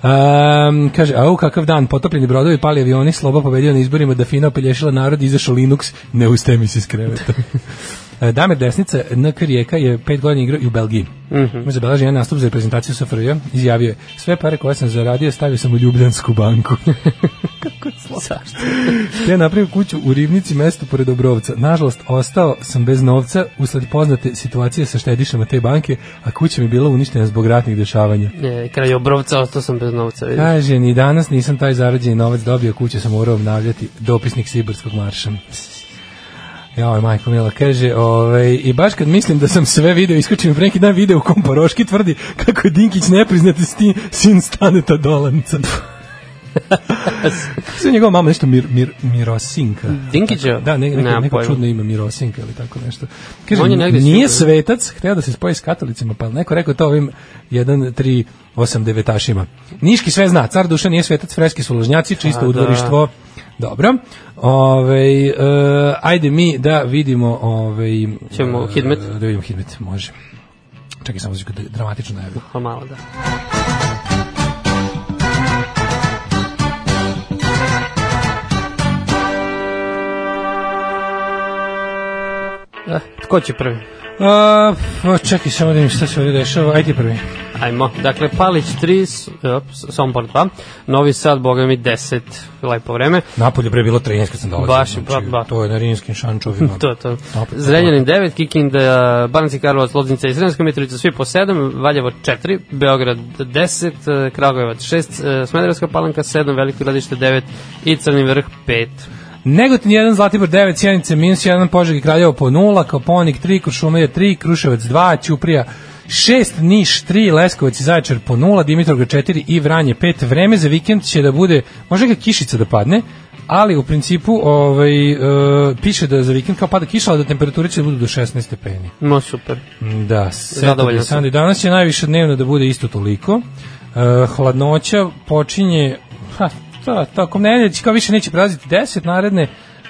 [SPEAKER 7] Um, kaže, au kakav dan, potopljeni brodovi, pali avioni, Sloba pobedio na izborima, da Fina opelješila narod, izašao Linux, ne ustaje mi se iz kreveta. E, Damir Desnica, NK Rijeka je pet godina igrao i u Belgiji. Mm -hmm. Zabeleži jedan nastup za reprezentaciju SFRJ, izjavio je, sve pare koje sam zaradio stavio sam u Ljubljansku banku. *laughs* Kako je Zašto? ja napravio kuću u Rivnici, mesto pored Obrovca. Nažalost, ostao sam bez novca usled poznate situacije sa štedišama te banke, a kuća mi je bila uništena zbog ratnih dešavanja.
[SPEAKER 6] E, kraj obrovca, ostao sam bez novca, vidiš.
[SPEAKER 7] Kaže, ni danas nisam taj zarađeni novac dobio, kuće sam morao obnavljati, dopisnik Sibirskog marša. Jao, majko Mila, kaže, ovaj, i baš kad mislim da sam sve video, isključim pre neki dan video u kom Paroški tvrdi kako je Dinkić nepriznati sti, sin Staneta Dolanca. Sve njegova mama nešto mir, mir, Mirosinka.
[SPEAKER 6] Dinkićeva?
[SPEAKER 7] Da, ne, neko,
[SPEAKER 6] Nemam
[SPEAKER 7] neko
[SPEAKER 6] pojma.
[SPEAKER 7] čudno ime Mirosinka ili tako nešto. Kaže,
[SPEAKER 6] On je negde sigurno.
[SPEAKER 7] nije svetac, hteo da se spoji s katolicima, pa neko rekao to ovim 1, 3, 8 devetašima. Niški sve zna, car duša nije svetac, freski su ložnjaci, čisto
[SPEAKER 6] A, da.
[SPEAKER 7] udvorištvo. Dobro. Ove, e, ajde mi da vidimo... Ove,
[SPEAKER 6] Ćemo
[SPEAKER 7] e,
[SPEAKER 6] Hidmet?
[SPEAKER 7] Da vidimo Hidmet, može. Čekaj, samo da dramatično najavim.
[SPEAKER 6] Pa malo, da. Eh, tko će prvi?
[SPEAKER 7] A, pa, čekaj, samo da mi šta se ovdje dešava. Ajde prvi.
[SPEAKER 6] Ajmo. Dakle, Palić 3, S- e, op, Sombor 2, Novi Sad, boga mi 10, lepo vreme.
[SPEAKER 7] Napolje pre bilo 13 kad sam dolazio. znači,
[SPEAKER 6] Baš, ba- ba.
[SPEAKER 7] To je na rinskim šančovima.
[SPEAKER 6] *laughs* To, to.
[SPEAKER 7] Opet.
[SPEAKER 6] Zrenjanin 9, Kikinda, Banacki Karlovac, Loznica i Sremska Mitrovica, svi po 7, Valjevo 4, Beograd 10, eh, Kragujevac 6, eh, Smederevska palanka 7, Veliko gradište 9 i Crni vrh 5.
[SPEAKER 7] Negotin 1, Zlatibor 9, Sjenica minus 1, Požeg i Kraljevo po 0, Koponik 3, Kuršumlija 3, Kruševac 2, Ćuprija 6, Niš 3, Leskovac i Zaječar po 0, Dimitrovgrad 4 i Vranje 5. Vreme za vikend će da bude, može ga kišica da padne, ali u principu ovaj, e, piše da za vikend kao pada kiša, ali da temperature će da budu do 16 stepeni.
[SPEAKER 6] No, super.
[SPEAKER 7] Da,
[SPEAKER 6] Zadovoljan
[SPEAKER 7] zadovoljan
[SPEAKER 6] sam.
[SPEAKER 7] sam. I danas će najviše dnevno da bude isto toliko. E, hladnoća počinje, ha, to, tokom nedelje će kao više neće praziti 10 naredne,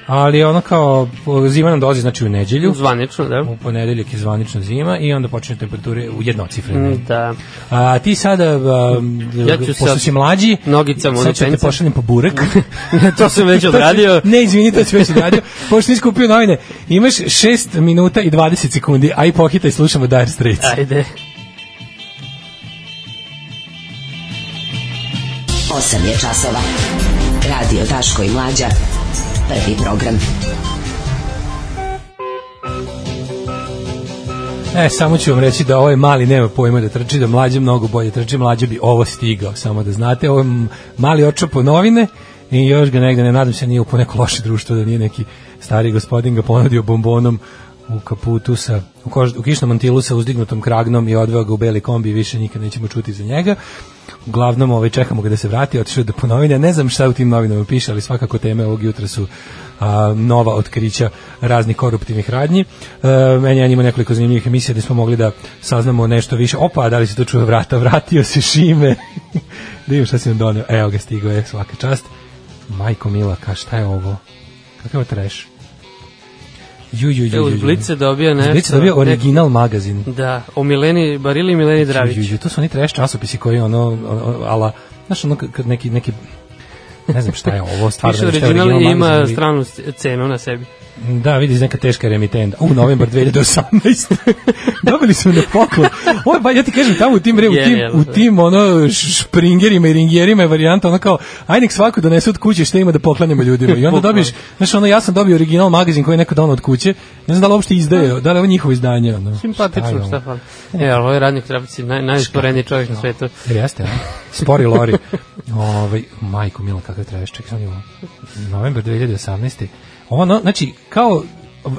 [SPEAKER 7] ali ono kao po- zima nam dolazi znači u nedelju,
[SPEAKER 6] Zvanično, da.
[SPEAKER 7] u ponedeljak je zvanično zima i onda počinju temperature u jednocifrene. Mm.
[SPEAKER 6] Da.
[SPEAKER 7] A ti sada, a,
[SPEAKER 6] Ja ću
[SPEAKER 7] pošto
[SPEAKER 6] sad
[SPEAKER 7] si mlađi,
[SPEAKER 6] nogicama
[SPEAKER 7] sad ću da te
[SPEAKER 6] unučence.
[SPEAKER 7] pošaljem po burek.
[SPEAKER 6] *laughs* to sam
[SPEAKER 7] *laughs*
[SPEAKER 6] već odradio.
[SPEAKER 7] ne, izvini, to si već odradio. Pošto nisi kupio novine, imaš 6 minuta i 20 sekundi, a i pohitaj, slušamo Dire Straits.
[SPEAKER 6] Ajde.
[SPEAKER 4] 8 je časova. Radio Daško i Mlađa. Prvi program.
[SPEAKER 7] E, samo ću vam reći da ovaj mali nema pojma da trči, da mlađe mnogo bolje trči, mlađe bi ovo stigao, samo da znate, ovo je m- mali očapo novine i još ga negde, ne nadam se, nije upo neko loše društvo, da nije neki stari gospodin ga ponudio bombonom u kaputu sa, u, kož, u kišnom antilu sa uzdignutom kragnom i odveo ga u beli kombi, više nikad nećemo čuti za njega. Uglavnom, ovaj, čekamo ga da se vrati, otišao je da po novine. Ne znam šta u tim novinama piše, ali svakako teme ovog jutra su a, nova otkrića raznih koruptivnih radnji. E, meni ja njima nekoliko zanimljivih emisija gde smo mogli da saznamo nešto više. Opa, da li se to čuje vrata? Vratio se Šime. *laughs* da vidim šta si nam donio. Evo ga, stigao je svaka čast. Majko Mila, ka šta je ovo? Kakav je trash? Ju, ju, ju,
[SPEAKER 6] E,
[SPEAKER 7] ju,
[SPEAKER 6] uz
[SPEAKER 7] ju.
[SPEAKER 6] Blice dobio
[SPEAKER 7] Iz
[SPEAKER 6] nešto.
[SPEAKER 7] Blica dobio original magazin.
[SPEAKER 6] Nek- Da, o Mileni Barili i Mileni Dravić.
[SPEAKER 7] Ju, ju, ju, to su oni trash časopisi koji ono, ono ala, znaš ono kad neki, neki ne znam šta je ovo, stvarno
[SPEAKER 6] Piše
[SPEAKER 7] ne znam šta je
[SPEAKER 6] original i
[SPEAKER 7] magazin,
[SPEAKER 6] ima
[SPEAKER 7] ali-
[SPEAKER 6] stranu c- cenu na sebi.
[SPEAKER 7] Da, vidi, iz neka teška remitenda. U novembar
[SPEAKER 6] *laughs*
[SPEAKER 7] 2018. Dobili smo na poklon. Ovo, je ba, ja ti kažem, tamo u tim, bre, u tim,
[SPEAKER 6] Genijalno,
[SPEAKER 7] u
[SPEAKER 6] da.
[SPEAKER 7] tim ono, š- špringerima i ringerima je varijanta ono kao, aj nek svako donese od kuće šta ima da poklanjamo ljudima. I onda dobiješ, znaš, ono, ja sam dobio original magazin koji je neko donao od kuće. Ne znam da li uopšte izdaje, da li je ovo njihovo izdanje. Ono. Šta je
[SPEAKER 6] Simpatično,
[SPEAKER 7] ovo?
[SPEAKER 6] šta fali. E, ali ovo je radnik Dravić, naj, najisporeniji čovjek na svetu.
[SPEAKER 7] Jer E, jeste, a? Spori Lori.
[SPEAKER 6] *laughs*
[SPEAKER 7] Ovaj, majko Mila, kakav trebaš, čekaj sam ovo. Novembar 2018. Ono, znači, kao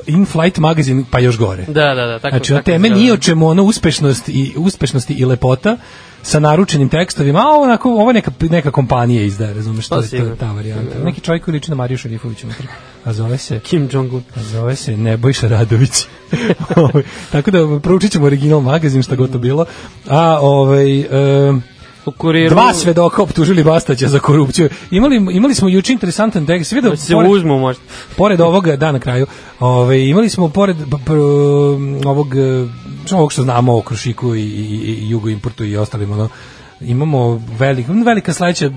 [SPEAKER 7] in-flight magazin, pa još gore.
[SPEAKER 6] Da, da, da, tako.
[SPEAKER 7] Znači, na
[SPEAKER 6] tako
[SPEAKER 7] teme
[SPEAKER 6] izgleda.
[SPEAKER 7] nije o čemu ono uspešnost i, uspešnosti i lepota sa naručenim tekstovima, a onako, ovo je neka, neka kompanija izdaje, razumeš, to,
[SPEAKER 6] Pa
[SPEAKER 7] je- to
[SPEAKER 6] sigurno.
[SPEAKER 7] je ta varijanta. Neki čovjek koji liči na Mariju Šarifoviću, unutra. a zove se...
[SPEAKER 6] Kim Jong-un.
[SPEAKER 7] A Zove se Nebojša Radović. *laughs* Ovaj, Tako da proučit ćemo original magazin, šta god to bilo. A, ovaj, em,
[SPEAKER 6] U kuriru...
[SPEAKER 7] Dva svedoka optužili Bastaća za korupciju. Imali, imali smo juče interesantan tekst. Vidio,
[SPEAKER 6] Da Se
[SPEAKER 7] pored,
[SPEAKER 6] uzmu možda. *laughs*
[SPEAKER 7] pored ovoga, da, na kraju, ove, imali smo pored b- pr- ovog, eh, ovog što znamo o Krušiku i, i, i Jugoimportu i ostalim, ono, imamo velik, velika sledeća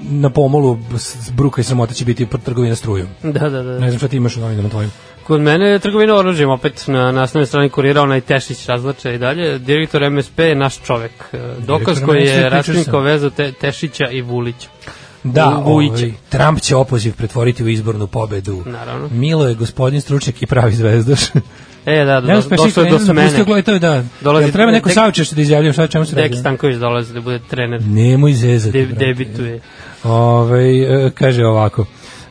[SPEAKER 7] na pomolu s- s bruka i sramota će biti pr- trgovina strujom.
[SPEAKER 6] Da, da, da.
[SPEAKER 7] Ne znam šta ti imaš u novinama tvojim.
[SPEAKER 6] Kod mene je trgovina oružjem, opet na nasnoj strani kurira onaj Tešić razlače i dalje. Direktor MSP je naš čovek. E, Dokaz
[SPEAKER 7] Direktor
[SPEAKER 6] koji
[SPEAKER 7] MSP,
[SPEAKER 6] je
[SPEAKER 7] pričao
[SPEAKER 6] raskrinkao
[SPEAKER 7] sam.
[SPEAKER 6] vezu te, Tešića i Vulića.
[SPEAKER 7] Da,
[SPEAKER 6] U- Vujića.
[SPEAKER 7] ovaj, Trump će opoziv pretvoriti u izbornu pobedu.
[SPEAKER 6] Naravno.
[SPEAKER 7] Milo je gospodin stručnjak i pravi zvezdaš. *laughs*
[SPEAKER 6] E, da, da,
[SPEAKER 7] Ne
[SPEAKER 6] do,
[SPEAKER 7] uspeš
[SPEAKER 6] došlo je do
[SPEAKER 7] nikad, ne
[SPEAKER 6] smene.
[SPEAKER 7] napustio glavu i to je da.
[SPEAKER 6] Dolazi-
[SPEAKER 7] Jel treba neko
[SPEAKER 6] Dek-
[SPEAKER 7] saučešće da izjavljujem šta o čemu se radi.
[SPEAKER 6] Deki Stanković dolazi da bude trener.
[SPEAKER 7] Nemoj zezati.
[SPEAKER 6] De,
[SPEAKER 7] brate.
[SPEAKER 6] debituje.
[SPEAKER 7] Ovaj, e, kaže ovako.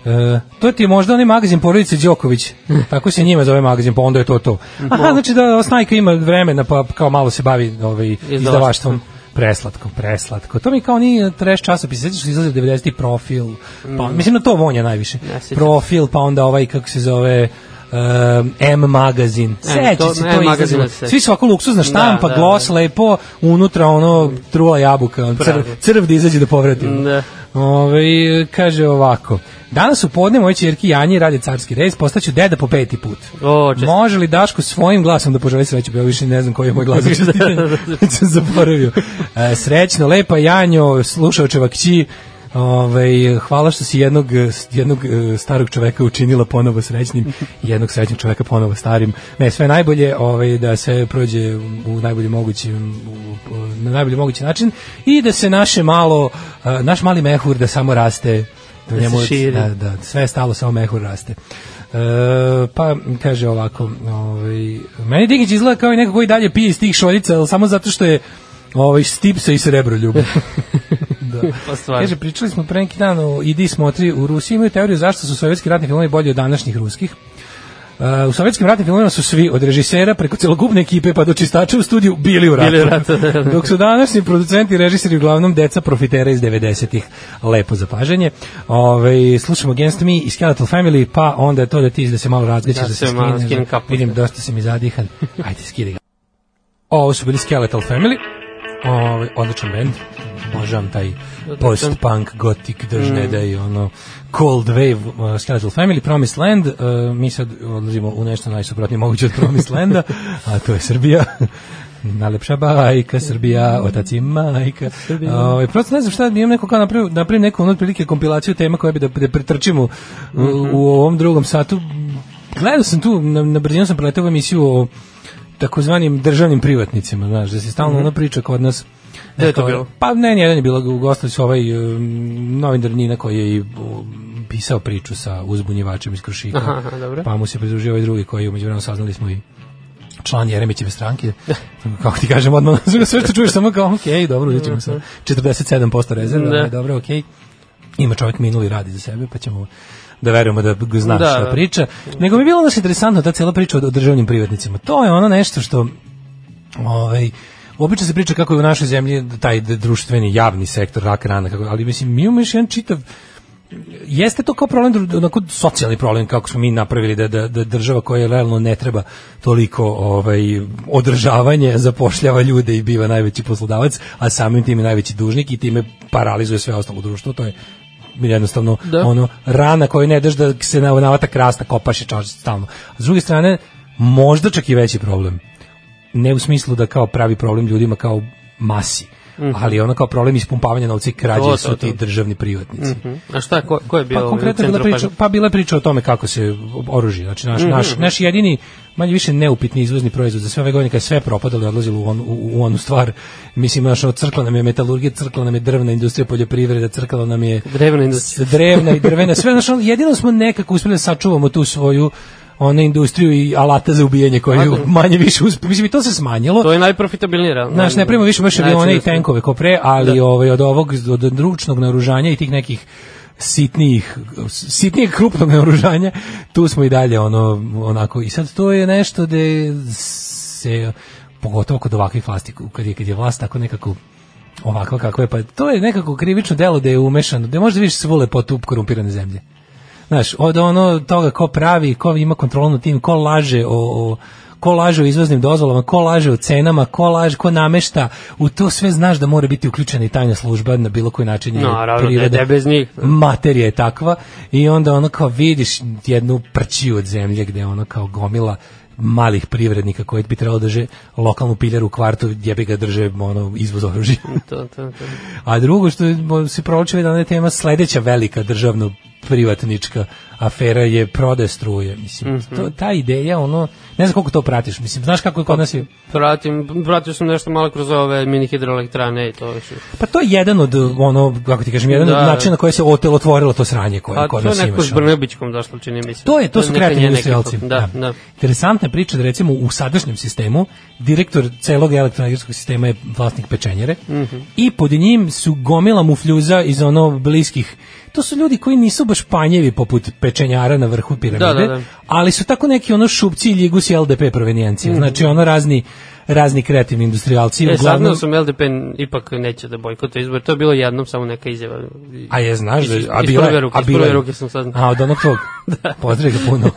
[SPEAKER 7] E, to ti je možda onaj magazin porodice Đoković. Tako se njima zove magazin, pa onda je to to. Aha, znači da Snajka ima vremena, pa kao malo se bavi ovaj, izdavaštvom. Preslatko, preslatko. To mi kao ni trash časopis, sećaš se izlazi 90. profil, pa, mislim na to vonja najviše.
[SPEAKER 6] Mm. Ne sjećam se.
[SPEAKER 7] profil, pa onda ovaj, kako se zove, um, M magazin. Sećaš
[SPEAKER 6] E, to-
[SPEAKER 7] se
[SPEAKER 6] M
[SPEAKER 7] to
[SPEAKER 6] magazin
[SPEAKER 7] izlazilo.
[SPEAKER 6] se sećam.
[SPEAKER 7] Svi su ovako luksuzna štampa,
[SPEAKER 6] da,
[SPEAKER 7] gloss, lepo, unutra ono trula jabuka, on crv,
[SPEAKER 6] Pravo.
[SPEAKER 7] crv da izađe da povratimo.
[SPEAKER 6] Da.
[SPEAKER 7] Ove, kaže ovako. Danas u podne moje čerki Janji radi carski rez, postaću deda po peti put.
[SPEAKER 6] O, čest-
[SPEAKER 7] Može li Daško svojim glasom da poželi sreću? Ja više ne znam koji je
[SPEAKER 6] *laughs*
[SPEAKER 7] moj glas. Već sam zaboravio. E, srećno, lepa Janjo, slušaočeva kći, Ove, hvala što si jednog, jednog e, starog čoveka učinila ponovo srećnim i jednog srećnog čoveka ponovo starim. Ne, sve najbolje, ove, da se prođe u najbolji mogući, u- u- na najbolji mogući način i da se naše malo, e, naš mali mehur da samo raste da
[SPEAKER 6] se širi.
[SPEAKER 7] da, da, sve je stalo, samo mehur raste. E, pa kaže ovako, ovaj, meni Digić izgleda kao i neko koji dalje pije iz tih šoljica, ali samo zato što je ovaj, stipsa i srebro ljubi. da.
[SPEAKER 6] Pa stvarno.
[SPEAKER 7] Kaže, pričali smo pre neki dan o Idi smotri u Rusiji, imaju teoriju zašto su sovjetski ratni filmovi bolji od današnjih ruskih. E, u sovjetskim ratnim filmovima su svi, od režisera preko celokupne ekipe pa do čistača u studiju, bili u ratu.
[SPEAKER 6] Bili u ratu, da, da.
[SPEAKER 7] Dok su današnji producenti i režiseri uglavnom deca profitera iz 90-ih. Lepo zapažanje. Ove, slušamo Against Me i Skeletal Family, pa onda je to da ti da se malo razgaćaš, da,
[SPEAKER 6] Da
[SPEAKER 7] se
[SPEAKER 6] se malo
[SPEAKER 7] skineš.
[SPEAKER 6] skinem kapu.
[SPEAKER 7] Vidim, dosta si mi
[SPEAKER 6] *laughs*
[SPEAKER 7] zadihan. Ajde, skidi ga. Ovo su bili Skeletal Family. Ove, odličan band. Obožavam taj post-punk, gothic, držne da i ono Cold Wave, uh, Skeletal Family, Promised Land. Uh, mi sad odlazimo u nešto najsuprotnije moguće od Promised Landa, a to je Srbija. *laughs* Najlepša bajka, Srbija, otac i majka. Ovaj prosto ne znam šta, imam neko kao napravim, napravim neku ono otprilike kompilaciju tema koje bi da, da pretrčimo u, u ovom drugom satu. Gledao sam tu, na, na brzinu sam preletao emisiju o takozvanim državnim privatnicima, znaš, da se stalno ona priča kod nas.
[SPEAKER 6] Mhm. Gde je to
[SPEAKER 7] Kao-
[SPEAKER 6] bilo?
[SPEAKER 7] Pa ne, nijedan je bilo, gostali su ovaj um, novinar Nina koji je i um, pisao priču sa uzbunjivačem iz Krušika.
[SPEAKER 6] Aha, aha, dobro.
[SPEAKER 7] Pa mu se pridružio ovaj drugi koji je umeđu vremenu saznali smo i član Jeremićeve
[SPEAKER 6] *laughs*
[SPEAKER 7] stranke. Kako ti kažem, odmah *laughs* sve što čuješ samo kao, okej, dobro, vidjet ćemo sad. 47% rezerve,
[SPEAKER 6] Mhm. Da.
[SPEAKER 7] ali dobro, okej. Ima čovjek minuli radi za sebe, pa ćemo da verujemo da g- zna
[SPEAKER 6] Da,
[SPEAKER 7] šta
[SPEAKER 6] da.
[SPEAKER 7] priča. Nego mi je bilo nešto interesantno ta cela priča o, o državnim privatnicima. To je ono nešto što ovaj obično se priča kako je u našoj zemlji taj društveni javni sektor rak rana, kako, ali mislim, mi imamo još jedan čitav jeste to kao problem dru- onako socijalni problem kako smo mi napravili da, da, da država koja realno ne treba toliko ovaj održavanje zapošljava ljude i biva najveći poslodavac a samim tim i najveći dužnik i time paralizuje sve ostalo društvo to je jednostavno
[SPEAKER 6] Da.
[SPEAKER 7] ono rana koju ne daš da se na navatak rasta kopaš i čaš stalno a s druge strane možda čak i veći problem ne u smislu da kao pravi problem ljudima kao masi ali ono kao problem ispumpavanja novca i krađe
[SPEAKER 6] Mhm. To, to,
[SPEAKER 7] su ti
[SPEAKER 6] to. Mhm.
[SPEAKER 7] državni privatnici
[SPEAKER 6] Hm? A šta, ko, ko je bio
[SPEAKER 7] pa
[SPEAKER 6] ovaj u
[SPEAKER 7] konkretno je bila
[SPEAKER 6] centru
[SPEAKER 7] priča,
[SPEAKER 6] pažnje? Mhm.
[SPEAKER 7] pa bila je priča o tome kako se oružje, znači naš, naš, naš jedini manje više neupitni izvozni proizvod za sve ove godine kad je sve propadalo i odlazilo u, on, u, u onu stvar, mislim naš crkla nam je metalurgija, crkla nam je drvna industrija poljoprivreda, crkla nam je
[SPEAKER 6] Drevna industrija.
[SPEAKER 7] s- *laughs* drevna i drvena, sve znači jedino smo nekako uspeli da sačuvamo tu svoju ona industriju i alata za ubijanje koje je manje više uspeli. Mislim i to se smanjilo.
[SPEAKER 6] To je najprofitabilnije. realno.
[SPEAKER 7] Znaš, ne primamo više baš avione i tenkove ko pre, ali ovaj, od ovog, od od ručnog naoružanja i tih nekih sitnijih, sitnijeg krupnog naoružanja, tu smo i dalje ono, onako, i sad to je nešto da se, pogotovo kod ovakvih vlasti, kad je, kad je vlast tako nekako ovako kako je, pa to je nekako krivično delo da je umešano, da možda vidiš svu lepotu korumpirane zemlje. Znaš, od ono toga ko pravi, ko ima kontrolu nad tim, ko laže o, o ko laže o izvoznim dozvolama, ko laže o cenama, ko laže, ko namešta, u to sve znaš da mora biti uključena i tajna služba na bilo koji način. jer
[SPEAKER 6] Naravno, ne- ne bez njih.
[SPEAKER 7] Materija je takva i onda ono kao vidiš jednu prćiju od zemlje gde ono kao gomila malih privrednika koji bi trebalo da drže lokalnu piljaru u kvartu gdje bi ga drže ono, izvoz oružja.
[SPEAKER 6] To, to, to.
[SPEAKER 7] A drugo što se provlači da je tema sledeća velika državno privatnička afera je prode struje. Mislim,
[SPEAKER 6] Mhm.
[SPEAKER 7] to, ta ideja, ono, ne znam koliko to pratiš, mislim, znaš kako je kod nas je...
[SPEAKER 6] Pratim, pratio sam nešto malo kroz ove mini hidroelektrane i to više.
[SPEAKER 7] Pa to je jedan od, ono, kako ti kažem, jedan
[SPEAKER 6] Da.
[SPEAKER 7] od načina na koje se otelotvorilo to sranje koje
[SPEAKER 6] A
[SPEAKER 7] Pa,
[SPEAKER 6] Pa,
[SPEAKER 7] kod
[SPEAKER 6] to
[SPEAKER 7] nas
[SPEAKER 6] je neko
[SPEAKER 7] imaš.
[SPEAKER 6] s
[SPEAKER 7] ono.
[SPEAKER 6] Brnebićkom došlo, čini mi se.
[SPEAKER 7] To je, to su
[SPEAKER 6] neka
[SPEAKER 7] kreativni
[SPEAKER 6] njena
[SPEAKER 7] industrijalci.
[SPEAKER 6] ekipa. Da, da.
[SPEAKER 7] Interesantna je priča da recimo u sadašnjem sistemu direktor celog elektroenergetskog sistema je vlasnik pečenjere
[SPEAKER 6] Mhm.
[SPEAKER 7] i pod njim su gomila mufljuza iz ono bliskih To su ljudi koji nisu baš panjevi poput pečenjara na vrhu piramide,
[SPEAKER 6] Da, da, da.
[SPEAKER 7] ali su tako neki ono šupci i ligusi LDP provenijencije. Znači ono razni razni kreativni industrijalci.
[SPEAKER 6] Mhm. E, saznao
[SPEAKER 7] uglavnom-
[SPEAKER 6] sam LDP ipak neće da bojkotuje izbor. To je bilo jednom samo neka izjava.
[SPEAKER 7] A je, znaš da...
[SPEAKER 6] Iz-
[SPEAKER 7] A
[SPEAKER 6] iz
[SPEAKER 7] bila je-
[SPEAKER 6] prve ruke,
[SPEAKER 7] a
[SPEAKER 6] iz
[SPEAKER 7] bila
[SPEAKER 6] prve
[SPEAKER 7] je.
[SPEAKER 6] ruke sam saznao.
[SPEAKER 7] A, od
[SPEAKER 6] *laughs*
[SPEAKER 7] onog tvog. Pozdrav ga puno.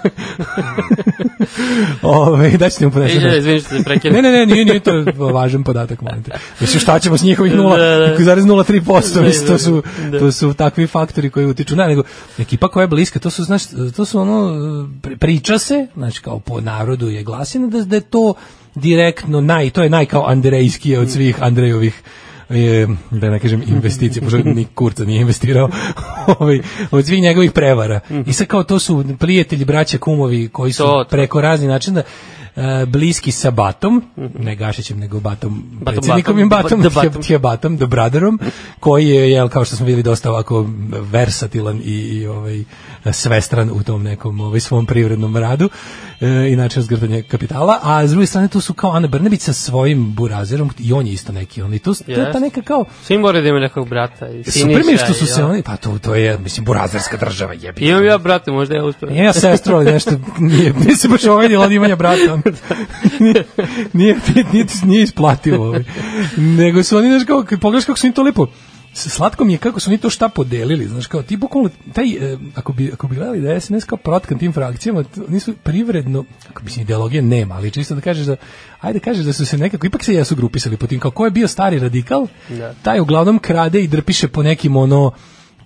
[SPEAKER 7] Ove, daćete mu
[SPEAKER 6] E,
[SPEAKER 7] ponešati.
[SPEAKER 6] e, izvini što te prekinem.
[SPEAKER 7] Ne, ne, ne, nije, nije to važan podatak, molim te. Mislim, šta ćemo s njihovih nula,
[SPEAKER 6] Da, da.
[SPEAKER 7] 0,03%,
[SPEAKER 6] Da,
[SPEAKER 7] mislim, to
[SPEAKER 6] da,
[SPEAKER 7] su,
[SPEAKER 6] da.
[SPEAKER 7] to su takvi faktori koji utiču. Ne, nego, ekipa koja je bliska, to su, znaš, to su ono, pri- priča se, znači, kao po narodu je glasina, da, da je to direktno naj, to je naj kao Andrejskije od svih Andrejovih e, da ne kažem investicije, pošto ni Kurca nije investirao *laughs* ovaj, od svih njegovih prevara. I sad kao to su prijatelji, braća, kumovi koji su
[SPEAKER 6] Mhm. To, to.
[SPEAKER 7] preko raznih načina e, bliski sa Batom, ne Gašićem, nego Batom, predsjednikom im
[SPEAKER 6] Mhm. Batom,
[SPEAKER 7] Batom,
[SPEAKER 6] The
[SPEAKER 7] Batom,
[SPEAKER 6] Batom.
[SPEAKER 7] je Batom, The Brotherom, koji je, jel, kao što smo videli, dosta ovako versatilan i, i ovaj, svestran u tom nekom ovaj, svom privrednom radu e, i načinu zgrtanja kapitala, a s druge strane tu su kao Ana Brnebić sa svojim burazerom i on je isto neki, on i tu, to je ta
[SPEAKER 6] Jeste.
[SPEAKER 7] neka kao
[SPEAKER 6] Svi moraju da imaju nekog brata. I
[SPEAKER 7] Super mi je
[SPEAKER 6] Siniša
[SPEAKER 7] što su
[SPEAKER 6] i
[SPEAKER 7] se
[SPEAKER 6] ja.
[SPEAKER 7] oni, pa to, to je, mislim, burazerska država, jebi.
[SPEAKER 6] Imam ja brata, možda ja uspijem.
[SPEAKER 7] Imam ja sestru, ali nešto nije, nije se baš ovidjela od imanja brata.
[SPEAKER 6] *laughs*
[SPEAKER 7] Nije, nije, nije, nije isplativo. Ovaj. Nego su oni, znaš, kao, kad pogledaš kako su oni to lepo s- slatko mi je kako su oni to šta podelili, znaš, kao ti bukvalno, taj, e, ako bi, ako bi gledali da je SNS kao protkan tim frakcijama, t- oni su privredno, kako mislim, ideologije nema, ali čisto da kažeš da, ajde kažeš da su se nekako, ipak se jesu grupisali po tim, kao ko je bio stari radikal,
[SPEAKER 6] Da.
[SPEAKER 7] taj uglavnom krade i drpiše po nekim ono,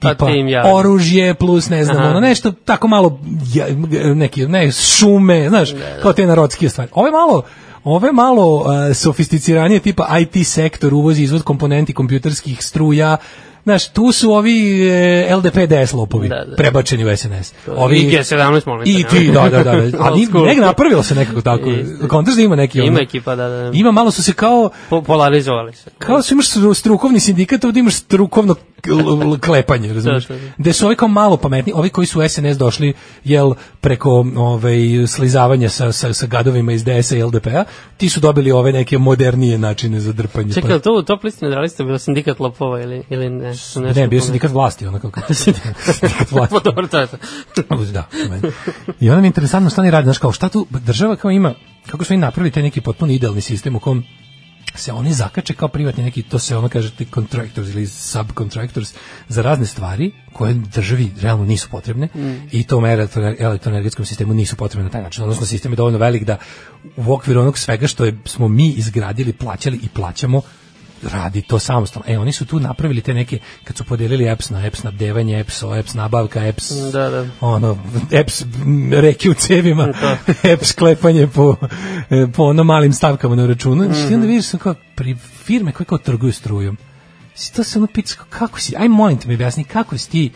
[SPEAKER 6] Pa
[SPEAKER 7] tipa
[SPEAKER 6] tim ja.
[SPEAKER 7] oružje plus ne znam
[SPEAKER 6] Aha.
[SPEAKER 7] ono nešto tako malo ja, neki ne šume znaš
[SPEAKER 6] Da,
[SPEAKER 7] kao te narodske stvari ove malo ove malo e, sofisticiranije tipa IT sektor uvozi izvod komponenti kompjuterskih struja Znaš, tu su ovi e, LDP DS lopovi,
[SPEAKER 6] Da, da.
[SPEAKER 7] prebačeni u SNS. Ovi,
[SPEAKER 6] I G17, molim te,
[SPEAKER 7] I
[SPEAKER 6] ne?
[SPEAKER 7] ti, da, da,
[SPEAKER 6] *laughs*
[SPEAKER 7] da. da.
[SPEAKER 6] Old
[SPEAKER 7] Ali
[SPEAKER 6] school.
[SPEAKER 7] nek napravilo se nekako tako.
[SPEAKER 6] Isto.
[SPEAKER 7] Kontraš da ima neki...
[SPEAKER 6] Ima
[SPEAKER 7] ono-
[SPEAKER 6] ekipa, da, da. da.
[SPEAKER 7] Ima, malo su se kao...
[SPEAKER 6] Po- polarizovali se.
[SPEAKER 7] Kao da su imaš stru- strukovni sindikat, ovdje imaš strukovno k- l- l- klepanje, razumiješ?
[SPEAKER 6] Da, da, da.
[SPEAKER 7] Gde su ovi kao malo pametni, ovi koji su u SNS došli, jel, preko ovaj, slizavanja sa, sa, sa gadovima iz DS-a i LDP-a, ti su dobili ove neke modernije načine za drpanje.
[SPEAKER 6] Čekaj,
[SPEAKER 7] Pa-
[SPEAKER 6] jel to u top listi nedralista bio sindikat lopova ili, ili ne? Su da nešto
[SPEAKER 7] ne, bio
[SPEAKER 6] pomenuli.
[SPEAKER 7] sindikat vlasti, onako kako. *laughs* sindikat
[SPEAKER 6] *laughs* Pa
[SPEAKER 7] vlasti.
[SPEAKER 6] dobro, to je to.
[SPEAKER 7] da, meni. I onda mi je interesantno šta oni radi, znaš kao šta tu država kao ima, kako su oni napravili taj neki potpuno idealni sistem u kom se oni zakače kao privatni neki, to se ono kaže ti contractors ili subcontractors za razne stvari koje državi realno nisu potrebne i tom elektro- elektroenergetskom sistemu nisu potrebne na taj način. Odnosno, sistem je dovoljno velik da u okviru onog svega što je, smo mi izgradili, plaćali i plaćamo, radi to samostalno. E, oni su tu napravili te neke, kad su podelili EPS na EPS snabdevanje, EPS, ovo, EPS nabavka, EPS
[SPEAKER 6] Da, da. E,
[SPEAKER 7] ono, EPS m, reke u cevima, *laughs* EPS klepanje po, e, po ono malim stavkama na računu. Mm
[SPEAKER 6] Mhm.
[SPEAKER 7] -hmm. I onda vidiš sam kao pri firme koje kao trguju strujom. Si to se ono pita, kako si, aj molim te mi objasni, kako si ti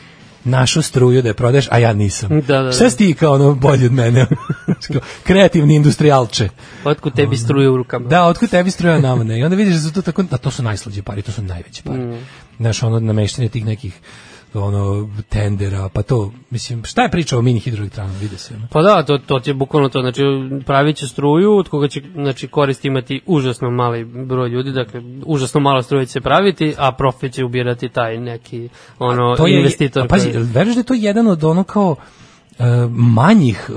[SPEAKER 7] našu struju da je prodaješ, a ja nisam.
[SPEAKER 6] Da, da, da.
[SPEAKER 7] Šta si ti kao ono bolji od mene? *laughs* Kao Kreativni industrijalče.
[SPEAKER 6] Otkud tebi struje u rukama?
[SPEAKER 7] Da, otkud tebi struja nama ne. I onda vidiš da su to tako, da to su najslađe pare, to su najveće pare. Mm. Znaš, ono nameštanje tih nekih ono tendera, pa to, mislim, šta je priča o mini hidroelektranama, vide se. ono.
[SPEAKER 6] Pa da, to, to ti je bukvalno to, znači pravit će struju od koga će znači, korist imati užasno mali broj ljudi, dakle užasno malo struje će se praviti, a profit će ubirati taj neki ono,
[SPEAKER 7] to je,
[SPEAKER 6] investitor.
[SPEAKER 7] a pazi,
[SPEAKER 6] koji-
[SPEAKER 7] jel veruješ da je to jedan od ono kao e, manjih,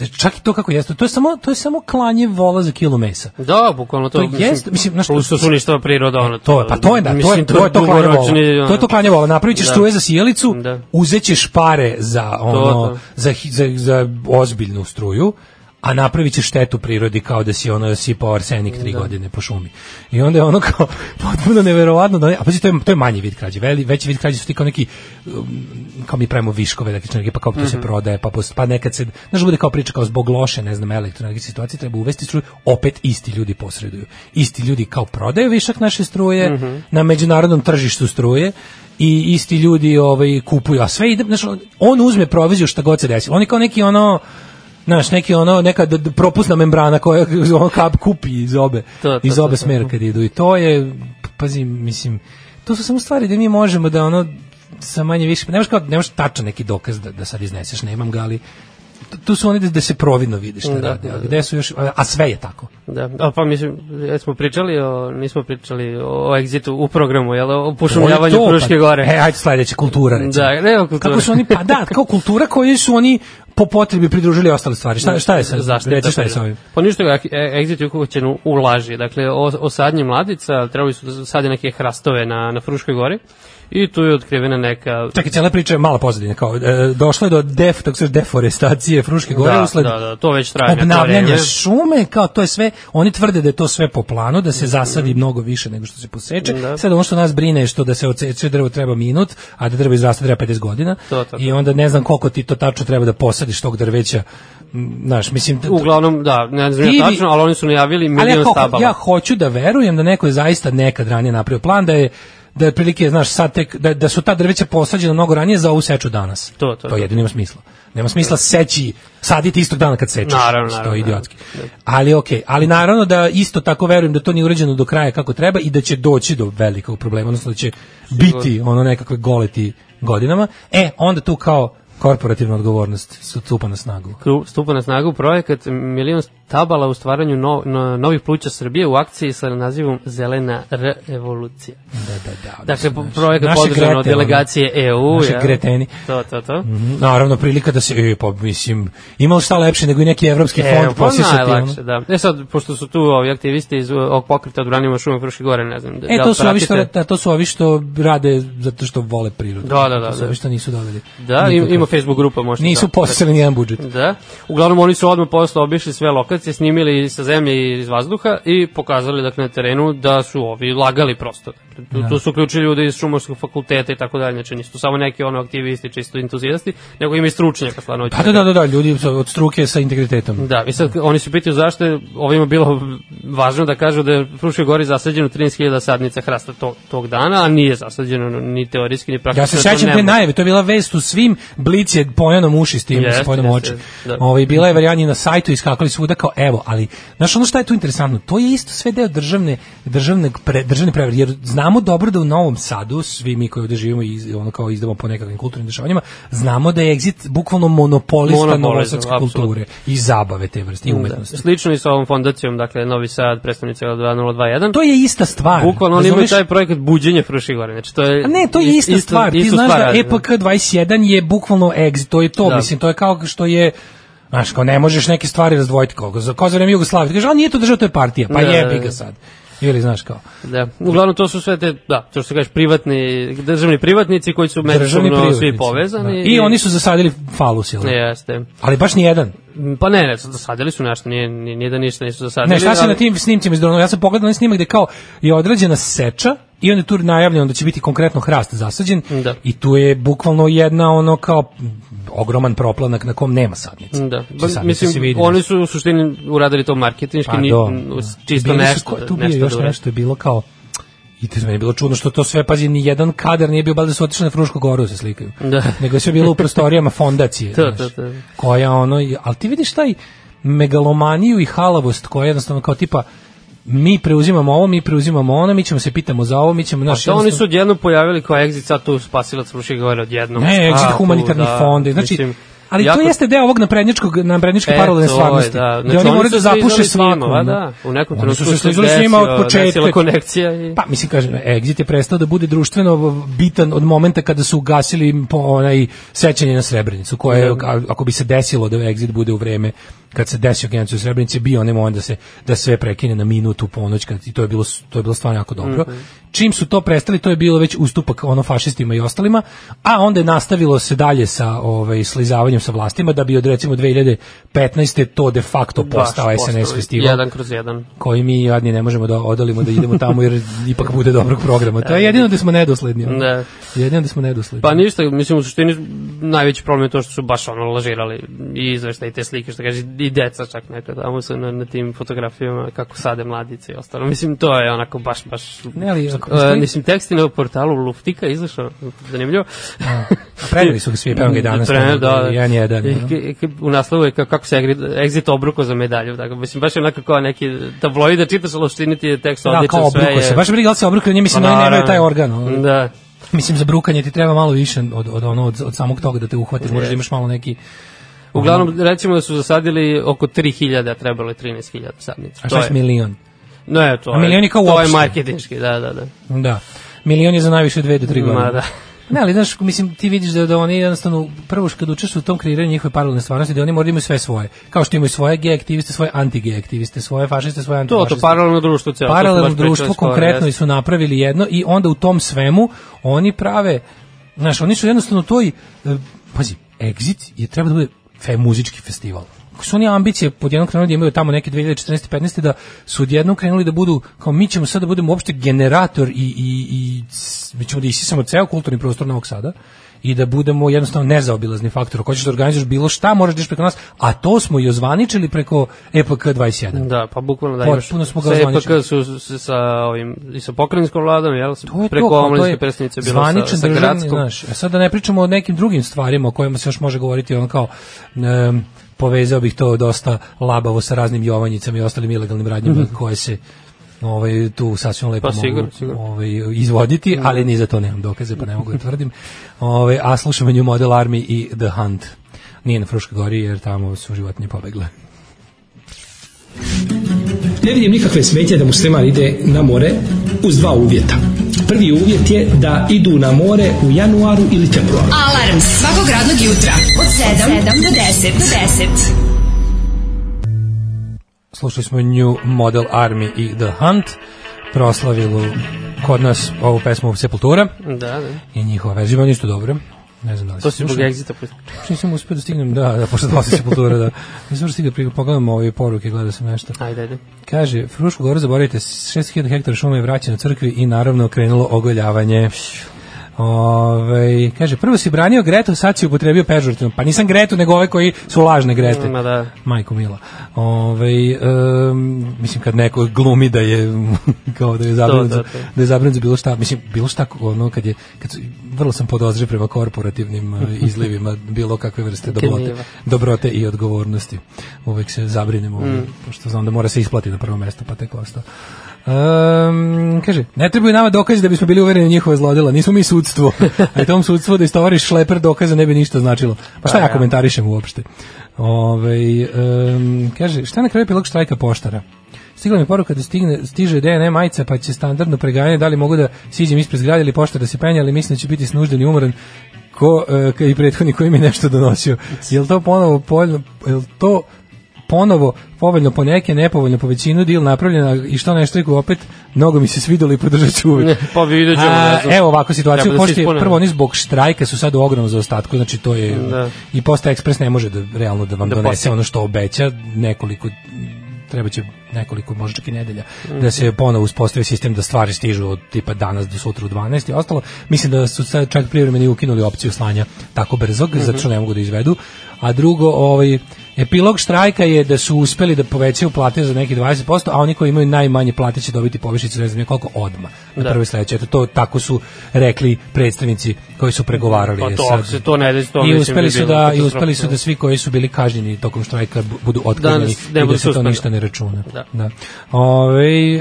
[SPEAKER 7] e, čak i to kako jeste, to je samo, to je samo klanje vola za kilo mesa.
[SPEAKER 6] Da, bukvalno to.
[SPEAKER 7] To jest, mislim, znaš,
[SPEAKER 6] plus to su ništa priroda, ono.
[SPEAKER 7] To je, pa to je da, to je,
[SPEAKER 6] mislim,
[SPEAKER 7] to je to klanje vola.
[SPEAKER 6] dugoročni, ono,
[SPEAKER 7] To je to klanje vola. Napravit ćeš
[SPEAKER 6] Da.
[SPEAKER 7] struje za sijalicu,
[SPEAKER 6] Da.
[SPEAKER 7] uzećeš pare za ono
[SPEAKER 6] to.
[SPEAKER 7] za, hi- za, za ozbiljnu struju, a napravit ćeš štetu prirodi kao da si ono sipao arsenik
[SPEAKER 6] Da.
[SPEAKER 7] tri godine po šumi. I onda je ono kao *laughs* potpuno neverovatno da ne, a pazi to je, to je manji vid krađe. Veli, veći vid krađe su ti kao neki um, kao mi pravimo viškove električne energije, pa kao to
[SPEAKER 6] Mhm.
[SPEAKER 7] se prodaje, pa, pos, pa nekad se, znaš, bude kao priča kao zbog loše, ne znam, elektroenergetske situacije treba uvesti struju, opet isti ljudi posreduju. Isti ljudi kao prodaju višak naše struje
[SPEAKER 6] Mhm.
[SPEAKER 7] na međunarodnom tržištu struje i isti ljudi ovaj kupuju, a sve ide, znaš, on- on uzme proviziju šta god se desi. On je kao neki ono Znaš, neki ono, neka d- d- propusna membrana koja *laughs* ono kap kupi iz obe,
[SPEAKER 6] To, to,
[SPEAKER 7] iz
[SPEAKER 6] to,
[SPEAKER 7] obe
[SPEAKER 6] to.
[SPEAKER 7] smera da kad idu. I to je, pazi, mislim, to su samo stvari da mi možemo da ono, sa manje više, nemaš kao, nemaš tačan neki dokaz da, da sad izneseš, nemam ga, ali tu- tu su oni da, da se providno vidi šta da,
[SPEAKER 6] Da,
[SPEAKER 7] rade,
[SPEAKER 6] da,
[SPEAKER 7] a
[SPEAKER 6] da.
[SPEAKER 7] gde su još, a, a sve je tako.
[SPEAKER 6] Da, a pa mislim, jesmo pričali o, nismo pričali o exitu u programu, jel, o
[SPEAKER 7] To
[SPEAKER 6] pošumljavanju
[SPEAKER 7] je to,
[SPEAKER 6] Fruške gore.
[SPEAKER 7] E, ajde sledeća, kultura recimo.
[SPEAKER 6] Da, ne, o kulturi.
[SPEAKER 7] Kako su oni, pa da, kao kultura koju su oni po potrebi pridružili ostale stvari. Šta, šta je sa,
[SPEAKER 6] Zaštita
[SPEAKER 7] reci šta je sa
[SPEAKER 6] prirode.
[SPEAKER 7] ovim?
[SPEAKER 6] Pa ništa, e- Exit je ukućen u laži. Dakle, o, o sadnji mladica, trebali su da sade neke hrastove na, na Fruškoj gori i tu je otkrivena neka...
[SPEAKER 7] Čekaj, cijela priča je mala pozadina, kao, e, došlo je do def, tako se kaže, deforestacije Fruške gore
[SPEAKER 6] da,
[SPEAKER 7] usled
[SPEAKER 6] da, da, to već traje neko
[SPEAKER 7] obnavljanja
[SPEAKER 6] vreme.
[SPEAKER 7] šume, kao to je sve, oni tvrde da je to sve po planu, da se zasadi mnogo više nego što se poseče.
[SPEAKER 6] Mhm. Da.
[SPEAKER 7] Sad ono što nas brine je što da se odseče drvo treba minut, a da drvo izrasta treba 50 godina.
[SPEAKER 6] To, to, to.
[SPEAKER 7] I onda ne znam koliko ti to tačno treba da posadiš tog drveća. m, Znaš, mislim, t-
[SPEAKER 6] Uglavnom, da, ne znam
[SPEAKER 7] Ili-
[SPEAKER 6] ja tačno, ali oni su najavili
[SPEAKER 7] ali ja,
[SPEAKER 6] milion
[SPEAKER 7] kao-
[SPEAKER 6] stabala.
[SPEAKER 7] ja hoću da verujem da neko je zaista nekad ranije napravio plan da je da je otprilike, znaš, sad tek, da, da su ta drveća posađena mnogo ranije za ovu seču danas.
[SPEAKER 6] To, to,
[SPEAKER 7] to
[SPEAKER 6] to.
[SPEAKER 7] jedino ima smisla. Nema smisla seći, saditi istog dana kad sečeš.
[SPEAKER 6] Naravno,
[SPEAKER 7] Mislim, To je
[SPEAKER 6] naravno, Da.
[SPEAKER 7] idiotski. Ali okej, ali naravno da isto tako verujem da to nije uređeno do kraja kako treba i da će doći do velikog problema, odnosno da će biti ono nekakve goleti godinama. E, onda tu kao korporativna odgovornost stupa na snagu.
[SPEAKER 6] Tu stupa na snagu projekat Milion stabala u stvaranju no, no, novih pluća Srbije u akciji sa nazivom Zelena revolucija.
[SPEAKER 7] Da, da, da.
[SPEAKER 6] Dakle,
[SPEAKER 7] Mislim, naš-
[SPEAKER 6] projekat
[SPEAKER 7] naše
[SPEAKER 6] podržan od
[SPEAKER 7] Grete, ono.
[SPEAKER 6] delegacije EU.
[SPEAKER 7] naše
[SPEAKER 6] ja.
[SPEAKER 7] Greteni. Mm.
[SPEAKER 6] To, to, to.
[SPEAKER 7] Naravno, prilika da se, e, pa mislim, imao šta lepše nego i neki evropski
[SPEAKER 6] E,
[SPEAKER 7] fond posjećati.
[SPEAKER 6] najlakše,
[SPEAKER 7] ono.
[SPEAKER 6] da. E sad, pošto su tu ovi aktivisti iz ovog pokreta odbranimo šume Fruške gore, ne znam. Da,
[SPEAKER 7] E,
[SPEAKER 6] da
[SPEAKER 7] to
[SPEAKER 6] li
[SPEAKER 7] su, ovi što,
[SPEAKER 6] pratite?
[SPEAKER 7] da, to su ovi što rade zato što vole prirodu.
[SPEAKER 6] Da, da, da,
[SPEAKER 7] To su
[SPEAKER 6] da.
[SPEAKER 7] ovi što nisu doveli.
[SPEAKER 6] Da, im,
[SPEAKER 7] nikakav-
[SPEAKER 6] ima Facebook grupa, možda.
[SPEAKER 7] Nisu
[SPEAKER 6] da.
[SPEAKER 7] posjeli nijedan budžet.
[SPEAKER 6] Da. Uglavnom oni su odmah posle obišli sve lokacije, snimili sa zemlje i iz vazduha i pokazali dakle na terenu da su ovi lagali prosto. Dakle,
[SPEAKER 7] Da.
[SPEAKER 6] Tu, tu su uključili ljude iz šumarskog fakulteta i tako dalje, znači nisu samo neki ono aktivisti, čisto entuzijasti, nego ima i stručnjaka stvarno. hoću
[SPEAKER 7] Pa da, da, da, da, ljudi sa- od struke sa integritetom.
[SPEAKER 6] Da, i sad oni su pitaju zašto je ovima bilo važno da kažu da je u Fruškoj gori zasađeno 13.000 sadnica hrasta tog, tog dana, a nije zasađeno ni teorijski ni praktično.
[SPEAKER 7] Ja se
[SPEAKER 6] Pa to
[SPEAKER 7] sećam
[SPEAKER 6] ne
[SPEAKER 7] te
[SPEAKER 6] može.
[SPEAKER 7] najave, to je bila vest u svim blic je pojanom uši s tim,
[SPEAKER 6] Jeste,
[SPEAKER 7] s pojanom
[SPEAKER 6] jeste,
[SPEAKER 7] oči.
[SPEAKER 6] da.
[SPEAKER 7] Ovaj bila je varijani na sajtu i skakali svuda kao evo, ali znaš ono šta je tu interesantno, to je isto sve deo državne državnog pre, državne prevare, jer znamo dobro da u Novom Sadu svi mi koji ovde živimo i iz- ono kao izdamo po nekakvim kulturnim dešavanjima, znamo da je Exit bukvalno monopolista
[SPEAKER 6] Monopolizam,
[SPEAKER 7] novosadske
[SPEAKER 6] apsolutno.
[SPEAKER 7] kulture i zabave te vrste i umetnosti.
[SPEAKER 6] Da. Slično i sa ovom fondacijom, dakle Novi Sad, predstavnica 2021.
[SPEAKER 7] To je ista stvar.
[SPEAKER 6] Bukvalno oni imaju
[SPEAKER 7] razumeš?
[SPEAKER 6] taj projekat buđenje Fruške gore. Znači, to je
[SPEAKER 7] A ne, to je
[SPEAKER 6] is-
[SPEAKER 7] ista stvar. Ti
[SPEAKER 6] istu
[SPEAKER 7] znaš
[SPEAKER 6] stvar
[SPEAKER 7] da
[SPEAKER 6] radi,
[SPEAKER 7] EPK 21 je bukvalno exit, to je to,
[SPEAKER 6] Da.
[SPEAKER 7] mislim, to je kao što je Znaš, kao ne možeš neke stvari razdvojiti kao, za- kao za vreme Jugoslavije. Ti Kažeš, a nije to država, to je partija. Pa
[SPEAKER 6] Da, da,
[SPEAKER 7] jebi
[SPEAKER 6] da.
[SPEAKER 7] ga sad. Ili, znaš, kao,
[SPEAKER 6] Da. Uglavnom to su sve te, da, to što se kažeš privatni, državni privatnici koji su
[SPEAKER 7] državni
[SPEAKER 6] međusobno
[SPEAKER 7] privatnici.
[SPEAKER 6] svi povezani.
[SPEAKER 7] Da. I oni su zasadili falus, jel? da?
[SPEAKER 6] Jeste.
[SPEAKER 7] Ali baš nijedan.
[SPEAKER 6] Pa ne, ne, zasadili su nešto, nije, nije, nije da ništa nisu zasadili.
[SPEAKER 7] Ne, šta se
[SPEAKER 6] ali-
[SPEAKER 7] na tim snimcima izdronilo? Ja sam pogledao onaj snimak gde kao je odrađena seča i onda je tu najavljeno da će biti konkretno hrast zasađen
[SPEAKER 6] Da.
[SPEAKER 7] i tu je bukvalno jedna ono kao m, ogroman proplanak na kom nema sadnice.
[SPEAKER 6] Da,
[SPEAKER 7] Sa
[SPEAKER 6] ba,
[SPEAKER 7] sadnice se
[SPEAKER 6] mislim,
[SPEAKER 7] vidi da
[SPEAKER 6] oni su u suštini uradili to marketinški, ni, n- s- čisto
[SPEAKER 7] Pa Bili su-
[SPEAKER 6] nešto.
[SPEAKER 7] ko je tu bio
[SPEAKER 6] nešto
[SPEAKER 7] još
[SPEAKER 6] da urade.
[SPEAKER 7] nešto je bilo kao I to je meni bilo čudno što to sve, pazi, ni jedan kadar nije bio, bar da su otišli na Frušku goru da se slikaju.
[SPEAKER 6] Da.
[SPEAKER 7] *laughs* Nego je sve bilo u prostorijama fondacije.
[SPEAKER 6] *laughs* To,
[SPEAKER 7] znaš,
[SPEAKER 6] to, to.
[SPEAKER 7] Koja ono, i- ali ti vidiš taj megalomaniju i halavost koja je jednostavno kao tipa mi preuzimamo ovo, mi preuzimamo ono, mi ćemo se pitamo za ovo, mi ćemo
[SPEAKER 6] A
[SPEAKER 7] naš...
[SPEAKER 6] što Da, oni su odjedno pojavili kao Exit, sad tu spasilac Ruši govore odjednom.
[SPEAKER 7] Ne,
[SPEAKER 6] A,
[SPEAKER 7] exit
[SPEAKER 6] tu,
[SPEAKER 7] humanitarni
[SPEAKER 6] da,
[SPEAKER 7] fond, znači
[SPEAKER 6] mislim,
[SPEAKER 7] Ali
[SPEAKER 6] jako-
[SPEAKER 7] to jeste deo ovog naprednjačkog, naprednjačke
[SPEAKER 6] E,
[SPEAKER 7] paralelne
[SPEAKER 6] to je,
[SPEAKER 7] stvarnosti.
[SPEAKER 6] da.
[SPEAKER 7] gde oni
[SPEAKER 6] Znači,
[SPEAKER 7] moraju da
[SPEAKER 6] oni su se
[SPEAKER 7] zapuše
[SPEAKER 6] slizali s njima,
[SPEAKER 7] svakom.
[SPEAKER 6] va,
[SPEAKER 7] ono.
[SPEAKER 6] da. U nekom
[SPEAKER 7] Oni su
[SPEAKER 6] trenutku
[SPEAKER 7] se
[SPEAKER 6] se
[SPEAKER 7] slizali s njima od
[SPEAKER 6] desio- desila
[SPEAKER 7] početka.
[SPEAKER 6] konekcija i-
[SPEAKER 7] Pa, mislim, kažem, Exit je prestao da bude društveno bitan od momenta kada su ugasili po onaj sećanje na Srebrenicu, koje, je,
[SPEAKER 6] Da.
[SPEAKER 7] a- ako bi se desilo da Exit bude u vreme kad se desio genocid u Srebrenici, bio onaj moment da se da sve prekine na minutu u ponoć kad i to je bilo s- to je bilo stvarno jako dobro.
[SPEAKER 6] Mhm.
[SPEAKER 7] Mm -hmm. Čim su to prestali, to je bilo već ustupak ono fašistima i ostalima, a onda je nastavilo se dalje sa ovaj slizavanjem sa vlastima da bi od recimo 2015. to de facto postao
[SPEAKER 6] baš
[SPEAKER 7] SNS
[SPEAKER 6] postao
[SPEAKER 7] festival
[SPEAKER 6] Jedan kroz jedan.
[SPEAKER 7] koji mi jadni ne možemo da odolimo da idemo tamo jer ipak bude dobrog programa. To je jedino da smo nedosledni. ono.
[SPEAKER 6] Da.
[SPEAKER 7] Jedino da smo nedosledni.
[SPEAKER 6] Pa ništa, mislim u suštini najveći problem je to što su baš ono lažirali i izveštaj i te slike što kaže i deca čak nekad tamo su na, na tim fotografijama kako sade mladice i ostalo. Mislim to je onako baš baš
[SPEAKER 7] Ne, ali ako
[SPEAKER 6] E,
[SPEAKER 7] postoji-
[SPEAKER 6] mislim tekst je na portalu Luftika izašao, zanimljivo.
[SPEAKER 7] Preneli su ga svi, pa
[SPEAKER 6] *laughs*
[SPEAKER 7] evo ga i danas,
[SPEAKER 6] Preneli, da, da.
[SPEAKER 7] jedan, jedan,
[SPEAKER 6] I-
[SPEAKER 7] ono.
[SPEAKER 6] i- i- u naslovu je ka- kako se Egri- Exit obruko za medalju, tako mislim baš je onako kao neki tabloid da čitaš loštini ti je tekst
[SPEAKER 7] da,
[SPEAKER 6] odličan
[SPEAKER 7] kao
[SPEAKER 6] sve
[SPEAKER 7] obruko
[SPEAKER 6] je. Pa
[SPEAKER 7] se. Baš briga da se obruko, nje mislim da oni nemaju taj organ. ono.
[SPEAKER 6] Da.
[SPEAKER 7] Mislim za brukanje ti treba malo više od od ono od, od samog toga da te uhvati, možeš da imaš malo neki
[SPEAKER 6] Uglavnom, recimo da su zasadili oko 3000, a trebalo je 13000 sadnica.
[SPEAKER 7] a šta je s milion.
[SPEAKER 6] Ne, to
[SPEAKER 7] A milion je kao
[SPEAKER 6] to je
[SPEAKER 7] uopšte.
[SPEAKER 6] marketinški, da, da, da.
[SPEAKER 7] Da. Milion je za najviše dve do tri
[SPEAKER 6] Ma,
[SPEAKER 7] godine.
[SPEAKER 6] da.
[SPEAKER 7] Ne, ali znaš, mislim, ti vidiš da, da oni jednostavno, prvo što kad učeš u tom kreiranju njihove paralelne stvarnosti, da oni moraju da imaju sve svoje. Kao što imaju svoje gej aktiviste, svoje anti-gej aktiviste, svoje fašiste, svoje
[SPEAKER 6] To, to
[SPEAKER 7] antifašiste.
[SPEAKER 6] paralelno društvo celo. to smo
[SPEAKER 7] paralelno
[SPEAKER 6] baš pričali
[SPEAKER 7] društvo
[SPEAKER 6] skoro,
[SPEAKER 7] konkretno i
[SPEAKER 6] jeste.
[SPEAKER 7] su napravili jedno i onda u tom svemu oni prave znaš oni su jednostavno toj eh, pazi exit je treba da bude fe muzički festival Kako su oni ambicije podjednom krenuli da imaju tamo neke 2014. 15. da su odjednom krenuli da budu kao mi ćemo sad da budemo uopšte generator i, i, i s- mi ćemo da isisamo ceo kulturni prostor Novog Sada i da budemo jednostavno nezaobilazni faktor. Ako hoćeš da organizuješ bilo šta, moraš da ideš preko nas, a to smo i ozvaničili preko E EPK 21.
[SPEAKER 6] Da, pa bukvalno da
[SPEAKER 7] Potpuno
[SPEAKER 6] imaš.
[SPEAKER 7] smo ga
[SPEAKER 6] sa
[SPEAKER 7] ozvaničili.
[SPEAKER 6] EPK su s- sa ovim i sa pokrajinskom vladom, jel?
[SPEAKER 7] To je
[SPEAKER 6] preko
[SPEAKER 7] to, kao to
[SPEAKER 6] omladinske
[SPEAKER 7] je
[SPEAKER 6] predstavnice bilo sa,
[SPEAKER 7] zvaničan
[SPEAKER 6] sa
[SPEAKER 7] državni,
[SPEAKER 6] gradskom.
[SPEAKER 7] znaš. A sad da ne pričamo o nekim drugim stvarima o kojima se još može govoriti, on kao um, povezao bih to dosta labavo sa raznim jovanjicama i ostalim ilegalnim radnjama koje se ovaj tu sasvim lepo
[SPEAKER 6] Mhm. Pa, sigurno,
[SPEAKER 7] mogu
[SPEAKER 6] sigurno. Mhm.
[SPEAKER 7] ovaj izvoditi, ali ni za to nemam dokaze, pa ne mogu da tvrdim. Ovaj a slušamo New Model Army i The Hunt. Nije na Fruškoj gori jer tamo su životinje pobegle.
[SPEAKER 8] Ne vidim nikakve smetje da musliman ide na more uz dva uvjeta. Prvi uvjet je da idu na more u januaru ili februaru.
[SPEAKER 4] Alarm svakog radnog jutra od 7, do 10. Do 10.
[SPEAKER 7] Slušali smo New Model Army i The Hunt, proslavilu kod nas ovu pesmu Sepultura
[SPEAKER 6] Da, da.
[SPEAKER 7] i njihova verzija, meni isto dobro. Ne znam da li
[SPEAKER 6] To se zbog
[SPEAKER 7] slušao.
[SPEAKER 6] egzita pusti.
[SPEAKER 7] Još nisam uspio da stignem, da, da, pošto dosta Sepultura,
[SPEAKER 6] *laughs*
[SPEAKER 7] da. Nisam uspio da stignem, pogledam ove poruke, gledao sam nešto.
[SPEAKER 6] Ajde, ajde.
[SPEAKER 7] Kaže, Frušku goru zaboravite, 6000 hektara šume je vraćeno crkvi i naravno krenulo ogoljavanje. Ove, kaže, prvo si branio Gretu, sad si upotrebio pežurativno. Pa nisam Gretu, nego ove koji su lažne Grete.
[SPEAKER 6] Ma da.
[SPEAKER 7] Majko Mila. Ove, um, mislim, kad neko glumi da je, *laughs* kao da je zabrinut,
[SPEAKER 6] To,
[SPEAKER 7] za-
[SPEAKER 6] to, to.
[SPEAKER 7] da je zabrinut za bilo šta, mislim, bilo šta, ono, kad je, kad, su- vrlo sam podozriv prema korporativnim *laughs* eh, izlivima bilo kakve vrste dobrote,
[SPEAKER 6] Kenjiva.
[SPEAKER 7] dobrote i odgovornosti. Uvek se zabrinemo, mm. pošto znam da mora se isplati na prvo mesto, pa tek ostao. Um, kaže, ne trebaju nama dokazi da bismo bili uvereni u njihove zlodela, nismo mi *laughs* sudstvo. A tom sudstvu da istovariš šleper dokaza ne bi ništa značilo. Pa šta ja komentarišem uopšte? Ove, um, kaže, šta je na kraju pilog štrajka poštara? Stigla mi poruka da stigne, stiže DNA majica pa će standardno pregajanje da li mogu da siđem ispred zgrade ili pošta da se penja, ali mislim da će biti snužden i umoran ko, e, ka- i prethodni koji mi je nešto donosio. Je li to ponovo poljno, je li to ponovo, povoljno po neke, nepovoljno po većinu, dil napravljena i što ne štriku opet, mnogo mi se svidelo i podržat ću uvek.
[SPEAKER 6] *laughs* Pa vidjet ćemo,
[SPEAKER 7] A,
[SPEAKER 6] ne znam.
[SPEAKER 7] Evo ovako situaciju,
[SPEAKER 6] Treba da se
[SPEAKER 7] pošto je
[SPEAKER 6] ispune.
[SPEAKER 7] prvo oni zbog štrajka su sad u ogromnom zaostatku, znači to je
[SPEAKER 6] Da.
[SPEAKER 7] i Posta Ekspres ne može da realno da vam
[SPEAKER 6] Da
[SPEAKER 7] donese
[SPEAKER 6] posti-
[SPEAKER 7] ono što obeća, nekoliko treba će nekoliko, možda čak i nedelja, da se ponovo uspostavi sistem da stvari stižu od tipa danas do sutra u 12 i ostalo. Mislim da su sad čak privremeni ukinuli opciju slanja tako brzog, zato što ne mogu da izvedu. A drugo, ovaj, epilog štrajka je da su uspeli da povećaju plate za neki 20%, a oni koji imaju najmanje plate će dobiti povišicu, ne znam ni koliko, odma na
[SPEAKER 6] Da.
[SPEAKER 7] prvoj sledećoj. Eto, to tako su rekli predstavnici koji su pregovarali.
[SPEAKER 6] Pa
[SPEAKER 7] je
[SPEAKER 6] to,
[SPEAKER 7] sad.
[SPEAKER 6] ako se to ne desi, to
[SPEAKER 7] I
[SPEAKER 6] mislim
[SPEAKER 7] uspeli
[SPEAKER 6] bi
[SPEAKER 7] su
[SPEAKER 6] bilo
[SPEAKER 7] da i
[SPEAKER 6] katastrofa.
[SPEAKER 7] uspeli su da svi koji su bili kažnjeni tokom štrajka bu- budu otkriveni
[SPEAKER 6] Danas
[SPEAKER 7] i
[SPEAKER 6] ne budu
[SPEAKER 7] da se to
[SPEAKER 6] suspendovani.
[SPEAKER 7] ništa ne računa.
[SPEAKER 6] Da.
[SPEAKER 7] da. Ove, e,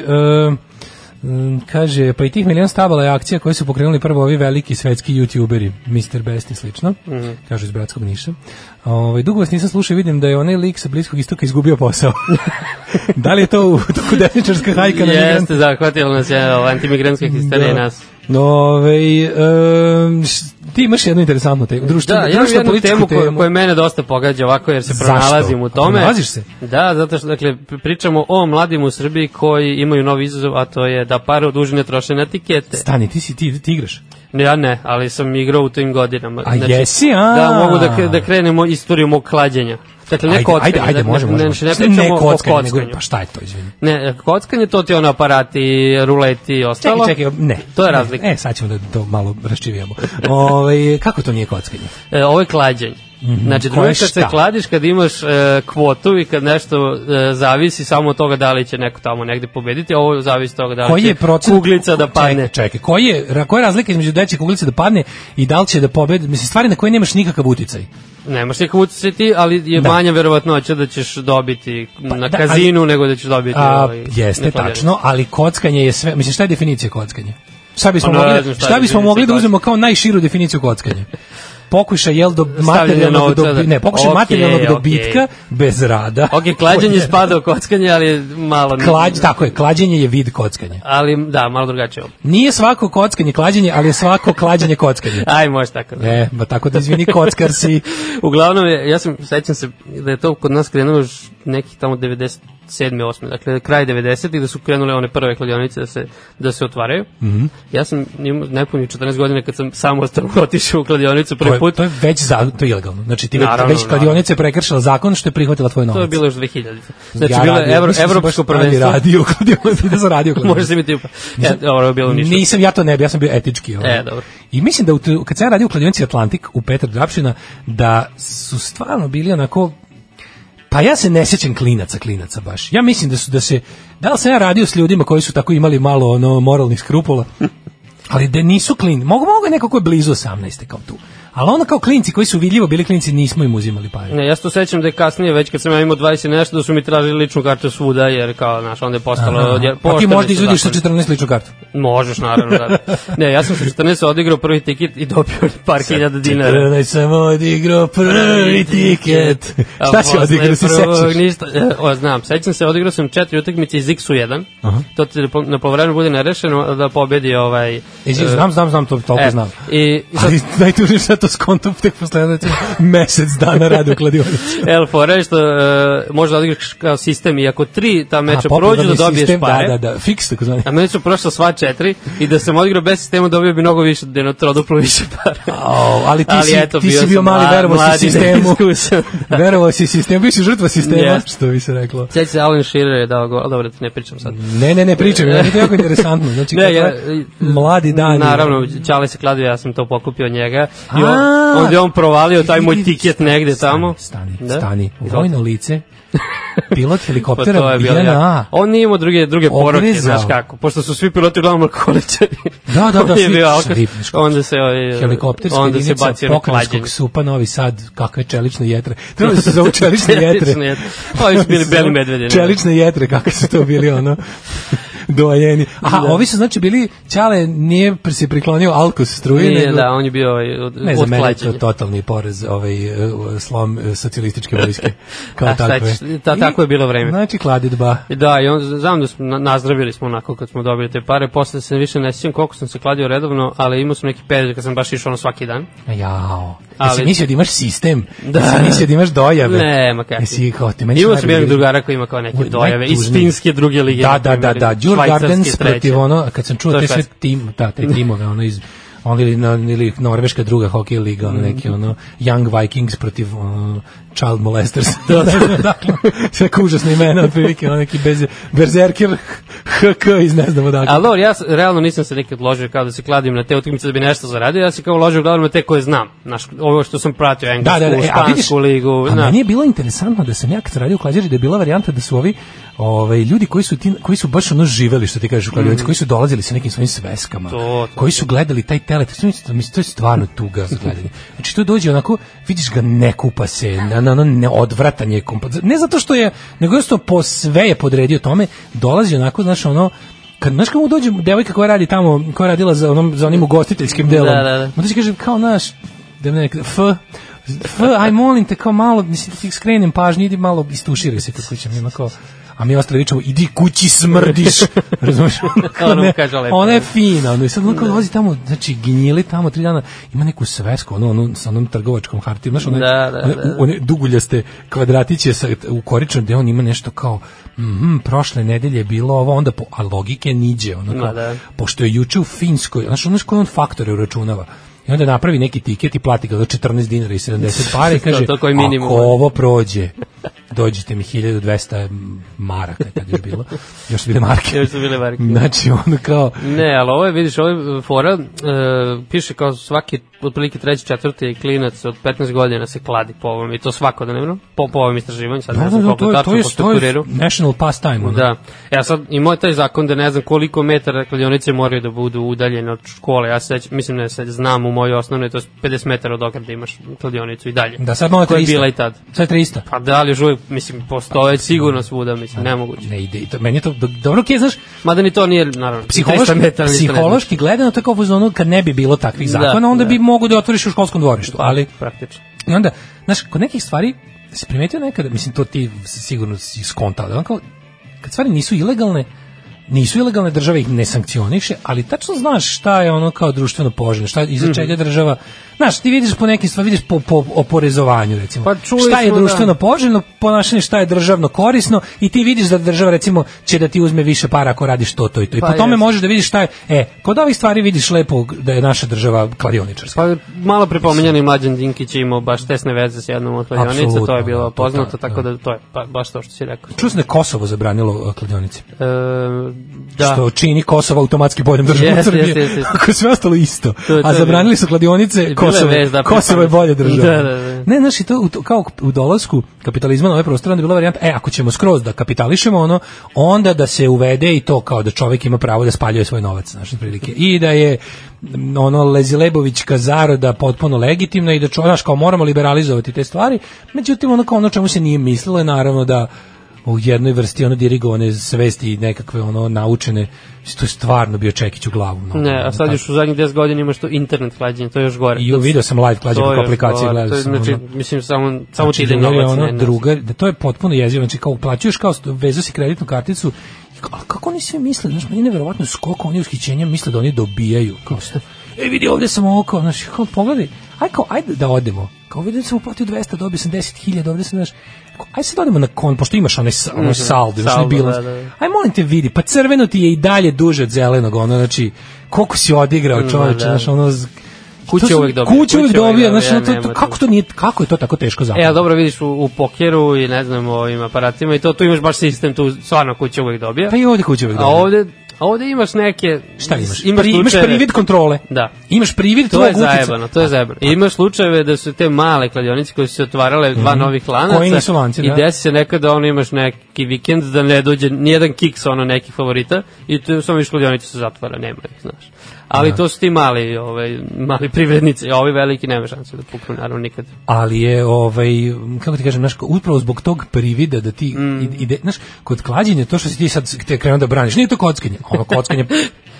[SPEAKER 7] m, kaže, pa i tih milion stabala je akcija koju su pokrenuli prvo ovi veliki svetski youtuberi, Mr. Best i slično,
[SPEAKER 6] Mhm.
[SPEAKER 7] kažu iz Bratskog Niša. Ove, dugo vas nisam slušao i vidim da je onaj lik sa Bliskog istoka izgubio
[SPEAKER 6] *laughs*
[SPEAKER 7] posao. da li je to u toku desničarska hajka na migrante?
[SPEAKER 6] Jeste, zahvatilo nas je ova antimigrantska histerija i nas.
[SPEAKER 7] No, ovaj, em, š- ti imaš jednu interesantnu te, društvenu,
[SPEAKER 6] Da, ja imam
[SPEAKER 7] društveno
[SPEAKER 6] jednu
[SPEAKER 7] političku
[SPEAKER 6] temu, koja, koja mene dosta pogađa ovako jer se
[SPEAKER 7] Zašto?
[SPEAKER 6] pronalazim u tome.
[SPEAKER 7] Pronalaziš se?
[SPEAKER 6] Da, zato što dakle, pri- pričamo o mladim u Srbiji koji imaju novi izazov, a to je da pare odužine troše na tikete.
[SPEAKER 7] Stani, ti si ti, ti igraš.
[SPEAKER 6] Ne, ja ne, ali sam igrao u tim godinama.
[SPEAKER 7] A jesi, a?
[SPEAKER 6] Da, mogu da, kre- da krenemo istoriju mog klađenja. Dakle, ne
[SPEAKER 7] Ajde,
[SPEAKER 6] kockanje.
[SPEAKER 7] ajde, ajde,
[SPEAKER 6] da-
[SPEAKER 7] može, može.
[SPEAKER 6] Ne,
[SPEAKER 7] može.
[SPEAKER 6] ne, ne
[SPEAKER 7] Šta-
[SPEAKER 6] pričamo
[SPEAKER 7] kockanje,
[SPEAKER 6] o
[SPEAKER 7] nego-
[SPEAKER 6] kockanju.
[SPEAKER 7] Pa šta je to, izvini?
[SPEAKER 6] Ne, kockanje to ti je ono aparati, ruleti i ostalo.
[SPEAKER 7] Čekaj, čekaj, ne.
[SPEAKER 6] To je
[SPEAKER 7] Ne.
[SPEAKER 6] razlika.
[SPEAKER 7] E, sad ćemo da to malo raščivijamo. Ove, kako to nije kockanje?
[SPEAKER 6] E, ovo je klađenje. Znači,
[SPEAKER 7] Mhm. Koje
[SPEAKER 6] drugi kad se
[SPEAKER 7] šta?
[SPEAKER 6] kladiš, kad imaš e, kvotu i kad nešto e, zavisi samo od toga da li će neko tamo negde pobediti, a ovo zavisi od toga da li
[SPEAKER 7] Koji
[SPEAKER 6] će
[SPEAKER 7] je procent...
[SPEAKER 6] kuglica da padne.
[SPEAKER 7] Čekaj, čekaj. Koji je, ra- koja je razlika između deće kuglice da padne i da li će da pobedi? Mislim, stvari na koje nemaš nikakav uticaj.
[SPEAKER 6] Nemaš nikak utjecaj ti, ali je
[SPEAKER 7] Da.
[SPEAKER 6] manja verovatnoća da ćeš dobiti na
[SPEAKER 7] da,
[SPEAKER 6] kazinu nego da ćeš dobiti...
[SPEAKER 7] A,
[SPEAKER 6] ovaj,
[SPEAKER 7] jeste,
[SPEAKER 6] na kladionici.
[SPEAKER 7] tačno, ali kockanje je sve... Mislim, šta je definicija kockanja? Šta bismo
[SPEAKER 6] Pa ne
[SPEAKER 7] mogli, da,
[SPEAKER 6] znam šta
[SPEAKER 7] šta
[SPEAKER 6] je
[SPEAKER 7] bismo
[SPEAKER 6] definicija
[SPEAKER 7] mogli da
[SPEAKER 6] kockanja.
[SPEAKER 7] uzmemo kao najširu
[SPEAKER 6] *laughs*
[SPEAKER 7] definiciju kockanja? Pokušaj jel do materijalnog
[SPEAKER 6] novca, da.
[SPEAKER 7] dobitka, ne, pokušaj
[SPEAKER 6] Okej,
[SPEAKER 7] materijalnog
[SPEAKER 6] okej.
[SPEAKER 7] dobitka bez rada.
[SPEAKER 6] Ok,
[SPEAKER 7] *laughs*
[SPEAKER 6] klađenje spada u kockanje, ali je malo...
[SPEAKER 7] Klađ, tako je, klađenje je vid kockanja.
[SPEAKER 6] Ali, da, malo drugačije.
[SPEAKER 7] Nije svako kockanje klađenje, ali je svako klađenje
[SPEAKER 6] *laughs*
[SPEAKER 7] kockanje.
[SPEAKER 6] Aj, može tako. Da.
[SPEAKER 7] E, ba tako da izvini kockar si.
[SPEAKER 6] Uglavnom, je, ja sam, sećam se da je to kod nas krenulo još nekih tamo 97. 8. Dakle, kraj 90. da su krenule one prve kladionice da se, da se otvaraju. Mm
[SPEAKER 7] Mhm.
[SPEAKER 6] -hmm. Ja sam imao nepunih 14 godina kad sam samostalno *laughs* otišao u kladionicu
[SPEAKER 7] To
[SPEAKER 6] prvi
[SPEAKER 7] je,
[SPEAKER 6] put.
[SPEAKER 7] to je već za, to je ilegalno. Znači ti već,
[SPEAKER 6] Naravno,
[SPEAKER 7] već
[SPEAKER 6] naravno.
[SPEAKER 7] kladionica je prekršila zakon što je prihvatila tvoj novac.
[SPEAKER 6] To je bilo još 2000. Znači,
[SPEAKER 7] Ja
[SPEAKER 6] bilo je
[SPEAKER 7] radio-
[SPEAKER 6] evro,
[SPEAKER 7] mislim da sam baš
[SPEAKER 6] evropsko prvenstvo.
[SPEAKER 7] pravi radio *laughs* u kladionici, da sam radio u kladionici.
[SPEAKER 6] *laughs* Može se mi tipa. E, dobro, je bilo u ništa.
[SPEAKER 7] Nisam ja to ne bi, ja sam bio etički. Ovaj.
[SPEAKER 6] E, dobro.
[SPEAKER 7] I mislim da u, tu- kad sam ja radio u kladionici Atlantik u Petar Drapšina, da su stvarno bili onako Pa ja se ne sećam klinaca, klinaca baš. Ja mislim da su da se da li sam ja radio s ljudima koji su tako imali malo ono moralnih
[SPEAKER 6] *laughs*
[SPEAKER 7] skrupula. Ali da nisu klin, mogu mogu je neko ko je blizu 18. kao tu. Ali ono kao klinci koji su vidljivo bili klinci nismo im uzimali pare.
[SPEAKER 6] Ne, ja se to sećam da je kasnije, već kad sam ja imao 20 i nešto, da su mi tražili ličnu kartu svuda, jer kao, znaš, onda je postalo... Jer,
[SPEAKER 7] Pa ti
[SPEAKER 6] pooštreni
[SPEAKER 7] možda
[SPEAKER 6] su
[SPEAKER 7] izvadiš sa
[SPEAKER 6] zakoni.
[SPEAKER 7] 14 ličnu kartu.
[SPEAKER 6] Možeš, naravno, da. Ne, ja sam sa 14 odigrao prvi tikit i dobio par hiljada dinara.
[SPEAKER 7] 14 sam odigrao prvi tiket.
[SPEAKER 6] A
[SPEAKER 7] Šta si
[SPEAKER 6] posle
[SPEAKER 7] odigrao, si
[SPEAKER 6] prvog
[SPEAKER 7] sećaš?
[SPEAKER 6] Ništa, e, o, znam, sećam se, odigrao sam četiri utakmice iz X-u 1. To ti po- na polovremenu bude nerešeno da pobedi ovaj... e,
[SPEAKER 7] Izvini, znam, znam, znam, to
[SPEAKER 6] Eh.
[SPEAKER 7] toliko znam.
[SPEAKER 6] I, i sad,
[SPEAKER 7] Ali najtužnije što ja to skontam tek posle jedno recimo, mesec dana rada u kladionici.
[SPEAKER 6] El Fora je što e, može da odigraš kao sistem i ako tri ta meča
[SPEAKER 7] A,
[SPEAKER 6] prođu da
[SPEAKER 7] popularni
[SPEAKER 6] dobiješ
[SPEAKER 7] Ah, sistem,
[SPEAKER 6] pare.
[SPEAKER 7] Da, da, da, fiks tako zvani.
[SPEAKER 6] A meni su prošla sva četiri i da sam odigrao bez sistema dobio bi mnogo više, deno troduplo više para.
[SPEAKER 7] Au, ali ti
[SPEAKER 6] Ali
[SPEAKER 7] si,
[SPEAKER 6] eto,
[SPEAKER 7] ti
[SPEAKER 6] bio
[SPEAKER 7] si bio
[SPEAKER 6] sam
[SPEAKER 7] mali,
[SPEAKER 6] mla-
[SPEAKER 7] verovao si
[SPEAKER 6] mladi,
[SPEAKER 7] sistemu.
[SPEAKER 6] neiskusan.
[SPEAKER 7] *laughs* verovao si sistemu, bio si žrtva sistema,
[SPEAKER 6] Jeste.
[SPEAKER 7] što bi se reklo.
[SPEAKER 6] Sveći se Alan Shearer je dao gol, dobro, da ne pričam sad.
[SPEAKER 7] Ne, ne, ne, pričam, meni je to jako interesantno. Znači, kako
[SPEAKER 6] Ne, ja,
[SPEAKER 7] je mladi dan.
[SPEAKER 6] Naravno, Čale se kladio, ja sam to pokupio od njega. I on,
[SPEAKER 7] A,
[SPEAKER 6] onda je on provalio taj moj
[SPEAKER 7] vidi,
[SPEAKER 6] tiket
[SPEAKER 7] stani,
[SPEAKER 6] negde
[SPEAKER 7] stani,
[SPEAKER 6] tamo.
[SPEAKER 7] Stani,
[SPEAKER 6] Da?
[SPEAKER 7] stani.
[SPEAKER 6] Izvolite.
[SPEAKER 7] Vojno
[SPEAKER 6] *laughs*
[SPEAKER 7] lice, pilot
[SPEAKER 6] Pa
[SPEAKER 7] helikoptera,
[SPEAKER 6] to je bilo
[SPEAKER 7] JNA.
[SPEAKER 6] ja. On nije imao druge, druge poroke,
[SPEAKER 7] Ogrezao.
[SPEAKER 6] znaš kako. Pošto su svi piloti uglavnom alkoholičari. *laughs*
[SPEAKER 7] Da, da, da,
[SPEAKER 6] On je
[SPEAKER 7] svi-
[SPEAKER 6] bio alkohol.
[SPEAKER 7] svi piško.
[SPEAKER 6] Onda se, ovaj,
[SPEAKER 7] helikopterska
[SPEAKER 6] onda se
[SPEAKER 7] jedinica
[SPEAKER 6] bacio na klađenje.
[SPEAKER 7] pokrajinskog supa Novi Sad, kakve čelične jetre. Treba da se
[SPEAKER 6] *laughs*
[SPEAKER 7] zovu čelične jetre.
[SPEAKER 6] Čelične jetre. Ovi su bili beli medvedi, ne?
[SPEAKER 7] Čelične jetre, kakve su to bili,
[SPEAKER 6] *laughs*
[SPEAKER 7] ono, dojeni. Aha,
[SPEAKER 6] Da.
[SPEAKER 7] ovi su, znači, bili, Ćale nije pri- se priklonio alko struje,
[SPEAKER 6] Nije,
[SPEAKER 7] nego...
[SPEAKER 6] da, on je bio ovaj, od,
[SPEAKER 7] Ne znam, meni je to
[SPEAKER 6] odklađen.
[SPEAKER 7] totalni porez, ovaj, eh, slom eh, socijalističke vojske.
[SPEAKER 6] *laughs*
[SPEAKER 7] Kao
[SPEAKER 6] A, šta
[SPEAKER 7] takve.
[SPEAKER 6] ćeš, ta- tako je bilo vreme.
[SPEAKER 7] Znači, kladitba.
[SPEAKER 6] I Da, i on, znam da smo, na- nazdravili smo onako kad smo dobili te pare, posle se više ne sjećam koliko sam se kladio redovno, ali imao sam neki period kad sam baš išao ono svaki dan.
[SPEAKER 7] Jao. Jesi
[SPEAKER 6] Ali-
[SPEAKER 7] mislio da imaš sistem? Da. Jesi mislio da imaš dojave?
[SPEAKER 6] Ne, ma kakvi.
[SPEAKER 7] Jesi kao ti meni su
[SPEAKER 6] Imao sam
[SPEAKER 7] najbolji
[SPEAKER 6] jednog
[SPEAKER 7] bili-
[SPEAKER 6] drugara koji ima kao neke
[SPEAKER 7] Oj,
[SPEAKER 6] dojave iz
[SPEAKER 7] najtužniji.
[SPEAKER 6] finske druge lige.
[SPEAKER 7] Da,
[SPEAKER 6] na
[SPEAKER 7] da, da,
[SPEAKER 6] primjer,
[SPEAKER 7] da. Djur
[SPEAKER 6] švajcarske
[SPEAKER 7] Gardens
[SPEAKER 6] treće.
[SPEAKER 7] protiv ono, kad sam čuo
[SPEAKER 6] To je
[SPEAKER 7] te sve
[SPEAKER 6] švajcarska.
[SPEAKER 7] tim, da, te timove, ono iz ono ili, na- ili Norveška druga hokej liga, ono neki ono Young Vikings protiv ono, Child
[SPEAKER 6] *laughs*
[SPEAKER 7] Molesters. da, *laughs* da, da. Sve kao užasne imena, otprilike, ono neki bez, Berserker HK iz ne znam odakle.
[SPEAKER 6] Ali dobro, ja s- realno nisam se nikad ložio kao da se kladim na te utakmice da bi nešto zaradio, ja se kao ložio uglavnom na te koje znam. Znaš, ovo što sam pratio,
[SPEAKER 7] da,
[SPEAKER 6] englesku,
[SPEAKER 7] da, da, e, a vidiš,
[SPEAKER 6] špansku ligu. da.
[SPEAKER 7] a
[SPEAKER 6] znaš.
[SPEAKER 7] meni je bilo interesantno da sam ja kad sam radio u Klađeri, da je bila varijanta da su ovi ovaj, ljudi koji su, ti, koji su baš ono živeli, što ti kažeš u Klađerici, koji su dolazili sa nekim svojim sveskama,
[SPEAKER 6] Mm. To, to.
[SPEAKER 7] koji su gledali taj telet, to, mislim, mislim, to je stvarno tuga za gledanje. Znači tu dođe onako, vidiš ga ne kupa se, na, na, na, ne odvratan je kompa- ne zato što je, nego jednostavno po sve je podredio tome, dolazi onako, znaš, ono, kad znaš kako dođe devojka koja radi tamo, koja je radila za onom za onim ugostiteljskim delom.
[SPEAKER 6] Da, da, da.
[SPEAKER 7] Onda ti kažem kao naš da me nek f f aj molim te kao malo mislim ti skrenem pažnju idi malo istuširaj se kako ćemo ima kao a mi ostali vičemo idi kući
[SPEAKER 6] *laughs*
[SPEAKER 7] smrdiš razumeš Ono kao
[SPEAKER 6] Ona mu
[SPEAKER 7] ne-
[SPEAKER 6] kaže lepo. da.
[SPEAKER 7] ona je fina ono i sad ono kao dolazi tamo znači ginjeli tamo tri dana ima neku svesku ono, ono sa onom trgovačkom hartijom znaš ona
[SPEAKER 6] Da, da, da.
[SPEAKER 7] one duguljaste kvadratiće sa, u koričnom gde on ima nešto kao mhm, prošle nedelje je bilo ovo, onda po, a logike niđe, ono kao,
[SPEAKER 6] Ma da.
[SPEAKER 7] pošto je juče u Finskoj, znaš, ono koje on faktore uračunava, I onda napravi neki tiket i plati ga za 14 dinara i 70
[SPEAKER 6] *laughs*
[SPEAKER 7] para i kaže,
[SPEAKER 6] To- to koji minimum.
[SPEAKER 7] ako ovo prođe, dođite mi 1200 maraka, tad još bilo, još su bile marke.
[SPEAKER 6] Još su bile marke.
[SPEAKER 7] Znači, ono kao,
[SPEAKER 6] Ne, ali ovo je, vidiš, ovo je e, fora, e, piše kao svaki, otprilike treći, četvrti klinac od 15 godina se kladi po ovom, i to svakodnevno, po, po ovom istraživanju, sad
[SPEAKER 7] da,
[SPEAKER 6] ne
[SPEAKER 7] da,
[SPEAKER 6] znam
[SPEAKER 7] da,
[SPEAKER 6] koliko
[SPEAKER 7] to je,
[SPEAKER 6] tačno
[SPEAKER 7] to
[SPEAKER 6] po
[SPEAKER 7] je, to je
[SPEAKER 6] strukturiru.
[SPEAKER 7] national pastime, ono.
[SPEAKER 6] Da. Ja sad i moj taj zakon da ne znam koliko metara kladionice moraju da budu udaljene od škole. Ja se mislim ne se znam u mojoj osnovnoj to je 50 metara od ograde imaš kladionicu i dalje.
[SPEAKER 7] Da, sad malo
[SPEAKER 6] Koja je
[SPEAKER 7] 300.
[SPEAKER 6] bila i tad.
[SPEAKER 7] Sad 300.
[SPEAKER 6] Pa da li još uvijek, mislim, postoje sigurno svuda, mislim, nemoguće.
[SPEAKER 7] Ne ide, i to, meni je to, do- dobro, okej, znaš,
[SPEAKER 6] Mada ni to nije, naravno,
[SPEAKER 7] psihološki,
[SPEAKER 6] 300 metara ništa ne znači.
[SPEAKER 7] psihološki gledano to je kao ono kad ne bi bilo takvih
[SPEAKER 6] Da,
[SPEAKER 7] zakona, onda
[SPEAKER 6] da. Pa,
[SPEAKER 7] bi mogu da otvoriš u školskom dvorištu, ali
[SPEAKER 6] praktično.
[SPEAKER 7] i onda, znaš, kod nekih stvari si primetio nekada, mislim to ti sigurno si skontao, da on kao, kad stvari nisu ilegalne, nisu ilegalne, država ih ne sankcioniše, ali tačno znaš šta je ono kao društveno poželjno, šta iza
[SPEAKER 6] Mhm.
[SPEAKER 7] čega država, znaš, ti vidiš po nekim stvari, vidiš po, po oporezovanju, recimo,
[SPEAKER 6] Pa čuli
[SPEAKER 7] šta je
[SPEAKER 6] smo, da.
[SPEAKER 7] društveno poželjno ponašanje, šta je državno korisno i ti vidiš da država, recimo, će da ti uzme više para ako radiš to, to i to. I
[SPEAKER 6] Pa
[SPEAKER 7] po tome
[SPEAKER 6] jest.
[SPEAKER 7] možeš da vidiš šta je, e, kod ovih stvari vidiš lepo da je naša država kladioničarska.
[SPEAKER 6] Pa malo prepominjani Mlađan Dinkić je imao baš tesne veze s jednom od kladionica, to je
[SPEAKER 7] Apsolutno, da,
[SPEAKER 6] bilo
[SPEAKER 7] to-
[SPEAKER 6] poznato,
[SPEAKER 7] to-
[SPEAKER 6] tako da to je pa, baš to što si rekao.
[SPEAKER 7] Čuo sam da je Kosovo zabranilo e, kladionice.
[SPEAKER 6] E, da.
[SPEAKER 7] što čini Kosovo automatski boljom državom
[SPEAKER 6] Jeste,
[SPEAKER 7] od Srbije.
[SPEAKER 6] jeste, jeste, jeste.
[SPEAKER 7] Ako je sve ostalo isto.
[SPEAKER 6] To je- to
[SPEAKER 7] A
[SPEAKER 6] je-
[SPEAKER 7] zabranili su kladionice,
[SPEAKER 6] je
[SPEAKER 7] Kosovo,
[SPEAKER 6] vez da
[SPEAKER 7] Kosovo je bolje država.
[SPEAKER 6] Da, da, da.
[SPEAKER 7] Ne, znaš, i to u, to- kao u dolasku kapitalizma na ove prostore, onda je bila varijanta, e, ako ćemo skroz da kapitališemo ono, onda da se uvede i to kao da čovek ima pravo da spaljuje svoj novac, znaš, prilike. I da je m, ono Lezilebovićka zaroda potpuno legitimna i da čovek, znaš, kao moramo liberalizovati te stvari, međutim, ono kao ono čemu se nije mislilo je naravno da u jednoj vrsti ono dirigovane svesti i nekakve ono naučene Mislim, to je stvarno bio Čekić u glavu no, pa
[SPEAKER 6] Ne, a sad još u zadnjih 10 godina imaš to internet klađenje, to je još gore.
[SPEAKER 7] i ju- video sam live klađe
[SPEAKER 6] To je
[SPEAKER 7] kako
[SPEAKER 6] još
[SPEAKER 7] aplikacije
[SPEAKER 6] gore, to
[SPEAKER 7] gledao
[SPEAKER 6] je,
[SPEAKER 7] sam
[SPEAKER 6] Znači,
[SPEAKER 7] ono.
[SPEAKER 6] mislim, samo, samo ti ide
[SPEAKER 7] drugar Znači, je
[SPEAKER 6] novac.
[SPEAKER 7] ono
[SPEAKER 6] ne, ne.
[SPEAKER 7] druga da to je potpuno jezivo znači kao uplaćuješ kao st- vezu si kreditnu karticu i kao, ali kako oni svi misle znači meni je neverovatno s koliko oni ushićenja misle da oni dobijaju kao što ej vidi ovde sam ovo kao znači kao pogledaj aj kao ajde da odemo kao vidi da sam uplatio 200 dobio sam 10.000 ovde sam znači aj sad odemo na kon pošto imaš onaj sa- ono saldo znači
[SPEAKER 6] Mhm. saldo,
[SPEAKER 7] bilans
[SPEAKER 6] da, da, da.
[SPEAKER 7] aj molim te vidi pa crveno ti je i dalje duže od zelenog ono znači koliko si odigrao čoveče
[SPEAKER 6] da.
[SPEAKER 7] znači ono z-
[SPEAKER 6] Kuće
[SPEAKER 7] To su-
[SPEAKER 6] uvek dobije,
[SPEAKER 7] Kuće uvek dobija, znači ono, to, to,
[SPEAKER 6] nema
[SPEAKER 7] kako
[SPEAKER 6] tu.
[SPEAKER 7] to nije, kako je to tako teško
[SPEAKER 6] E,
[SPEAKER 7] zapamtiti?
[SPEAKER 6] ali dobro vidiš u, u pokeru i ne znam ovim aparatima i to, tu imaš baš sistem, tu stvarno kuća uvek dobija.
[SPEAKER 7] Pa i ovde kuće uvek
[SPEAKER 6] A
[SPEAKER 7] dobija.
[SPEAKER 6] ovde, a ovde imaš neke...
[SPEAKER 7] Šta imaš?
[SPEAKER 6] Imaš,
[SPEAKER 7] Pri, imaš
[SPEAKER 6] slučajeve-
[SPEAKER 7] privid kontrole.
[SPEAKER 6] Da.
[SPEAKER 7] Imaš privid
[SPEAKER 6] To je
[SPEAKER 7] tvog uticaja.
[SPEAKER 6] zajebano, to je zajebano. I imaš slučajeve da su te male kladionice koje su se otvarale dva novih lanaca.
[SPEAKER 7] Mhm. Koji nisu lanci, da.
[SPEAKER 6] I desi se nekada ono imaš neki vikend da ne dođe nijedan kiks ono nekih favorita i tu samo viš kladionice se zatvara, nema ih, znaš. Ali
[SPEAKER 7] Da.
[SPEAKER 6] to su ti mali, ovaj, mali privrednici, a ovi veliki nema šanse da puknu, naravno nikad.
[SPEAKER 7] Ali je, ovaj, kako ti kažem, znaš, upravo zbog tog privida da ti mm. ide, znaš, kod klađenja, to što si ti sad te krenuo da braniš, nije to kockanje, ono
[SPEAKER 6] *laughs*
[SPEAKER 7] kockanje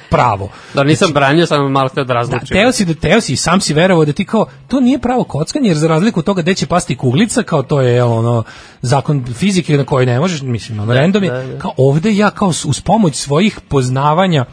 [SPEAKER 7] pravo.
[SPEAKER 6] Da nisam branio, samo malo htio da
[SPEAKER 7] Znači, Da,
[SPEAKER 6] razlučim.
[SPEAKER 7] teo si, da, teo si i sam si verovao da ti kao, to nije pravo kockanje, jer za razliku od toga gde će pasti kuglica, kao to je jel, ono, zakon fizike na koji ne možeš, mislim, ono, random je,
[SPEAKER 6] da, da.
[SPEAKER 7] kao ovde ja kao s- uz pomoć svojih poznavanja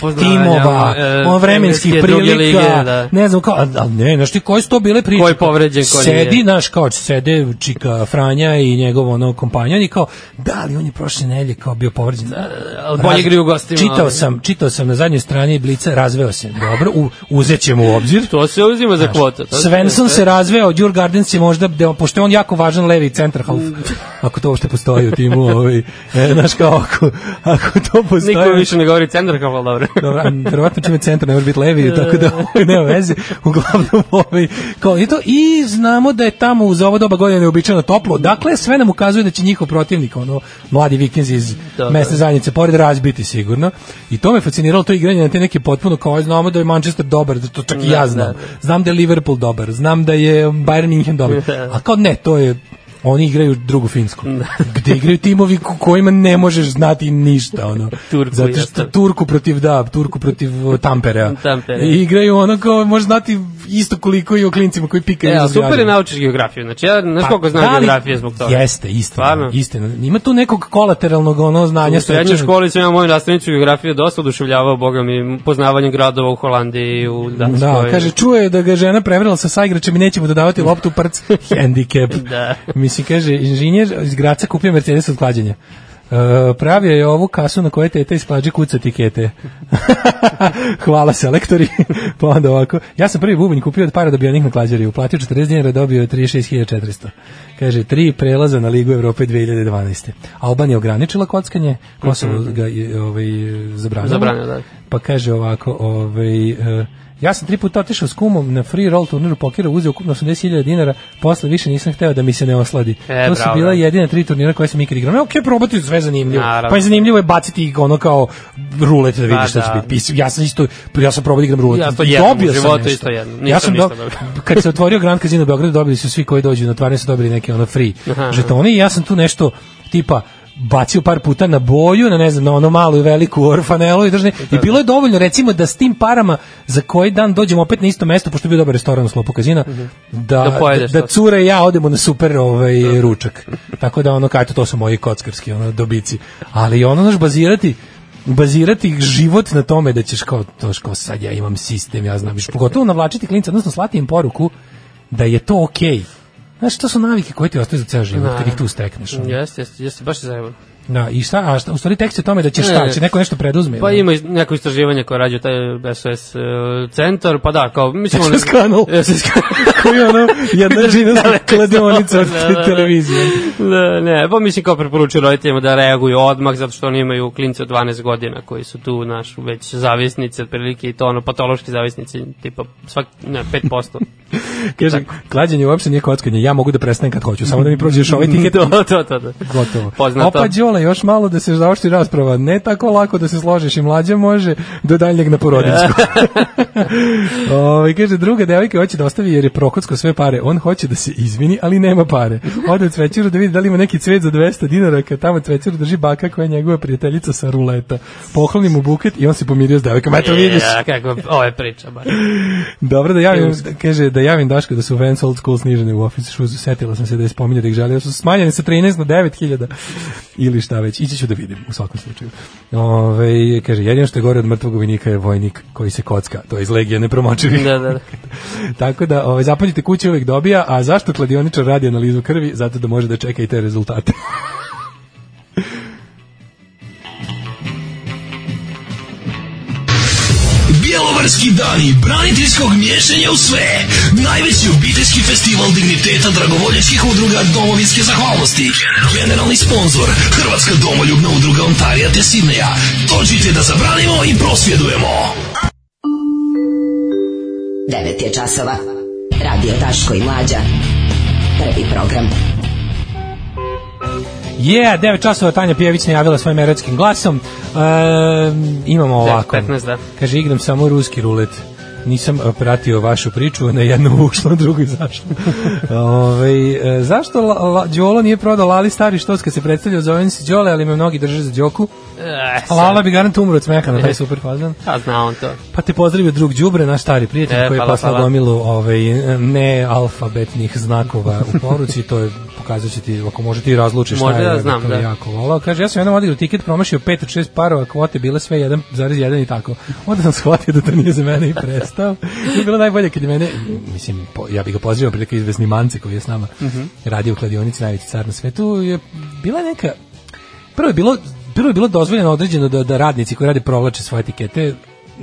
[SPEAKER 6] poznavanja,
[SPEAKER 7] timova,
[SPEAKER 6] e,
[SPEAKER 7] ono vremenskih
[SPEAKER 6] engleske druge
[SPEAKER 7] prilika,
[SPEAKER 6] lige, da.
[SPEAKER 7] ne znam kao, a- ali ne, znaš ti koje su to bile priče?
[SPEAKER 6] Ko je povređen, ko nije.
[SPEAKER 7] Sedi, znaš, kao sede Čika Franja i njegov ono kompanjon i kao, da li on je prošle nelje kao bio povređen?
[SPEAKER 6] Da, ali bolje
[SPEAKER 7] Raz-
[SPEAKER 6] igraju u gostima,
[SPEAKER 7] Čitao
[SPEAKER 6] ali.
[SPEAKER 7] sam, čitao sam na zadnjoj strani Blica, razveo se, dobro, u, uzet ćemo u obzir.
[SPEAKER 6] To se uzima za kvotu. to
[SPEAKER 7] Znači, Svensson se razveo, Djur Gardens je možda, da- pošto je on jako važan levi centarhalf, ako to uopšte postoji u timu, ovaj, e, znaš kao, ako, ako to postoji...
[SPEAKER 6] Niko više ne govori centar kao, ali dobro.
[SPEAKER 7] Dobro, a verovatno čime centar ne može biti
[SPEAKER 6] *laughs*
[SPEAKER 7] levi, tako da ovaj, nema veze. Uglavnom, ovaj, kao, i, to, i znamo da je tamo uz ovo doba godine neobičajno toplo. Dakle, sve nam ukazuje da će njihov protivnik, ono, mladi vikenzi iz
[SPEAKER 6] Da,
[SPEAKER 7] mesne zajednice, pored razbiti sigurno. I to me fasciniralo, to igranje na te neke potpuno kao, aj, znamo da je Manchester dobar, da to čak i ja znam. Znam da je Liverpool dobar, znam da je Bayern München dobar.
[SPEAKER 6] *laughs* Da.
[SPEAKER 7] A kao ne, to je oni igraju drugu finsku. Gde igraju timovi ko- kojima ne možeš znati ništa ono.
[SPEAKER 6] *laughs* Turku,
[SPEAKER 7] Zato što
[SPEAKER 6] jasno.
[SPEAKER 7] Turku protiv da, Turku protiv uh, Tamperea.
[SPEAKER 6] Tamperea.
[SPEAKER 7] I igraju ono kao može znati isto koliko i o klincima koji pikaju.
[SPEAKER 6] E,
[SPEAKER 7] iza
[SPEAKER 6] ali super
[SPEAKER 7] zgrade.
[SPEAKER 6] je naučiš geografiju. Znači, ja znaš
[SPEAKER 7] Pa,
[SPEAKER 6] koliko znam
[SPEAKER 7] da li-
[SPEAKER 6] geografije zbog toga.
[SPEAKER 7] Jeste, istina,
[SPEAKER 6] Stvarno?
[SPEAKER 7] istina. Ima tu nekog kolateralnog ono znanja
[SPEAKER 6] U srednjoj
[SPEAKER 7] stečenog.
[SPEAKER 6] školi sam ja moju nastavnicu geografije dosta oduševljavao, boga mi, poznavanjem gradova u Holandiji i u Danskoj.
[SPEAKER 7] Da, kaže, čuje da ga žena prevrela sa saigračem i nećemo dodavati loptu u
[SPEAKER 6] *laughs*
[SPEAKER 7] prc, handicap.
[SPEAKER 6] Da.
[SPEAKER 7] Mislim, kaže, inženjer iz Graca kupio Mercedes od klađenja. Uh, pravio je ovu kasu na kojoj teta isklađe kuca tikete. *laughs* Hvala selektori. *laughs* pa onda ovako. Ja sam prvi bubanj kupio od para dobijenih na klađeri. Uplatio 40 dinara, dobio je 36.400. Kaže, tri prelaza na Ligu Evrope 2012. Albanija ograničila kockanje, Kosovo ga je ovaj, zabranilo.
[SPEAKER 6] Zabranio, Mhm. da.
[SPEAKER 7] Pa kaže ovako, ovaj, e, ja sam tri puta otišao s kumom na free roll turniru pokera, uzeo ukupno 80.000 dinara, posle više nisam hteo da mi se ne osladi.
[SPEAKER 6] E,
[SPEAKER 7] to su
[SPEAKER 6] bravo,
[SPEAKER 7] bila
[SPEAKER 6] bravo.
[SPEAKER 7] jedina tri turnira koje sam ikad igrao. Ne, okej, probati sve zanimljivo.
[SPEAKER 6] Naravno.
[SPEAKER 7] Pa je zanimljivo je baciti ih ono kao rulet da vidiš
[SPEAKER 6] Pa,
[SPEAKER 7] šta će
[SPEAKER 6] da.
[SPEAKER 7] biti. Mislim, Ja sam isto, ja sam probao da igram rulet.
[SPEAKER 6] Ja to jednom u
[SPEAKER 7] Dobio sam
[SPEAKER 6] životu
[SPEAKER 7] nešto.
[SPEAKER 6] isto jednom. Nisam
[SPEAKER 7] Ja sam
[SPEAKER 6] ništa
[SPEAKER 7] do-
[SPEAKER 6] dobio.
[SPEAKER 7] kad se otvorio Grand Casino u Beogradu, dobili su svi koji dođu na otvaranje su dobili neke ono free žetoni i ja sam tu nešto tipa bacio par puta na boju, na ne znam, na ono malu i veliku orfanelu i držne. I bilo je dovoljno recimo da s tim parama za koji dan dođemo opet na isto mesto, pošto je bio dobar restoran u sklopu kazina, da,
[SPEAKER 6] Da pojedeš
[SPEAKER 7] da,
[SPEAKER 6] to.
[SPEAKER 7] cure i ja odemo na super ovaj, ručak. Tako da ono, kajto, to su moji kockarski ono, dobici. Ali ono, znaš, bazirati bazirati život na tome da ćeš kao, to kao sad ja imam sistem, ja znam, viš, pogotovo navlačiti klinca, odnosno slati im poruku da je to okej. Znaš, to su navike koje ti ostaju za ceo život, kad ih tu stekneš. ono.
[SPEAKER 6] Jeste, jeste, jeste, baš je zajebano.
[SPEAKER 7] Da, i šta, a šta, u stvari tekst je o tome da će šta,
[SPEAKER 6] Ne.
[SPEAKER 7] će neko nešto preduzme. da.
[SPEAKER 6] Pa
[SPEAKER 7] *laughs* ono.
[SPEAKER 6] ima iz- neko istraživanje koje rađe taj SOS e, centar, pa da, kao,
[SPEAKER 7] *laughs*
[SPEAKER 6] mislim... ono-
[SPEAKER 7] SOS
[SPEAKER 6] *laughs*
[SPEAKER 7] kanal.
[SPEAKER 6] SOS kanal.
[SPEAKER 7] Koji je ono, jedna džinovska kladionica od
[SPEAKER 6] Da, da, da.
[SPEAKER 7] televizije.
[SPEAKER 6] da, ne, pa mislim kao preporučuju roditeljima da reaguju odmah, zato što oni imaju klince od 12 godina koji su tu, naš, već zavisnici, otprilike i to, ono, patološki zavisnici, tipa, svak, ne,
[SPEAKER 7] *laughs*
[SPEAKER 6] 5%.
[SPEAKER 7] Kaže, klađenje uopšte nije kockanje, ja mogu da prestanem kad hoću, samo da mi prođeš ovaj tiket
[SPEAKER 6] to, to, to, da.
[SPEAKER 7] gotovo.
[SPEAKER 6] Poznato.
[SPEAKER 7] Opa, Đole, još malo da se zaošti rasprava. Ne tako lako da se složiš i mlađa može do daljnjeg na porodinsku. Ove, kaže, druga devojka hoće da ostavi jer je prokocko sve pare. On hoće da se izvini, ali nema pare. Ode u cvećeru da vidi da li ima neki cvet za 200 dinara, kad tamo cvećeru drži baka koja je njegova prijateljica sa ruleta. Pokloni mu buket i on se pomirio s devojkom. Eto, vidiš.
[SPEAKER 6] Ja, kako, ovo je priča,
[SPEAKER 7] *laughs*
[SPEAKER 6] baš.
[SPEAKER 7] Dobro da javim, da, kaže da javim Daško da su Vans Old School snižene u Office Shoes, setila sam se da je spominjao da ih žalio, su smanjene sa 13 na 9000 *laughs* ili šta već, ići ću da vidim u svakom slučaju. Ove, kaže, jedino što je gore od mrtvog vojnika je vojnik koji se kocka, to je iz Legije nepromočivih.
[SPEAKER 6] Da, da, da.
[SPEAKER 7] *laughs* Tako da, ovaj, zapaljite kuće uvek dobija, a zašto kladioničar radi analizu krvi? Zato da može da čeka i te rezultate.
[SPEAKER 9] Bjelovarski dani braniteljskog miješanja u sve. Najveći obiteljski festival digniteta dragovoljačkih udruga domovinske zahvalnosti. Generalni sponzor Hrvatska domoljubna udruga Ontarija te Sidneja. Dođite da zabranimo i prosvjedujemo.
[SPEAKER 4] 9 je časova. Radio Daško i Mlađa. Prvi program.
[SPEAKER 7] Je, yeah, 9 časova Tanja Pijević najavila svojim erotskim glasom. E, imamo ovako.
[SPEAKER 6] 15, da.
[SPEAKER 7] Kaže, igram samo ruski rulet. Nisam e, pratio vašu priču, na jednu *laughs* ušlo, na drugu izašlo. Ove, e, zašto La, La, Đolo nije prodao Lali stari štos kad se predstavljao zovem se Đole, ali me mnogi drže za Đoku.
[SPEAKER 6] E,
[SPEAKER 7] A Lala bi garant umro od smeha na taj super fazan.
[SPEAKER 6] sad zna on to.
[SPEAKER 7] Pa te pozdravio drug Đubre, naš stari prijatelj
[SPEAKER 6] E,
[SPEAKER 7] koji je
[SPEAKER 6] hvala,
[SPEAKER 7] poslao
[SPEAKER 6] hvala.
[SPEAKER 7] gomilu ovaj, nealfabetnih znakova u poruci, to je pokazat ću ti, ako može ti razlučiš
[SPEAKER 6] Možda
[SPEAKER 7] šta je,
[SPEAKER 6] ja
[SPEAKER 7] ja
[SPEAKER 6] znam, da.
[SPEAKER 7] jako volao. Kaže, ja sam jednom odigrao tiket, promašio 5 od 6 parova, kvote bile sve 1,1 i tako. Onda sam shvatio da to nije za mene i prestao. I bilo najbolje kad je mene, mislim, po, ja bih ga pozdravio prilike izvezni mance koji je s nama
[SPEAKER 6] Mhm.
[SPEAKER 7] radio u kladionici, najveći car na svetu, je bila neka, prvo je bilo prvo je bilo dozvoljeno određeno da, da radnici koji rade provlače svoje etikete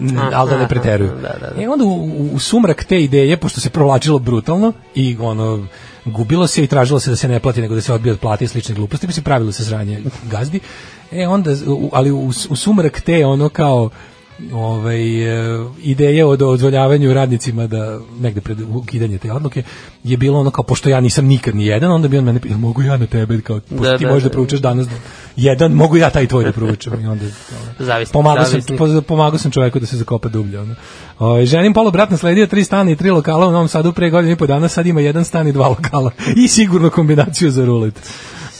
[SPEAKER 7] n-
[SPEAKER 6] Aha,
[SPEAKER 7] ali da ne preteruju.
[SPEAKER 6] aha, da, da, da.
[SPEAKER 7] E onda u, u- u sumrak te ideje, pošto se provlačilo brutalno i ono, gubilo se i tražilo se da se ne plati, nego da se odbije od plate i slične gluposti, bi se pravilo se sranje gazdi. E onda, u- ali u, u sumrak te ono kao ovaj, e, ideje o dozvoljavanju radnicima da negde pred ukidanje te odluke je bilo ono kao, pošto ja nisam nikad ni jedan, onda bi on mene pitao, mogu ja na tebe, kao, pošto
[SPEAKER 6] Da,
[SPEAKER 7] ti
[SPEAKER 6] da,
[SPEAKER 7] možeš da
[SPEAKER 6] da.
[SPEAKER 7] proučaš danas jedan, mogu ja taj tvoj da proučam. I onda, ono,
[SPEAKER 6] Zavisnik,
[SPEAKER 7] pomagao sam,
[SPEAKER 6] zavisnik.
[SPEAKER 7] po- pomagao sam čoveku da se zakopa dublje. Ono. O, ženim polu brat nasledio tri stana i tri lokala u Novom Sadu pre godinu i po dana, sad ima jedan stan i dva lokala. I sigurno kombinaciju za rulet.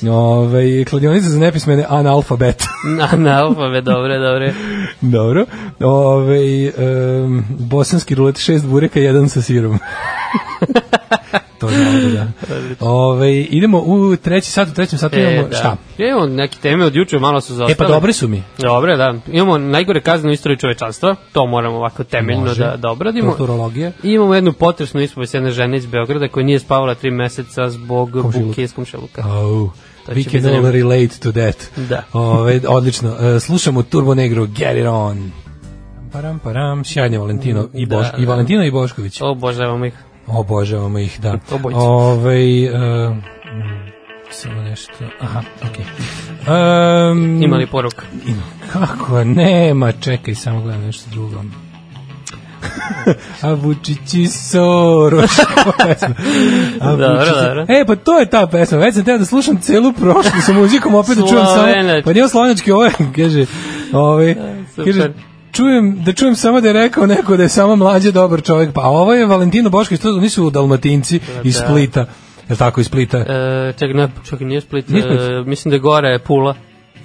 [SPEAKER 7] Ove, kladionica za nepismene analfabet.
[SPEAKER 6] *laughs*
[SPEAKER 7] *laughs*
[SPEAKER 6] Na, na alfabe, dobre, dobre.
[SPEAKER 7] Dobro. Ove, em, bosanski rulet, šest bureka, jedan sa sirom. *laughs* to je dobro, da. Ove, idemo u treći sat, u trećem satu imamo,
[SPEAKER 6] da.
[SPEAKER 7] šta?
[SPEAKER 6] Ja imamo neke teme od juče, malo su zaostale.
[SPEAKER 7] E pa dobre su mi.
[SPEAKER 6] Dobre, da. Imamo najgore kazne u istoriji čovečanstva, to moramo ovako temeljno
[SPEAKER 7] Može.
[SPEAKER 6] da, da obradimo.
[SPEAKER 7] Kulturologija.
[SPEAKER 6] I imamo jednu potresnu ispovest jedne žene iz Beograda koja nije spavala tri meseca zbog
[SPEAKER 7] Komšiluka.
[SPEAKER 6] buke iz komšiluka.
[SPEAKER 7] Oh,
[SPEAKER 6] To će
[SPEAKER 7] we
[SPEAKER 6] biti
[SPEAKER 7] can all
[SPEAKER 6] zanimljivo.
[SPEAKER 7] relate to that.
[SPEAKER 6] Da.
[SPEAKER 7] Ove, odlično. E, slušamo Turbo Negro, Get It On. Param, param, sjajni Valentino i,
[SPEAKER 6] Da,
[SPEAKER 7] Boš, i
[SPEAKER 6] da.
[SPEAKER 7] Valentino i Bošković.
[SPEAKER 6] Obožavamo ih.
[SPEAKER 7] Obožavamo ih, da.
[SPEAKER 6] Obojica.
[SPEAKER 7] Ove, e, samo nešto. Aha, okej. Em,
[SPEAKER 6] Ima li poruka?
[SPEAKER 7] Ima. Kako nema, čekaj, samo gledam nešto drugo. A Vučići Soroš.
[SPEAKER 6] *laughs*
[SPEAKER 7] koja pesma. A
[SPEAKER 6] Dobro,
[SPEAKER 7] Vučići-
[SPEAKER 6] dobro.
[SPEAKER 7] E, pa to je ta pesma. Već sam teo da slušam celu prošlu sa muzikom, opet da čujem samo...
[SPEAKER 6] Slovenac. Da,
[SPEAKER 7] Pa nije slovenački, ovo je, kaže... Ovaj,
[SPEAKER 6] super.
[SPEAKER 7] kaže, čujem, da čujem samo da je rekao neko da je samo mlađe dobar čovjek. Pa a ovo je Valentino Bošković, to nisu Dalmatinci iz
[SPEAKER 6] Da.
[SPEAKER 7] Splita. Je li tako, iz Splita?
[SPEAKER 6] E, čak, ne, čak nije Split,
[SPEAKER 7] Nije Split.
[SPEAKER 6] E, mislim da je gore Pula.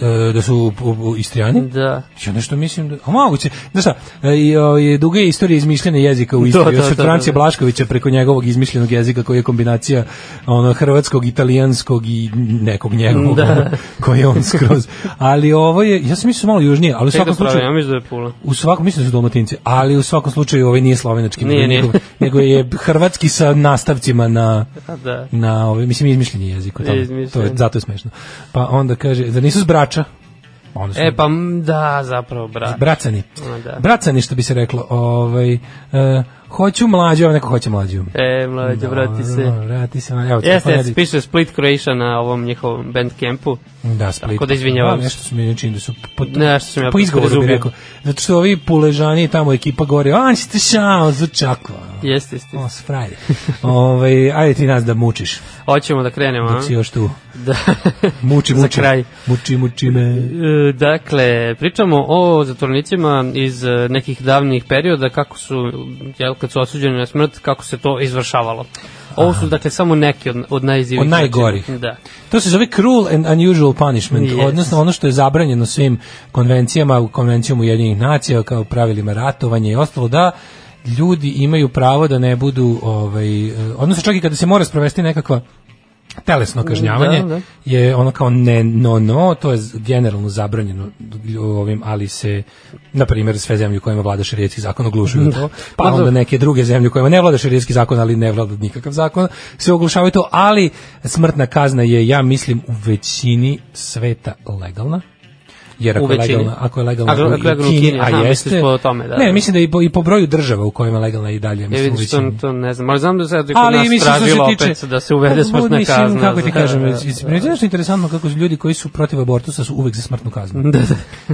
[SPEAKER 7] E, da su u- u- Istrijani?
[SPEAKER 6] Da.
[SPEAKER 7] Ja nešto mislim da... A moguće. Znaš šta, e, i, o, je duga je istorija izmišljene jezika
[SPEAKER 6] *laughs*
[SPEAKER 7] u Istri.
[SPEAKER 6] To, to,
[SPEAKER 7] Još od
[SPEAKER 6] to,
[SPEAKER 7] Francija
[SPEAKER 6] to, to.
[SPEAKER 7] Blaškovića preko njegovog izmišljenog jezika koji je kombinacija ono, hrvatskog, italijanskog i nekog njegovog
[SPEAKER 6] Da.
[SPEAKER 7] ono, koji je on skroz. Ali ovo je... Ja sam mislim malo južnije, ali u
[SPEAKER 6] Ček da
[SPEAKER 7] svakom slučaju...
[SPEAKER 6] pravim, ja mislim da je Pula.
[SPEAKER 7] U svakom, mislim da su dalmatinci, ali u svakom slučaju ovaj nije slovenački,
[SPEAKER 6] Nije,
[SPEAKER 7] nego,
[SPEAKER 6] nije.
[SPEAKER 7] *laughs* nego je hrvatski sa nastavcima na,
[SPEAKER 6] A, da.
[SPEAKER 7] na ovaj, mislim, izmišljeni jezik. o tome. To je,
[SPEAKER 6] Izmišljen.
[SPEAKER 7] zato je smešno. Pa onda kaže, da nisu zbrača, onda su
[SPEAKER 6] E, pa m, da, zapravo, brat. *laughs*
[SPEAKER 7] Bracani.
[SPEAKER 6] A, da.
[SPEAKER 7] Bracani što bi se reklo. Ovaj, e, hoću mlađu, evo neko hoće mlađu.
[SPEAKER 6] E,
[SPEAKER 7] Da,
[SPEAKER 6] mlađe, vrati se.
[SPEAKER 7] Dobro, Vrati se. Evo,
[SPEAKER 6] Jeste,
[SPEAKER 7] telefon radi.
[SPEAKER 6] jeste, piše Split Croatia na ovom njihovom bandcampu.
[SPEAKER 7] Da, Split.
[SPEAKER 6] Tako da izvinjavam
[SPEAKER 7] Da,
[SPEAKER 6] se.
[SPEAKER 7] nešto su mi čini da su po,
[SPEAKER 6] Nešto sam ja
[SPEAKER 7] po izgovoru bi
[SPEAKER 6] prezubio.
[SPEAKER 7] rekao. Zato što ovi puležani i tamo ekipa govori, a niste šao, zvučakva.
[SPEAKER 6] Jeste, jeste.
[SPEAKER 7] O, s frajer. Ovaj, ajde ti nas da mučiš,
[SPEAKER 6] Hoćemo da krenemo, a?
[SPEAKER 7] dok si još tu.
[SPEAKER 6] *laughs* Da.
[SPEAKER 7] Znači, Muči,
[SPEAKER 6] Za
[SPEAKER 7] muči.
[SPEAKER 6] kraj.
[SPEAKER 7] Muči, muči me.
[SPEAKER 6] E, Dakle, pričamo o zatvornicima iz e, nekih davnih perioda, kako su, jel, kad su osuđeni na smrt, kako se to izvršavalo. Ovo su, dakle, samo neki od, od najizivih.
[SPEAKER 7] Od najgorih.
[SPEAKER 6] načina. Da.
[SPEAKER 7] To se zove cruel and unusual punishment,
[SPEAKER 6] Yes.
[SPEAKER 7] odnosno ono što je zabranjeno svim konvencijama, konvencijom Ujedinjenih nacija, kao pravilima ratovanja i ostalo, da ljudi imaju pravo da ne budu, ovaj, eh, odnosno čak i kada se mora sprovesti nekakva telesno kažnjavanje
[SPEAKER 6] Da, da.
[SPEAKER 7] je ono kao ne no no to je z- generalno zabranjeno lju- ovim ali se na primjer sve zemlje u kojima vlada šerijatski zakon oglušuju na to pa
[SPEAKER 6] Ma,
[SPEAKER 7] onda
[SPEAKER 6] Da. dobro.
[SPEAKER 7] neke druge zemlje u kojima ne vlada šerijatski zakon ali ne vlada nikakav zakon se oglušavaju to ali smrtna kazna je ja mislim u većini sveta legalna jer
[SPEAKER 6] U
[SPEAKER 7] ako je
[SPEAKER 6] većini.
[SPEAKER 7] legalna, ako je legalna
[SPEAKER 6] Ako-
[SPEAKER 7] u-
[SPEAKER 6] ako je legalna u Kini, aha,
[SPEAKER 7] a
[SPEAKER 6] misliš
[SPEAKER 7] jeste,
[SPEAKER 6] po tome, da,
[SPEAKER 7] ne,
[SPEAKER 6] da.
[SPEAKER 7] mislim da i po, i po broju država u kojima je legalna i dalje,
[SPEAKER 6] Ja
[SPEAKER 7] mislim, u
[SPEAKER 6] vidim što
[SPEAKER 7] većini.
[SPEAKER 6] to ne znam, ali znam da se kod
[SPEAKER 7] Ali
[SPEAKER 6] nas
[SPEAKER 7] mislim što se
[SPEAKER 6] tražilo
[SPEAKER 7] tiče
[SPEAKER 6] opet da se uvede smrtna
[SPEAKER 7] mislim,
[SPEAKER 6] kazna.
[SPEAKER 7] Kako ti
[SPEAKER 6] za-
[SPEAKER 7] kažem,
[SPEAKER 6] da, da,
[SPEAKER 7] iz- meni je nešto interesantno kako ljudi koji su protiv abortusa su uvek za smrtnu kaznu.
[SPEAKER 6] Da,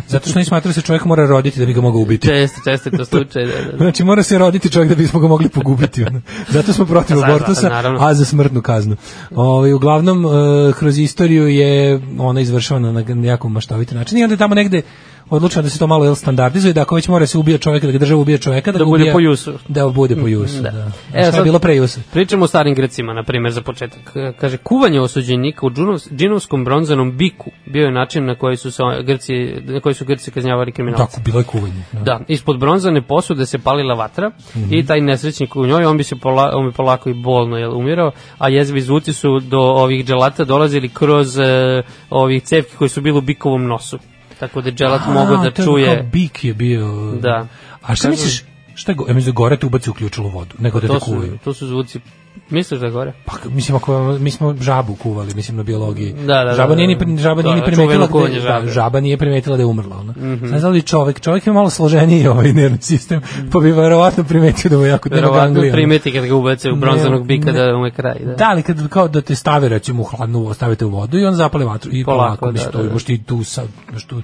[SPEAKER 7] Zato što oni smatraju da se čovjek mora roditi da bi ga mogao ubiti.
[SPEAKER 6] Često, često je to slučaj. Da, da, da.
[SPEAKER 7] Znači mora se roditi čovjek da bismo ga mogli pogubiti. ono. Zato smo protiv
[SPEAKER 6] Za- za-
[SPEAKER 7] abortusa,
[SPEAKER 6] naravno.
[SPEAKER 7] a za smrtnu kaznu. Ovaj uglavnom e, kroz istoriju je ona izvršavana na na jako maštoviti način i onda je tamo negde odlučeno da se to malo jel, standardizuje, da ako već mora se ubija čoveka, da ga država ubija čoveka, da,
[SPEAKER 6] Da
[SPEAKER 7] ga
[SPEAKER 6] bude
[SPEAKER 7] ubija,
[SPEAKER 6] po jusu.
[SPEAKER 7] Da bude po jusu, da.
[SPEAKER 6] Da.
[SPEAKER 7] da.
[SPEAKER 6] E,
[SPEAKER 7] Šta je
[SPEAKER 6] sad-
[SPEAKER 7] bilo pre jusu?
[SPEAKER 6] Pričamo o starim Grecima, na primjer, za početak. E, Kaže, kuvanje osuđenika u džunovs- džinovskom bronzanom biku bio je način na koji su, se o- Grci, na koji su Grci kažnjavali kriminalce.
[SPEAKER 7] Tako, bilo je kuvanje.
[SPEAKER 6] Da, ispod bronzane posude se palila vatra
[SPEAKER 7] Mhm.
[SPEAKER 6] i taj nesrećnik u njoj, on bi se pola, on bi polako i bolno jel, umirao, a jezivi zvuci su do ovih dželata dolazili kroz e, ovih cevki koji su bili u bikovom nosu. Tako da je dželat mogao da
[SPEAKER 7] to je kao
[SPEAKER 6] čuje.
[SPEAKER 7] Bik je bio...
[SPEAKER 6] Da.
[SPEAKER 7] A šta
[SPEAKER 6] Kako-
[SPEAKER 7] misliš? Šta je, go- ja mislim da gore te ubaci uključilo vodu, nego da
[SPEAKER 6] Pa To
[SPEAKER 7] te
[SPEAKER 6] su,
[SPEAKER 7] kuvaju.
[SPEAKER 6] to su zvuci. Misliš da je gore?
[SPEAKER 7] Pa, k- mislim, ako, mi smo žabu kuvali, mislim, na biologiji.
[SPEAKER 6] Da, da,
[SPEAKER 7] žaba
[SPEAKER 6] da,
[SPEAKER 7] nije,
[SPEAKER 6] da,
[SPEAKER 7] ni pri- žaba
[SPEAKER 6] da,
[SPEAKER 7] nije ni
[SPEAKER 6] čuveno
[SPEAKER 7] primetila, da,
[SPEAKER 6] kuvanje
[SPEAKER 7] da,
[SPEAKER 6] žabe. Mhm.
[SPEAKER 7] žaba nije primetila da je umrla. Ona. Mm -hmm. Znam li čovek, čovek je malo složeniji ovaj nervni sistem, pa bi verovatno primetio da mu je jako da
[SPEAKER 6] Verovatno primeti kad ga ubace u
[SPEAKER 7] Ne,
[SPEAKER 6] bronzanog bika
[SPEAKER 7] ne.
[SPEAKER 6] da mu je kraj. Da.
[SPEAKER 7] Da, ali kad kao da te stave recimo u hladnu, stavite u vodu i on zapali vatru i polako,
[SPEAKER 6] Polako,
[SPEAKER 7] polako
[SPEAKER 6] da,
[SPEAKER 7] mislim, to
[SPEAKER 6] da, da.
[SPEAKER 7] imaš ti tu sad, imaš tu,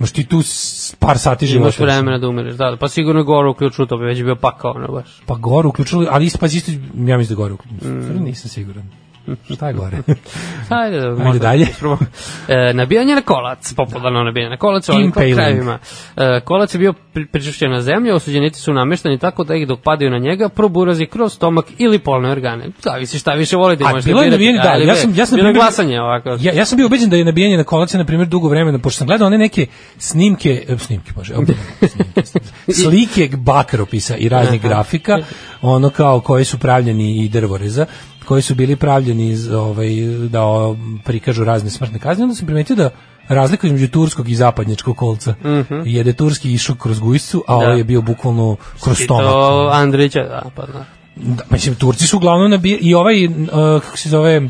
[SPEAKER 7] imaš ti tu s- par sati života.
[SPEAKER 6] Imaš vremena da umireš, da, da. pa sigurno je gore uključio, to bi već bio pakao, ono baš.
[SPEAKER 7] Pa gore uključili, ali isto, pazi, isto, ja mislim da gore uključili. Mm. Nisam siguran. Šta je gore?
[SPEAKER 6] Ajde, da,
[SPEAKER 7] Ajde
[SPEAKER 6] možda
[SPEAKER 7] dalje.
[SPEAKER 6] isprobamo. E, nabijanje na kolac, popularno nabijanje na kolac u ovim
[SPEAKER 7] Impaling.
[SPEAKER 6] krajevima. E, kolac je bio pri- pričušćen na zemlju, osuđenici su namešteni tako da ih dok padaju na njega proburazi kroz stomak ili polne organe. Zavisi šta više volite.
[SPEAKER 7] A,
[SPEAKER 6] možete
[SPEAKER 7] bilo je
[SPEAKER 6] birati,
[SPEAKER 7] nabijanje, da,
[SPEAKER 6] ali
[SPEAKER 7] ja
[SPEAKER 6] bre,
[SPEAKER 7] sam- ja sam
[SPEAKER 6] bilo je
[SPEAKER 7] primio-
[SPEAKER 6] glasanje ovako.
[SPEAKER 7] Ja, ja sam bio ubeđen da je nabijanje na kolace, na primjer, dugo vremena, pošto sam gledao one neke snimke, e, snimke, bože, opet, snimke,
[SPEAKER 6] *laughs*
[SPEAKER 7] snimke, slike bakropisa i raznih grafika, ono kao koji su pravljeni i drvoreza, koji su bili pravljeni iz, ovaj, da o, prikažu razne smrtne kazne, onda sam primetio da razliku između turskog i zapadnjačkog kolca. Mm
[SPEAKER 6] Mhm.
[SPEAKER 7] -hmm. Jede turski išao kroz gujscu, a da. ovo je bio bukvalno kroz
[SPEAKER 6] I
[SPEAKER 7] stomak.
[SPEAKER 6] to Andrića, da, pa da.
[SPEAKER 7] Da, mislim, Turci su uglavnom nabijali, i ovaj, uh, kako se zove,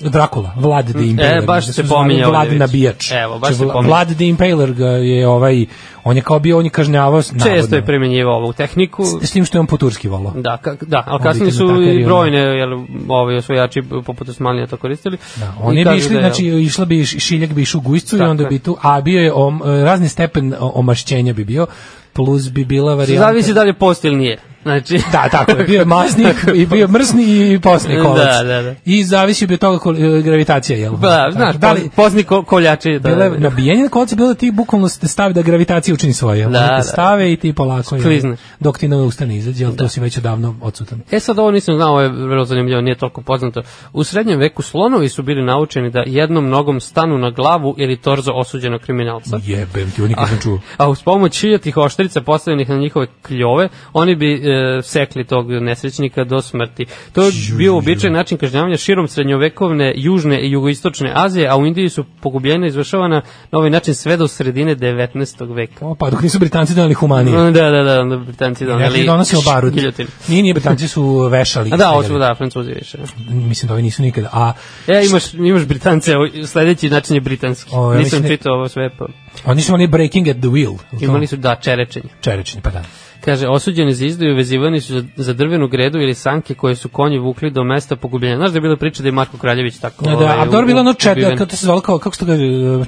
[SPEAKER 7] Drakula, Vlad the
[SPEAKER 6] E,
[SPEAKER 7] Impaler.
[SPEAKER 6] baš
[SPEAKER 7] mislim,
[SPEAKER 6] se
[SPEAKER 7] su zvali
[SPEAKER 6] pominje
[SPEAKER 7] Vlad
[SPEAKER 6] ovde već.
[SPEAKER 7] nabijač.
[SPEAKER 6] Evo, baš
[SPEAKER 7] Znači,
[SPEAKER 6] se
[SPEAKER 7] Vla-
[SPEAKER 6] pominje.
[SPEAKER 7] Vlad the Impaler ga je ovaj, on je kao bio, on je kažnjavao, s- navodno.
[SPEAKER 6] Često je primjenjivao ovu tehniku.
[SPEAKER 7] S tim što je on po turski volao.
[SPEAKER 6] Da, ka, da, ali
[SPEAKER 7] Ovi
[SPEAKER 6] kasnije su
[SPEAKER 7] kidnaperi,
[SPEAKER 6] i
[SPEAKER 7] ono.
[SPEAKER 6] brojne jel, ovi osvojači poput Osmanlija to koristili.
[SPEAKER 7] Da,
[SPEAKER 6] I
[SPEAKER 7] oni bi
[SPEAKER 6] kažu
[SPEAKER 7] išli,
[SPEAKER 6] da je-
[SPEAKER 7] znači išla bi š- šiljak bi išao u gujscu i
[SPEAKER 6] Tako
[SPEAKER 7] onda
[SPEAKER 6] je.
[SPEAKER 7] bi tu, a bio je om, razni stepen o- omašćenja bi bio, plus bi bila varijanta.
[SPEAKER 6] Zavisi da li je post ili nije. Znači,
[SPEAKER 7] Da, tako je, bio je masnik i bio je mrsni i posni kolac.
[SPEAKER 6] Da, da, da.
[SPEAKER 7] I zavisi bi od toga kol, e, gravitacija, jel?
[SPEAKER 6] *laughs* Pa, da, znaš,
[SPEAKER 7] da li,
[SPEAKER 6] pozni ko, koljači. Da,
[SPEAKER 7] Bile,
[SPEAKER 6] da, da.
[SPEAKER 7] nabijenje na kolce bilo da ti bukvalno ste stavi da gravitacija učini svoje. jel?
[SPEAKER 6] Da,
[SPEAKER 7] Oni te
[SPEAKER 6] da.
[SPEAKER 7] stave i ti polako. jel?
[SPEAKER 6] Sklizneš.
[SPEAKER 7] Dok ti ne ustane izađe,
[SPEAKER 6] Da.
[SPEAKER 7] ali to si već odavno odsutan.
[SPEAKER 6] E sad ovo nisam znao, ovo je vrlo zanimljivo, nije toliko poznato. U srednjem veku slonovi su bili naučeni da jednom nogom stanu na glavu ili torzo osuđenog kriminalca.
[SPEAKER 7] Jebem ti, ovo nikad sam čuo.
[SPEAKER 6] A uz pomoć šiljatih oštrica postavljenih na njihove kljove, oni bi e, sekli tog nesrećnika do smrti. To je bio običaj način kažnjavanja širom srednjovekovne južne i jugoistočne Azije, a u Indiji su pogubljenja izvršavana na ovaj način sve do sredine 19. veka.
[SPEAKER 7] O, pa dok nisu Britanci doneli humanije.
[SPEAKER 6] Da, da, da, onda Britanci doneli.
[SPEAKER 7] Rekli donosio barut.
[SPEAKER 6] Giljotin.
[SPEAKER 7] Nije, nije, Britanci su vešali.
[SPEAKER 6] A da, ovo su,
[SPEAKER 7] streljali.
[SPEAKER 6] da, Francuzi više.
[SPEAKER 7] Mislim da ovi nisu nikada. A,
[SPEAKER 6] E, imaš, imaš Britance, ovo- sledeći način je britanski.
[SPEAKER 7] O, ja mislim
[SPEAKER 6] Nisam
[SPEAKER 7] da-
[SPEAKER 6] čitao ovo sve, pa
[SPEAKER 7] oni su oni breaking at the wheel.
[SPEAKER 6] imali su, da, čerečenje.
[SPEAKER 7] Čerečni, pa da.
[SPEAKER 6] Kaže, osuđeni za izdaju vezivani su za, za drvenu gredu ili sanke koje su konji vukli do mesta pogubljenja. Znaš da je bila priča da je Marko Kraljević tako...
[SPEAKER 7] Da, da, a
[SPEAKER 6] ovaj,
[SPEAKER 7] dobro bilo ono
[SPEAKER 6] u- ubiven?
[SPEAKER 7] čet, kako to se zvalo, kao, kako ste ga e,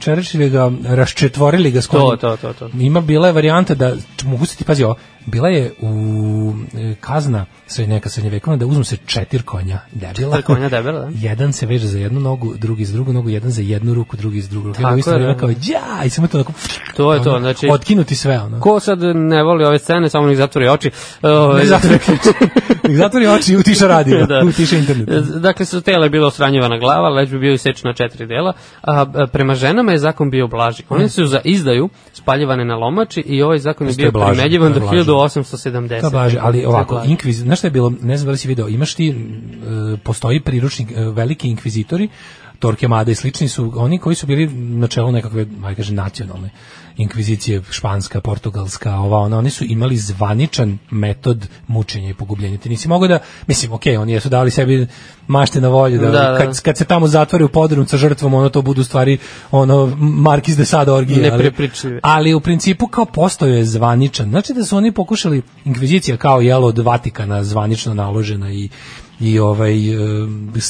[SPEAKER 7] čerečili ga, raščetvorili ga s
[SPEAKER 6] To,
[SPEAKER 7] konjem.
[SPEAKER 6] to, to, to.
[SPEAKER 7] Ima bila je varijanta da č- mogu se ti pazi ovo, bila je u e, kazna sve neka srednjevekovna da uzmu se četiri konja debila.
[SPEAKER 6] Četiri *laughs* konja debela, da.
[SPEAKER 7] *laughs* Jedan se veže za jednu nogu, drugi za drugu nogu, jedan za jednu ruku, drugi za drugu ruku. Tako
[SPEAKER 6] Tako
[SPEAKER 7] je, isto
[SPEAKER 6] je,
[SPEAKER 7] vreme
[SPEAKER 6] da.
[SPEAKER 7] kao ja, i samo to tako.
[SPEAKER 6] To je to,
[SPEAKER 7] ono,
[SPEAKER 6] znači-
[SPEAKER 7] otkinuti sve ono.
[SPEAKER 6] Ko sad ne voli ove scene, samo nek zatvori oči. Ove,
[SPEAKER 7] Ne zatvori *laughs* ključ.
[SPEAKER 6] *laughs*
[SPEAKER 7] Nek zatvori oči i utiša radio, *laughs* da.
[SPEAKER 6] Da.
[SPEAKER 7] utiša internet.
[SPEAKER 6] Dakle, sa tela je bila osranjivana glava, leđ bi bio isečen na četiri dela, a a prema ženama je zakon bio blaži.
[SPEAKER 7] Mm.
[SPEAKER 6] One su za izdaju spaljivane na lomači i ovaj zakon je
[SPEAKER 7] Isto je
[SPEAKER 6] bio
[SPEAKER 7] blaže,
[SPEAKER 6] primenjivan
[SPEAKER 7] to je
[SPEAKER 6] do
[SPEAKER 7] blaže.
[SPEAKER 6] 1870.
[SPEAKER 7] Da, blaže, ali
[SPEAKER 6] To je
[SPEAKER 7] ovako,
[SPEAKER 6] blaže.
[SPEAKER 7] inkviz, znaš šta je bilo, ne znam da li si video, imaš ti, e, postoji priručnik, e, veliki inkvizitori, Torquemada i slični su, oni koji su bili na čelu nekakve, aj kaže, nacionalne inkvizicije, španska, portugalska, ova, ona, oni su imali zvaničan metod mučenja i pogubljenja. Ti nisi mogao da, mislim, okej, oni jesu dali sebi mašte na volju, da,
[SPEAKER 6] Da, da.
[SPEAKER 7] Kad, kad se tamo zatvore u podrum sa žrtvom, ono to budu stvari, ono, Markiz de Sade orgije. ali-
[SPEAKER 6] Neprepričljive.
[SPEAKER 7] ali u principu kao postao je zvaničan. Znači da su oni pokušali inkvizicija kao jelo od Vatikana zvanično naložena i i ovaj e,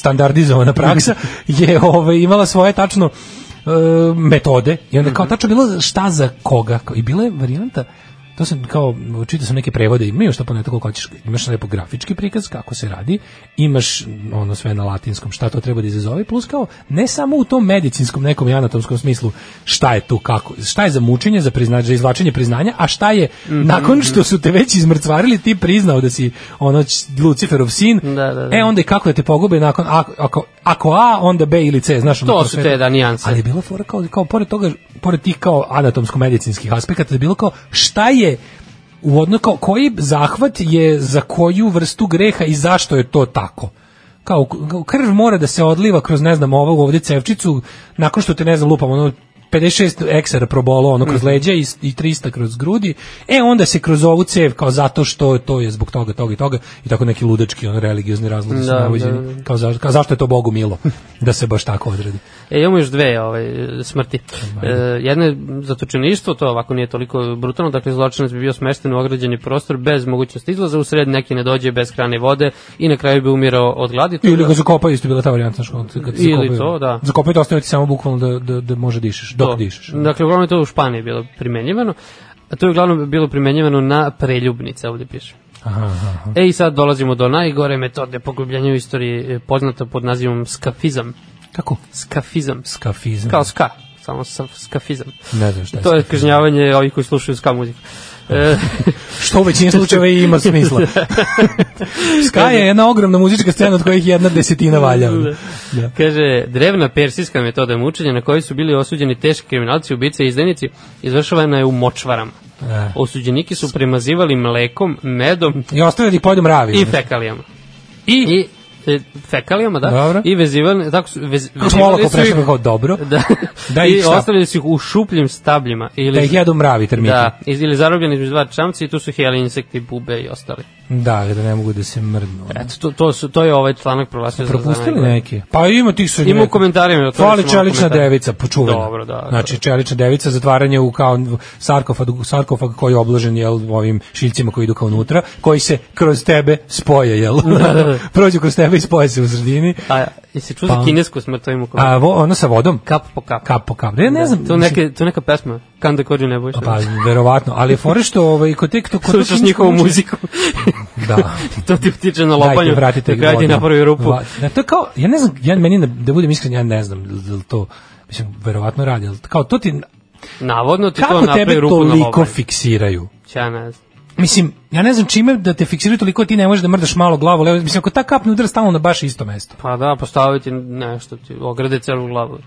[SPEAKER 7] standardizovana praksa je ovaj imala svoje tačno e, metode i onda kao tačno bilo šta za koga i bila je varijanta to sam kao, čitao sam neke prevode, imaju što ponekad koliko hoćeš, imaš lepo grafički prikaz kako se radi, imaš ono sve na latinskom, šta to treba da izazove, plus kao, ne samo u tom medicinskom nekom i anatomskom smislu, šta je tu, kako, šta je za mučenje, za, prizna, za izvlačenje priznanja, a šta je,
[SPEAKER 6] Mhm.
[SPEAKER 7] nakon što su te već izmrcvarili, ti priznao da si ono Luciferov sin,
[SPEAKER 6] Da, da, da.
[SPEAKER 7] e onda i kako da te pogube nakon, ako, ako, ako A, onda B ili C, znaš, ono,
[SPEAKER 6] To
[SPEAKER 7] kao
[SPEAKER 6] su
[SPEAKER 7] sve-
[SPEAKER 6] te da nijanse.
[SPEAKER 7] ali je bila fora kao, kao pored toga, pored tih kao anatomsko-medicinskih aspekata, je bilo kao šta je u odno kao koji zahvat je za koju vrstu greha i zašto je to tako? Kao, kao krv mora da se odliva kroz, ne znam, ovog ovdje cevčicu, nakon što te, ne znam, lupam, ono, 56 eksera probolo ono
[SPEAKER 6] Mhm.
[SPEAKER 7] kroz leđa i, i 300 kroz grudi, e onda se kroz ovu cev kao zato što to je zbog toga, toga i toga i tako neki ludački on religiozni razlozi su
[SPEAKER 6] Da,
[SPEAKER 7] navođeni.
[SPEAKER 6] da, da.
[SPEAKER 7] Kao, za, kao zašto je to Bogu milo *laughs* da se baš tako odredi.
[SPEAKER 6] E, imamo još dve ovaj, smrti. E, jedno je zatočeništvo, to ovako nije toliko brutalno, dakle zločinac bi bio smešten u ograđeni prostor bez mogućnosti izlaza, u sred neki ne dođe bez hrane i vode i na kraju bi umirao od gladi. To je-
[SPEAKER 7] Ili ga zakopaju, isto je bila ta varijanta, znaš, kad kad te
[SPEAKER 6] Ili
[SPEAKER 7] zakopaju.
[SPEAKER 6] to, da.
[SPEAKER 7] Zakopaju te ostaviti samo bukvalno da, da, da može dišeš, dok
[SPEAKER 6] to.
[SPEAKER 7] dišeš.
[SPEAKER 6] Dakle, uglavnom je to u Španiji bilo primenjivano. A to je uglavnom bilo primenjivano na preljubnice, ovdje piše.
[SPEAKER 7] Aha, aha.
[SPEAKER 6] E i sad dolazimo do najgore metode pogubljanja u istoriji e, poznata pod nazivom skafizam.
[SPEAKER 7] Kako?
[SPEAKER 6] Skafizam.
[SPEAKER 7] Skafizam.
[SPEAKER 6] Kao ska, samo sa- skafizam.
[SPEAKER 7] Ne znam šta je
[SPEAKER 6] To je
[SPEAKER 7] skafizam.
[SPEAKER 6] kažnjavanje ovih koji slušaju ska muziku. E,
[SPEAKER 7] Što u većini slučajeva i ima
[SPEAKER 6] *laughs*
[SPEAKER 7] smisla. Ska je jedna ogromna muzička scena od kojih jedna desetina *laughs* valja. Da.
[SPEAKER 6] Kaže, drevna persijska metoda mučenja na kojoj su bili osuđeni teški kriminalci, ubice i izdajnici, izvršavana je u močvarama.
[SPEAKER 7] E.
[SPEAKER 6] Osuđeniki su premazivali mlekom, medom
[SPEAKER 7] I ostavlja da ih pojedu mravi.
[SPEAKER 6] i fekalijama. I, e, fekalijama, da.
[SPEAKER 7] Dobro.
[SPEAKER 6] I vezivali, tako su, vez,
[SPEAKER 7] Kako smo olako prešli pa kao dobro.
[SPEAKER 6] *laughs* Da.
[SPEAKER 7] Da
[SPEAKER 6] I
[SPEAKER 7] ih šta?
[SPEAKER 6] ostavili su ih u šupljim stabljima. Ili,
[SPEAKER 7] Da ih jedu mravi termiti.
[SPEAKER 6] Da, iz- ili zarobljeni između dva čamca i tu su heli, insekti, bube i ostali.
[SPEAKER 7] Da, da ne mogu da se mrdnu.
[SPEAKER 6] Eto, to, to, su, to je ovaj članak proglasio za- za
[SPEAKER 7] Propustili
[SPEAKER 6] najgore.
[SPEAKER 7] neki. Pa ima tih su
[SPEAKER 6] Ima u komentarima. to
[SPEAKER 7] Fali
[SPEAKER 6] još malo
[SPEAKER 7] čelična
[SPEAKER 6] komentara.
[SPEAKER 7] devica, počuvena.
[SPEAKER 6] Dobro, da.
[SPEAKER 7] Znači, čelična devica, zatvaranje u kao sarkofag, sarkofag koji je obložen jel, ovim šiljcima koji idu kao unutra, koji se kroz tebe spoje, jel?
[SPEAKER 6] Da,
[SPEAKER 7] *laughs* Prođu kroz tebe i spoje se u sredini.
[SPEAKER 6] A, jesi čuo za
[SPEAKER 7] Pa-
[SPEAKER 6] kinesku smrt, to ima u komentarima.
[SPEAKER 7] A vo, ono sa vodom?
[SPEAKER 6] Kap po kap. Da,
[SPEAKER 7] Kap po kap. Ja ne znam.
[SPEAKER 6] To, neke, to neka pesma. Kanda kođu ne bojiš.
[SPEAKER 7] Pa, verovatno. Ali je fore što ovaj, kod tek to... kod tog
[SPEAKER 6] Slušaš njihovu
[SPEAKER 7] muzičkog-
[SPEAKER 6] muziku. *laughs*
[SPEAKER 7] Da.
[SPEAKER 6] to ti utiče na lopanju.
[SPEAKER 7] vratite
[SPEAKER 6] na kraju ti
[SPEAKER 7] vodno.
[SPEAKER 6] napravi rupu.
[SPEAKER 7] Va- Da, to je kao, ja ne znam, ja meni, da, da budem iskren, ja ne znam da li to, mislim, verovatno radi, ali kao to ti,
[SPEAKER 6] Navodno ti to
[SPEAKER 7] kako
[SPEAKER 6] napravi
[SPEAKER 7] tebe
[SPEAKER 6] rupu na
[SPEAKER 7] toliko
[SPEAKER 6] lopanju.
[SPEAKER 7] fiksiraju?
[SPEAKER 6] Ja ne znam.
[SPEAKER 7] Mislim, ja ne znam čime da te fiksiraju toliko da ti ne možeš da mrdaš malo glavu, levo, mislim, ako ta kap ne udara stalno na baš isto mesto.
[SPEAKER 6] Pa da, postaviti nešto ti ograde celu glavu.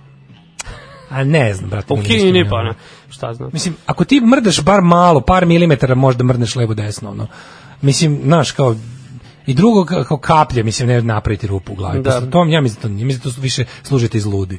[SPEAKER 7] A ne znam, brate.
[SPEAKER 6] U
[SPEAKER 7] meni isto
[SPEAKER 6] Kini
[SPEAKER 7] ne
[SPEAKER 6] pa
[SPEAKER 7] mogu.
[SPEAKER 6] ne. Šta znam.
[SPEAKER 7] Mislim, ako ti mrdaš bar malo, par milimetara možda mrdneš levo desno, ono. Mislim, znaš, kao, i drugo, ka- kao kaplje, mislim, ne napraviti rupu u glavi.
[SPEAKER 6] Da.
[SPEAKER 7] Da. To, ja mislim, da to, nije. mislim, da to više služite iz ludi.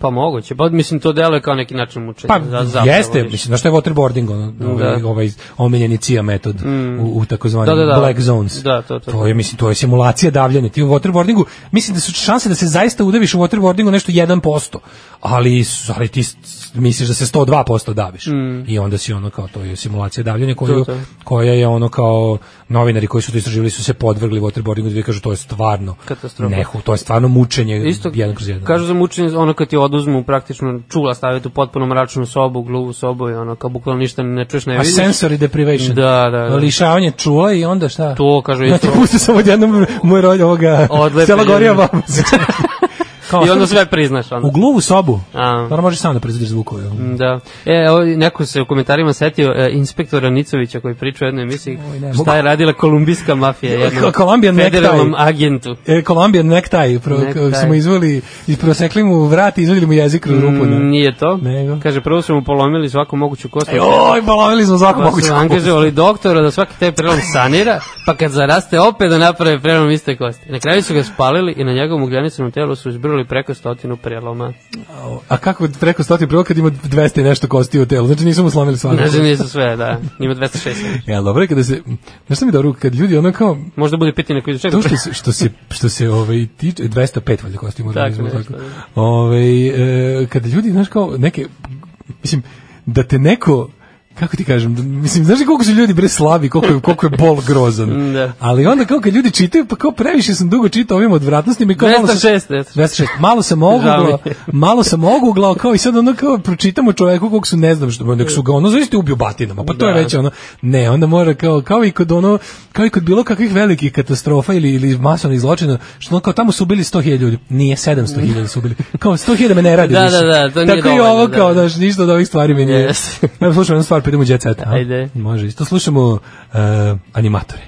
[SPEAKER 6] Pa moguće. Pa mislim to deluje kao neki način mučenja.
[SPEAKER 7] Pa
[SPEAKER 6] Za- zapravo,
[SPEAKER 7] jeste,
[SPEAKER 6] više.
[SPEAKER 7] mislim, znaš što je waterboarding, ono, ovaj,
[SPEAKER 6] Da. Mm.
[SPEAKER 7] ovaj omiljeni CIA metod u, u takozvanim
[SPEAKER 6] Da, da, da.
[SPEAKER 7] black zones.
[SPEAKER 6] Da, to, to,
[SPEAKER 7] to
[SPEAKER 6] to.
[SPEAKER 7] je, mislim, to je simulacija davljanja. Ti u waterboardingu, mislim da su šanse da se zaista udaviš u waterboardingu nešto 1%, ali, su- ali ti s- misliš da se 102% daviš. I onda si ono kao, to je simulacija davljanja koju,
[SPEAKER 6] Mm. To, to.
[SPEAKER 7] koja je ono kao, novinari koji su to istraživali su se podvrgli waterboardingu da vi kažu to je stvarno
[SPEAKER 6] Katastrofa.
[SPEAKER 7] nehu, to je stvarno mučenje
[SPEAKER 6] Isto,
[SPEAKER 7] jedan kroz jedan.
[SPEAKER 6] Kažu za mučenje, ono kad ti oduzmu praktično čula staviti u potpuno mračnu sobu, gluvu sobu i ono kao bukvalno ništa ne čuješ, ne
[SPEAKER 7] A
[SPEAKER 6] vidiš.
[SPEAKER 7] sensory deprivation.
[SPEAKER 6] Da, da, da.
[SPEAKER 7] Lišavanje čula i onda šta?
[SPEAKER 6] To kažu
[SPEAKER 7] Znači,
[SPEAKER 6] isto.
[SPEAKER 7] pusti samo odjednom moj rod ovoga...
[SPEAKER 6] Odlepe
[SPEAKER 7] Sela Gorija
[SPEAKER 6] ljudi. *laughs*
[SPEAKER 7] Babić. Kao,
[SPEAKER 6] I onda sve priznaš. Ono.
[SPEAKER 7] U gluvu sobu.
[SPEAKER 6] A.
[SPEAKER 7] Naravno, može sam da proizvodiš zvukove.
[SPEAKER 6] Da. E, o, neko se u komentarima setio e, inspektora Nicovića koji priča u jednoj emisiji
[SPEAKER 7] ne
[SPEAKER 6] šta je radila kolumbijska mafija jednom
[SPEAKER 7] Colombian
[SPEAKER 6] federalnom
[SPEAKER 7] necktie.
[SPEAKER 6] agentu.
[SPEAKER 7] E, Colombian necktie, pro,
[SPEAKER 6] Necktie.
[SPEAKER 7] smo izveli, prosekli mu vrat i izveli mu jezik kroz rupu.
[SPEAKER 6] Mm,
[SPEAKER 7] Mm,
[SPEAKER 6] Nije to.
[SPEAKER 7] Nego?
[SPEAKER 6] Kaže, prvo su mu polomili svaku moguću kostu.
[SPEAKER 7] E, Oj, balavili smo svako
[SPEAKER 6] Pa su
[SPEAKER 7] moguće.
[SPEAKER 6] angažovali doktora da svaki taj prelom sanira, pa kad zaraste opet da naprave prelom iste kosti. Na kraju su ga spalili i na njegovom ugljenicom telu su izbrili preko stotinu preloma.
[SPEAKER 7] A kako preko stoti prvo kad ima 200 i nešto kosti u telu? Znači nisu mu slomili svako.
[SPEAKER 6] Znači nisu sve, da. Ima 206.
[SPEAKER 7] Ja, dobro je kada se... Znaš šta mi je dobro? Kad ljudi ono kao...
[SPEAKER 6] Možda bude pitanje koji čega.
[SPEAKER 7] To što se što se što se ovaj tiče 205 valjda kostima
[SPEAKER 6] Tako
[SPEAKER 7] organizmu
[SPEAKER 6] nešto,
[SPEAKER 7] tako. Ovaj e, kada ljudi znaš kao neke mislim da te neko kako ti kažem, da- mislim, znaš li koliko su ljudi bre slabi, koliko je, koliko je bol grozan.
[SPEAKER 6] *laughs* Da.
[SPEAKER 7] Ali onda kako kad ljudi čitaju, pa kao previše sam dugo čitao o ovim odvratnostima i kao malo sam,
[SPEAKER 6] 206, eto.
[SPEAKER 7] 206. Malo sam oguglao,
[SPEAKER 6] Žao mi je.
[SPEAKER 7] malo sam oguglao, kao i sad ono kao pročitamo čoveku kog su ne znam što, nek su ga ono zaista ubio batinama, pa to je
[SPEAKER 6] Da.
[SPEAKER 7] već ono, ne, onda mora kao, kao i kod ono, kao i kod bilo kakvih velikih katastrofa ili, ili masovnih zločina, što ono kao tamo su ubili 100.000 ljudi, nije 700.000 su ubili, kao 100.000 me ne radi
[SPEAKER 6] *laughs* Da,
[SPEAKER 7] više.
[SPEAKER 6] da, da, to nije
[SPEAKER 7] Tako i
[SPEAKER 6] dovoljno,
[SPEAKER 7] ovo
[SPEAKER 6] da.
[SPEAKER 7] kao, znaš, ništa od ovih stvari mi nije.
[SPEAKER 6] Yes.
[SPEAKER 7] *laughs* Evo slušamo jednu stvar, pa idemo u Jet Set. a?
[SPEAKER 6] Ajde.
[SPEAKER 7] Može, isto slušamo uh, animatore.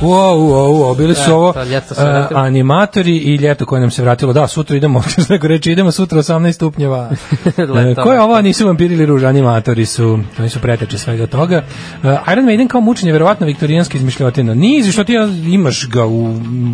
[SPEAKER 7] Wow, wow, wow, bili su
[SPEAKER 6] Da,
[SPEAKER 7] ovo
[SPEAKER 6] to ljeto se
[SPEAKER 7] e,
[SPEAKER 6] vratilo.
[SPEAKER 7] animatori i ljeto koje nam se vratilo. Da, sutra idemo, *laughs* što neko reče, idemo sutra 18 stupnjeva. E,
[SPEAKER 6] Leto.
[SPEAKER 7] Ko je ovo, nisu vampiri ili ruž, animatori su, oni su preteče svega toga. E, Iron Maiden kao mučenje, verovatno viktorijanska izmišljotina. Nije izmišljotina, imaš ga u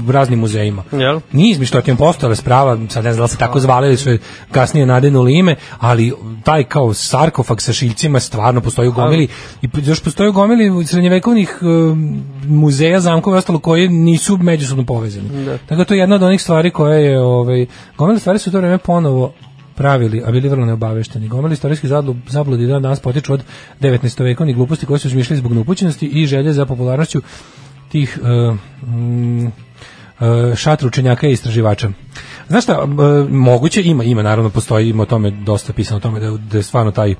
[SPEAKER 7] raznim muzejima.
[SPEAKER 6] Jel?
[SPEAKER 7] Nije izmišljotina, postojala je sprava, sad ne znam da li se tako zvali ili su je kasnije nadenuli ime, ali taj kao sarkofag sa šiljcima stvarno postoji u gomili i p- još postoji u gomili srednjevekovnih em, muzeja, zamkova i ostalo koji nisu međusobno povezani. Tako da to je jedna od onih stvari koje je, ovaj, gomile stvari su u to vreme ponovo pravili, a bili vrlo neobavešteni. Gomili istorijski zadlu- zabludi dan danas potiču od 19. vekovnih gluposti koje su izmišljali zbog neupućenosti i želje za popularnošću tih e, mm, e, šatru učenjaka i istraživača. Znaš šta, m, e, moguće, ima, ima, naravno, postoji, ima o tome dosta pisano, o tome da, da je stvarno taj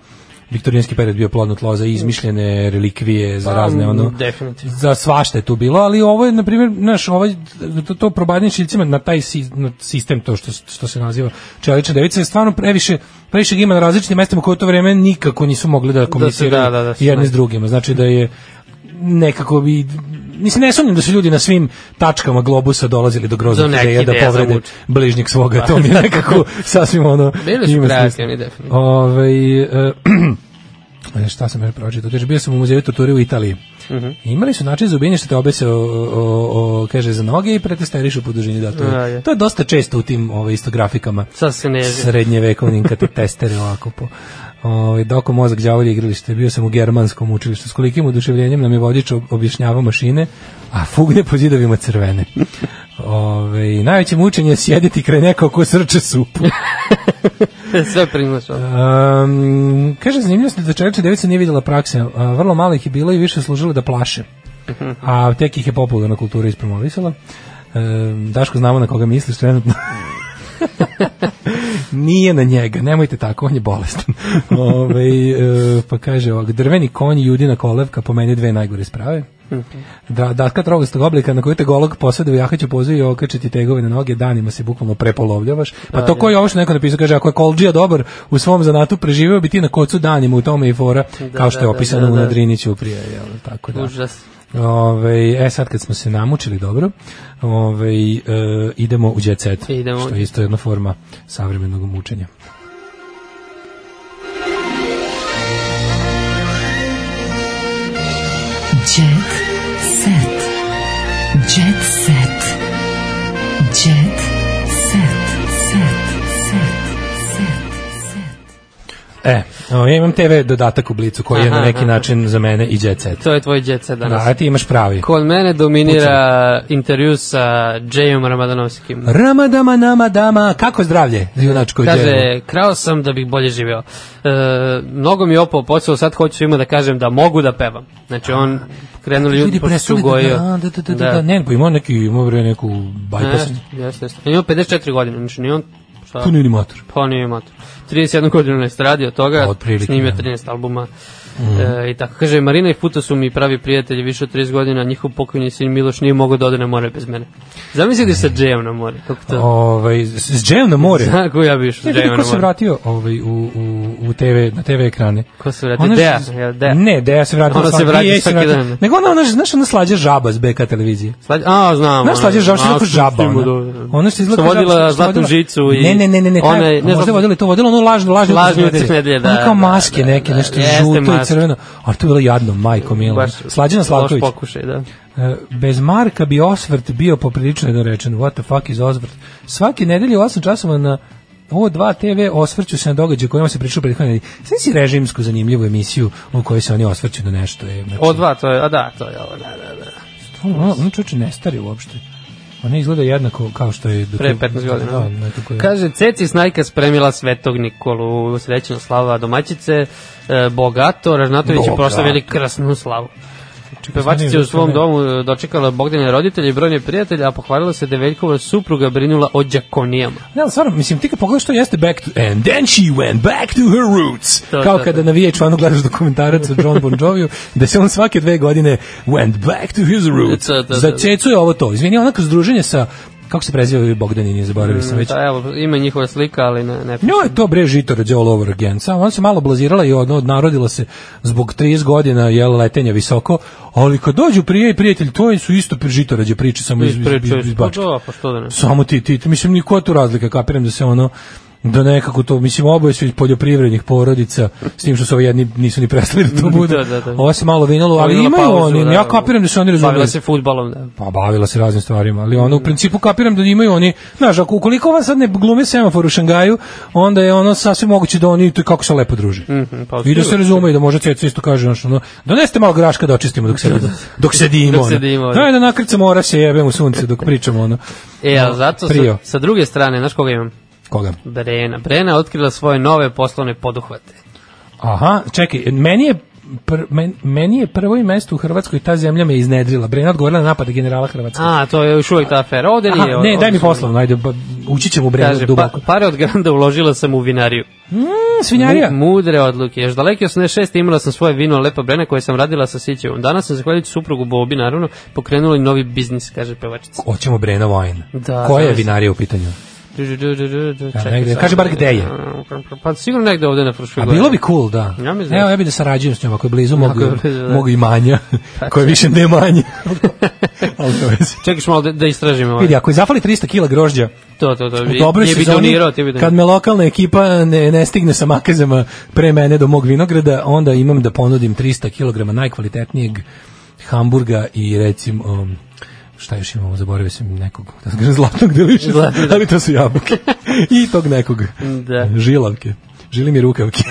[SPEAKER 7] viktorijanski period bio plodno tlo za izmišljene relikvije, za razne, ono,
[SPEAKER 6] Pa, definitivno.
[SPEAKER 7] za svašta je tu bilo, ali ovo je, na primjer, znaš, ovaj, to, to probadanje šiljcima na taj si, na sistem, to što, što se naziva čelična devica, je stvarno previše, previše ga ima na različitim mestima koje u to vreme nikako nisu mogli da komuniciraju
[SPEAKER 6] da, da se
[SPEAKER 7] jedni s
[SPEAKER 6] nađu.
[SPEAKER 7] drugima. Znači da je nekako bi mislim ne sumnjam da su ljudi na svim tačkama globusa dolazili do groznih
[SPEAKER 6] Do neke
[SPEAKER 7] ideja da
[SPEAKER 6] ideje
[SPEAKER 7] povrede
[SPEAKER 6] zavuče.
[SPEAKER 7] bližnjeg svoga, to mi je nekako sasvim ono...
[SPEAKER 6] *laughs* Bili su
[SPEAKER 7] ima
[SPEAKER 6] kreativni,
[SPEAKER 7] smisla.
[SPEAKER 6] definitivno.
[SPEAKER 7] Ovaj e, *clears throat* E, šta sam još pročitao? Kaže, bio sam u muzeju torture u Italiji.
[SPEAKER 6] Mhm.
[SPEAKER 7] Imali su način za ubijenje što te obese o, o, o, kaže, za noge i pretesterišu po dužini datove.
[SPEAKER 6] A, Da, je.
[SPEAKER 7] da To je dosta često u tim ovaj, istografikama
[SPEAKER 6] Sad se ne zna.
[SPEAKER 7] srednjevekovnim kad te testere ovako po Ovaj doko mozak đavolje igralište, bio sam u germanskom učilištu. S kolikim oduševljenjem nam je vodič ob- objašnjavao mašine, a fugne po zidovima crvene. Ove, i najveće mučenje je sjediti kraj nekog ko srče supu.
[SPEAKER 6] *laughs* Sve primaš. ono.
[SPEAKER 7] Um, kaže, zanimljivo se da čelična devica nije vidjela prakse. A, vrlo malo ih je bilo i više služile da plaše. A tek ih je popularna kultura ispromovisala. Um, Daško, znamo na koga misliš trenutno. *laughs* Nije na njega, nemojte tako, on je bolestan. *laughs* Ove, e, pa kaže ovak, drveni konj i judina kolevka po meni dve najgore sprave. Da, datka trogastog oblika na koju te golog posade u jahaću pozu i okačiti tegove na noge, danima se bukvalno prepolovljavaš.
[SPEAKER 6] Da,
[SPEAKER 7] Pa to koji je ovo što neko napisao, kaže, ako je Kolđija dobar u svom zanatu, preživeo bi ti na kocu danima u tome i fora, kao što je
[SPEAKER 6] da, da,
[SPEAKER 7] opisano
[SPEAKER 6] da, da.
[SPEAKER 7] u Nadriniću prije, jel, tako da.
[SPEAKER 6] Užas.
[SPEAKER 7] Ove, e sad kad smo se namučili dobro, ove, e, idemo u jet set,
[SPEAKER 6] Idemo.
[SPEAKER 7] što je isto jedna forma savremenog mučenja.
[SPEAKER 4] Jet set. Jet set. Jet set. Set. Set. Set.
[SPEAKER 7] E, o, ja imam TV dodatak u blicu koji je
[SPEAKER 6] Aha,
[SPEAKER 7] na neki
[SPEAKER 6] aha.
[SPEAKER 7] način za mene i jet set.
[SPEAKER 6] To je tvoj djeca
[SPEAKER 7] Da,
[SPEAKER 6] danas.
[SPEAKER 7] a ti imaš pravi.
[SPEAKER 6] Kod mene dominira intervju sa Džejom Ramadanovskim.
[SPEAKER 7] Ramadama nama dama, kako zdravlje? Junačko djelo.
[SPEAKER 6] Kaže, krao sam da bih bolje živeo. E, mnogo mi je opao posao, sad hoću svima da kažem da mogu da pevam. Znači on krenuli ljudi pošto su
[SPEAKER 7] prestali
[SPEAKER 6] gojio.
[SPEAKER 7] Da, da, da, da, da, da, ne, pa imao neki, imao bre neku bypass.
[SPEAKER 6] Ne, Jeste, jeste. On Ima 54 godine, znači nije on... Šta?
[SPEAKER 7] Tu nije ni motor.
[SPEAKER 6] Pa nije imao to. 31 godinu na estradi od toga,
[SPEAKER 7] Pa, otprilike,
[SPEAKER 6] snimio
[SPEAKER 7] da. Mhm.
[SPEAKER 6] 13 albuma. E, I tako, kaže, Marina i Futo su mi pravi prijatelji više od 30 godina, njihov pokojni sin Miloš nije mogao da ode na more bez mene. Zamisli da sa Džejom na more, kako to?
[SPEAKER 7] Ovaj s s džem na more.
[SPEAKER 6] *laughs* Kako ja bi išao
[SPEAKER 7] Ne,
[SPEAKER 6] s Džejom
[SPEAKER 7] vidi
[SPEAKER 6] Da. na
[SPEAKER 7] ko se
[SPEAKER 6] more?
[SPEAKER 7] vratio ovaj, u, u, u TV, na TV ekrane.
[SPEAKER 6] Ko se vratio?
[SPEAKER 7] Ona
[SPEAKER 6] Deja,
[SPEAKER 7] što-
[SPEAKER 6] jel Deja?
[SPEAKER 7] Ne, Deja se vratila.
[SPEAKER 6] Ona se
[SPEAKER 7] svaki-
[SPEAKER 6] vraća
[SPEAKER 7] je, se
[SPEAKER 6] svaki
[SPEAKER 7] vratila.
[SPEAKER 6] dan.
[SPEAKER 7] Nego ona, ona, znaš, ona slađa žaba s BK televizije.
[SPEAKER 6] Slađa, a, znam.
[SPEAKER 7] Znaš, slađa žaba, što je
[SPEAKER 6] a,
[SPEAKER 7] tako žaba.
[SPEAKER 6] stiglo do-
[SPEAKER 7] Ona, ona što izgleda
[SPEAKER 6] da. Što
[SPEAKER 7] kao žaba,
[SPEAKER 6] vodila
[SPEAKER 7] što
[SPEAKER 6] zlatnu
[SPEAKER 7] vodila-
[SPEAKER 6] žicu i...
[SPEAKER 7] Ne, ne, ne, ne, ne,
[SPEAKER 6] Ona, je-
[SPEAKER 7] ne možda je vodila to, vodila ono lažno, lažno.
[SPEAKER 6] Lažni
[SPEAKER 7] utisak
[SPEAKER 6] utisak nedelje, da,
[SPEAKER 7] Ono
[SPEAKER 6] da,
[SPEAKER 7] kao maske
[SPEAKER 6] da,
[SPEAKER 7] neke,
[SPEAKER 6] da,
[SPEAKER 7] nešto
[SPEAKER 6] jeste
[SPEAKER 7] žuto i
[SPEAKER 6] maske.
[SPEAKER 7] crveno. Ali to je bilo jadno, majko milo.
[SPEAKER 6] baš
[SPEAKER 7] Slađana Slavković.
[SPEAKER 6] Loš pokušaj, da.
[SPEAKER 7] E, bez Marka bi Osvrt bio poprilično jednorečen. What the fuck is Osvrt? Svake nedelje u 8 časova na O2 TV osvrću se na događaje kojima se pričao prethodne nedelje. Sve si režimsku zanimljivu emisiju u kojoj se oni osvrću na nešto. Je, znači,
[SPEAKER 6] O dva, to je, a da, to je ovo, da, da, da.
[SPEAKER 7] on, on čoče ne stari uopšte. Ona izgleda jednako kao što je... dok
[SPEAKER 6] Pre
[SPEAKER 7] je-
[SPEAKER 6] 15 godina.
[SPEAKER 7] Da, nekako je.
[SPEAKER 6] Kaže, Ceci Snajka spremila Svetog Nikolu, srećna slava domaćice, e, bogato, Ražnatović je
[SPEAKER 7] Bogato.
[SPEAKER 6] proslavili krasnu slavu. Znači, Pevačica
[SPEAKER 7] da,
[SPEAKER 6] je u svom domu e, dočekala Bogdane roditelje i brojne prijatelje, a pohvalila se da je Veljkova supruga brinula o džakonijama.
[SPEAKER 7] Ne, ali stvarno, mislim, ti kad pogledaš to jeste back to... And then she went back to her roots.
[SPEAKER 6] To,
[SPEAKER 7] Kao
[SPEAKER 6] to,
[SPEAKER 7] kada
[SPEAKER 6] to.
[SPEAKER 7] na VH1 gledaš dokumentarac o John Bon Joviju, da se on svake dve godine went back to his roots.
[SPEAKER 6] To, to, to.
[SPEAKER 7] Za cecu je ovo to. Izvini, ona kroz druženje sa... Kako se preziva ovi Bogdanini, zaboravio sam već.
[SPEAKER 6] Da, evo, ima njihova slika, ali ne, ne
[SPEAKER 7] Njoj je to bre žitorađe all over again. Samo ona se malo blazirala i od, odnarodila se zbog 30 godina jel, letenja visoko, ali kad dođu prije i prijatelj, to su isto žitorađe priče, samo iz, iz, iz, iz, iz
[SPEAKER 6] Pa
[SPEAKER 7] bačke.
[SPEAKER 6] da, pa što da ne.
[SPEAKER 7] Samo ti, ti, ti mislim, niko tu razlika, kapiram da se ono, da nekako to, mislim, oboje su iz poljoprivrednih porodica, s tim što su ovi jedni nisu ni prestali da to budu.
[SPEAKER 6] *laughs* Da, da, da.
[SPEAKER 7] Ovo se malo vinalo, ali
[SPEAKER 6] Ovi ima
[SPEAKER 7] imaju
[SPEAKER 6] pauzu,
[SPEAKER 7] oni,
[SPEAKER 6] da.
[SPEAKER 7] ja kapiram da su oni razumeli.
[SPEAKER 6] Bavila se fudbalom, da.
[SPEAKER 7] Pa bavila se raznim stvarima, ali ono u principu kapiram da imaju oni, znaš, ako ukoliko ova sad ne glume semafor u Šangaju, onda je ono sasvim moguće da oni to kako se lepo druže.
[SPEAKER 6] Mhm, pa
[SPEAKER 7] I da se
[SPEAKER 6] sigurno.
[SPEAKER 7] razumeju da može cecu isto kaže znaš, ono, donesite malo graška da
[SPEAKER 6] *laughs*
[SPEAKER 7] očistimo dok sedimo. Dok sedimo.
[SPEAKER 6] Dok sedimo,
[SPEAKER 7] ono.
[SPEAKER 6] da.
[SPEAKER 7] Daj da nakrcamo mora se jebem u sunce dok pričamo ono.
[SPEAKER 6] E, a zato sa,
[SPEAKER 7] Prio.
[SPEAKER 6] sa druge strane, znaš koga imam?
[SPEAKER 7] Koga?
[SPEAKER 6] Brena. Brena je otkrila svoje nove poslovne poduhvate.
[SPEAKER 7] Aha, čekaj, meni je pr, men, meni je prvo i mesto u Hrvatskoj ta zemlja me iznedrila. Brena odgovorila na napade generala Hrvatske.
[SPEAKER 6] A, to je još uvek ta afera. Ovde
[SPEAKER 7] Aha,
[SPEAKER 6] nije.
[SPEAKER 7] ne,
[SPEAKER 6] ovde
[SPEAKER 7] daj mi
[SPEAKER 6] su-
[SPEAKER 7] poslovno, ajde, ba- ući ćemo u Brenu
[SPEAKER 6] Kaže, pa,
[SPEAKER 7] duboko.
[SPEAKER 6] pare od Granda uložila sam u vinariju.
[SPEAKER 7] Mm, svinjarija.
[SPEAKER 6] Mu- Mudre odluke. Još daleke 86. imala sam svoje vino Lepa Brena koje sam radila sa Sićevom. Danas sam, zahvaljujući suprugu Bobi, naravno, pokrenula i novi biznis, kaže pevačica.
[SPEAKER 7] Hoćemo Brena Wine.
[SPEAKER 6] Da,
[SPEAKER 7] Koja je
[SPEAKER 6] znaš.
[SPEAKER 7] vinarija u pitanju?
[SPEAKER 6] Du- du- du- du- du- du-
[SPEAKER 7] Ja,
[SPEAKER 6] čekaj
[SPEAKER 7] negde.
[SPEAKER 6] sad.
[SPEAKER 7] Kaže bar gde je.
[SPEAKER 6] Pa sigurno negde ovde na Fruškoj
[SPEAKER 7] A
[SPEAKER 6] gori.
[SPEAKER 7] bilo bi cool, da.
[SPEAKER 6] Ja mislim da-
[SPEAKER 7] Evo, ja bih da sarađujem s njom, ako je blizu, Pa mogu,
[SPEAKER 6] je blizu, da.
[SPEAKER 7] mogu i *laughs* manja, koje više ne *laughs* manje. Ali to je vezi. *laughs*
[SPEAKER 6] Čekaš malo da, da istražimo ovaj.
[SPEAKER 7] Vidi, ako je zafali 300 kila grožđa,
[SPEAKER 6] To, to, to.
[SPEAKER 7] u
[SPEAKER 6] I-
[SPEAKER 7] dobroj
[SPEAKER 6] ti da bi
[SPEAKER 7] sezoni,
[SPEAKER 6] donirao, ti bi da- donirao.
[SPEAKER 7] kad me lokalna ekipa ne, ne stigne sa makazama pre mene do mog vinograda, onda imam da ponudim 300 kg najkvalitetnijeg hamburga i recimo... Um, šta još imamo, zaboravio sam nekog da sam kažem, zlatnog deliša,
[SPEAKER 6] Zlatni, da.
[SPEAKER 7] ali to su jabuke. *laughs* I tog nekog.
[SPEAKER 6] Da.
[SPEAKER 7] Žilavke. Žili mi rukavke.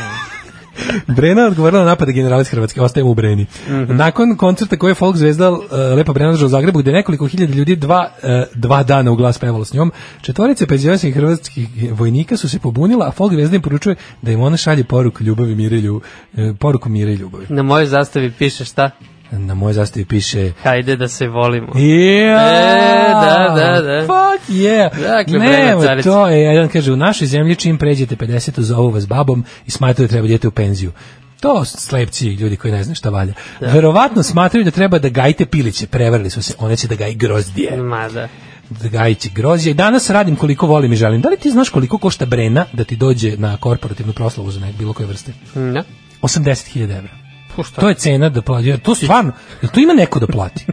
[SPEAKER 7] Brena je odgovorila na napade generala iz Hrvatske, ostajemo u Breni. Nakon koncerta koje je folk zvezda uh, Lepa Brena održala u Zagrebu, gde je nekoliko hiljada ljudi dva, uh, dva dana u glas pevalo s njom, četvorice penzionskih hrvatskih vojnika su se pobunila, a folk zvezda im poručuje da im ona šalje poruku ljubavi, mira i ljubavi, poruku mira i ljubavi.
[SPEAKER 6] Na mojoj zastavi piše šta?
[SPEAKER 7] Na moje zastavi piše
[SPEAKER 6] Hajde da se volimo.
[SPEAKER 7] Yeah.
[SPEAKER 6] E, da, da, da.
[SPEAKER 7] Fuck yeah.
[SPEAKER 6] Dakle,
[SPEAKER 7] ne,
[SPEAKER 6] Brena Carica.
[SPEAKER 7] to E, je, jedan kaže, u našoj zemlji čim pređete 50, zovu vas babom i smatraju da treba djete u penziju. To su slepci, ljudi koji ne znaju šta valja. Verovatno smatraju da treba da gajite piliće, prevarili su se, one će da gaji grozdje.
[SPEAKER 6] Ma da.
[SPEAKER 7] Da gajići grozdje. I danas radim koliko volim i želim. Da li ti znaš koliko košta brena da ti dođe na korporativnu proslavu za nek, bilo koje vrste?
[SPEAKER 6] Da.
[SPEAKER 7] 80.000 evra.
[SPEAKER 6] Pušta.
[SPEAKER 7] To je cena da plati. To stvarno, jel to ima neko da plati?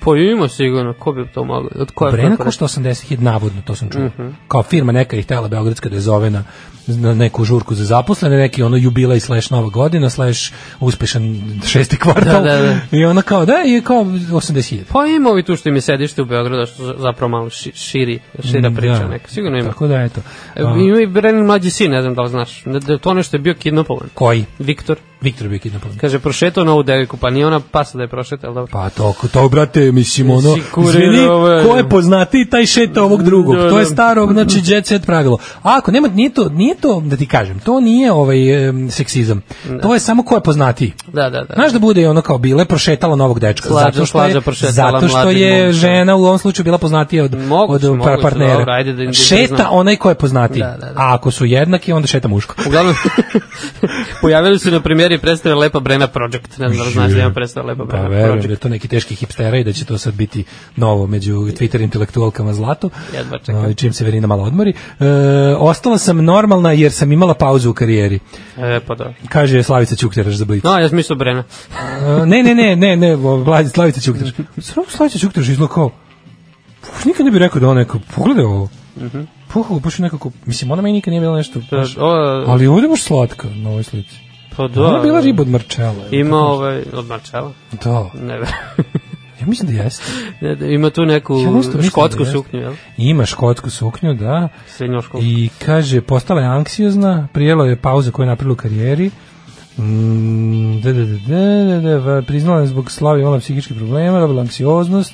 [SPEAKER 6] Pa ima sigurno, ko bi to mogao? Od koje
[SPEAKER 7] Brena
[SPEAKER 6] korporacije?
[SPEAKER 7] košta 80.000, navodno, to sam čuo.
[SPEAKER 6] Mhm.
[SPEAKER 7] Kao firma neka je htjela Beogradska da je zove na, na neku žurku za zaposlene, neki ono jubilej slash nova godina, slash uspešan šesti kvartal.
[SPEAKER 6] Da, da, da.
[SPEAKER 7] I ona kao, da, i kao 80.000.
[SPEAKER 6] Pa ima ovi tu što im je sedište u Beogradu, što za- zapravo malo ši, širi, šira priča
[SPEAKER 7] Da.
[SPEAKER 6] neka. Sigurno ima.
[SPEAKER 7] Tako da, eto.
[SPEAKER 6] E, Ima i Brenin mlađi sin, ne znam da li znaš. Ne- Da, to nešto je bio kidnapovan.
[SPEAKER 7] Koji?
[SPEAKER 6] Viktor,
[SPEAKER 7] Viktor Bikid na planu.
[SPEAKER 6] kaže, prošetao novu devojku, pa nije ona pasa da je prošetao, ali dobro.
[SPEAKER 7] Pa to, to brate, mislim, ono,
[SPEAKER 6] Mislim, kurir,
[SPEAKER 7] izvini,
[SPEAKER 6] ovo je-
[SPEAKER 7] ko je poznati taj šeta ovog drugog,
[SPEAKER 6] Da,
[SPEAKER 7] to je
[SPEAKER 6] da.
[SPEAKER 7] staro, znači, jet set pravilo. A ako nema, nije to, nije to, da ti kažem, to nije ovaj em, seksizam, to je samo ko je poznatiji.
[SPEAKER 6] Da, da, da.
[SPEAKER 7] Znaš da bude i ono kao bile prošetala novog dečka
[SPEAKER 6] Slađa,
[SPEAKER 7] zato što
[SPEAKER 6] slađa,
[SPEAKER 7] je,
[SPEAKER 6] prošetala
[SPEAKER 7] zato što
[SPEAKER 6] mladih
[SPEAKER 7] je
[SPEAKER 6] momka.
[SPEAKER 7] žena u ovom slučaju bila poznatija od
[SPEAKER 6] Moguće,
[SPEAKER 7] od
[SPEAKER 6] moguće,
[SPEAKER 7] partnera.
[SPEAKER 6] dobro, ajde da im- da im
[SPEAKER 7] šeta
[SPEAKER 6] priznam.
[SPEAKER 7] onaj ko je poznatiji.
[SPEAKER 6] Da, da, da.
[SPEAKER 7] A ako su jednaki onda šeta muško.
[SPEAKER 6] Uglavnom, pojavili su na premijeri predstave Lepa Brena Project. Ne znam da li znaš da ima predstave Lepa
[SPEAKER 7] Pa
[SPEAKER 6] Brena
[SPEAKER 7] verujem da
[SPEAKER 6] Project.
[SPEAKER 7] je to neki teški hipstera i da će to sad biti novo među Twitter intelektualkama zlato.
[SPEAKER 6] Jedva čekam.
[SPEAKER 7] Ovaj, Čim se Verina malo odmori. E, ostala sam normalna jer sam imala pauzu u karijeri.
[SPEAKER 6] E, pa da.
[SPEAKER 7] Kaže Slavica Ćukteraš za Blitz.
[SPEAKER 6] No, ja sam mislio Brena. Pa,
[SPEAKER 7] E, ne, ne, ne, ne, ne, o, Vlad- Slavica Ćuktraš. Sram Slavica Ćuktraš izgleda kao, Pff, nikad ne bih rekao da ona nekako, pogledaj ovo. Pohvala, baš je nekako, mislim, ona meni nikad nije bila nešto,
[SPEAKER 6] Mhm. Da,
[SPEAKER 7] baš,
[SPEAKER 6] o,
[SPEAKER 7] ali ovdje je baš slatka na ovoj slici.
[SPEAKER 6] pa da.
[SPEAKER 7] Ona je bila riba od Marčela.
[SPEAKER 6] Ima ovaj, od Marčela.
[SPEAKER 7] Da,
[SPEAKER 6] Ne,
[SPEAKER 7] *laughs*
[SPEAKER 6] verujem.
[SPEAKER 7] ja mislim da jeste.
[SPEAKER 6] Ne, da, ima tu neku
[SPEAKER 7] Ja nešto mislim
[SPEAKER 6] škotsku
[SPEAKER 7] da jeste.
[SPEAKER 6] suknju, jel?
[SPEAKER 7] Ima škotsku suknju, da,
[SPEAKER 6] Srednjoškolsku.
[SPEAKER 7] i kaže, postala je anksiozna, prijela je pauze koju je napravila u karijeri, Mm, da, da, da, da, da, da, priznala je zbog slave imala psihičke problema, dobila anksioznost,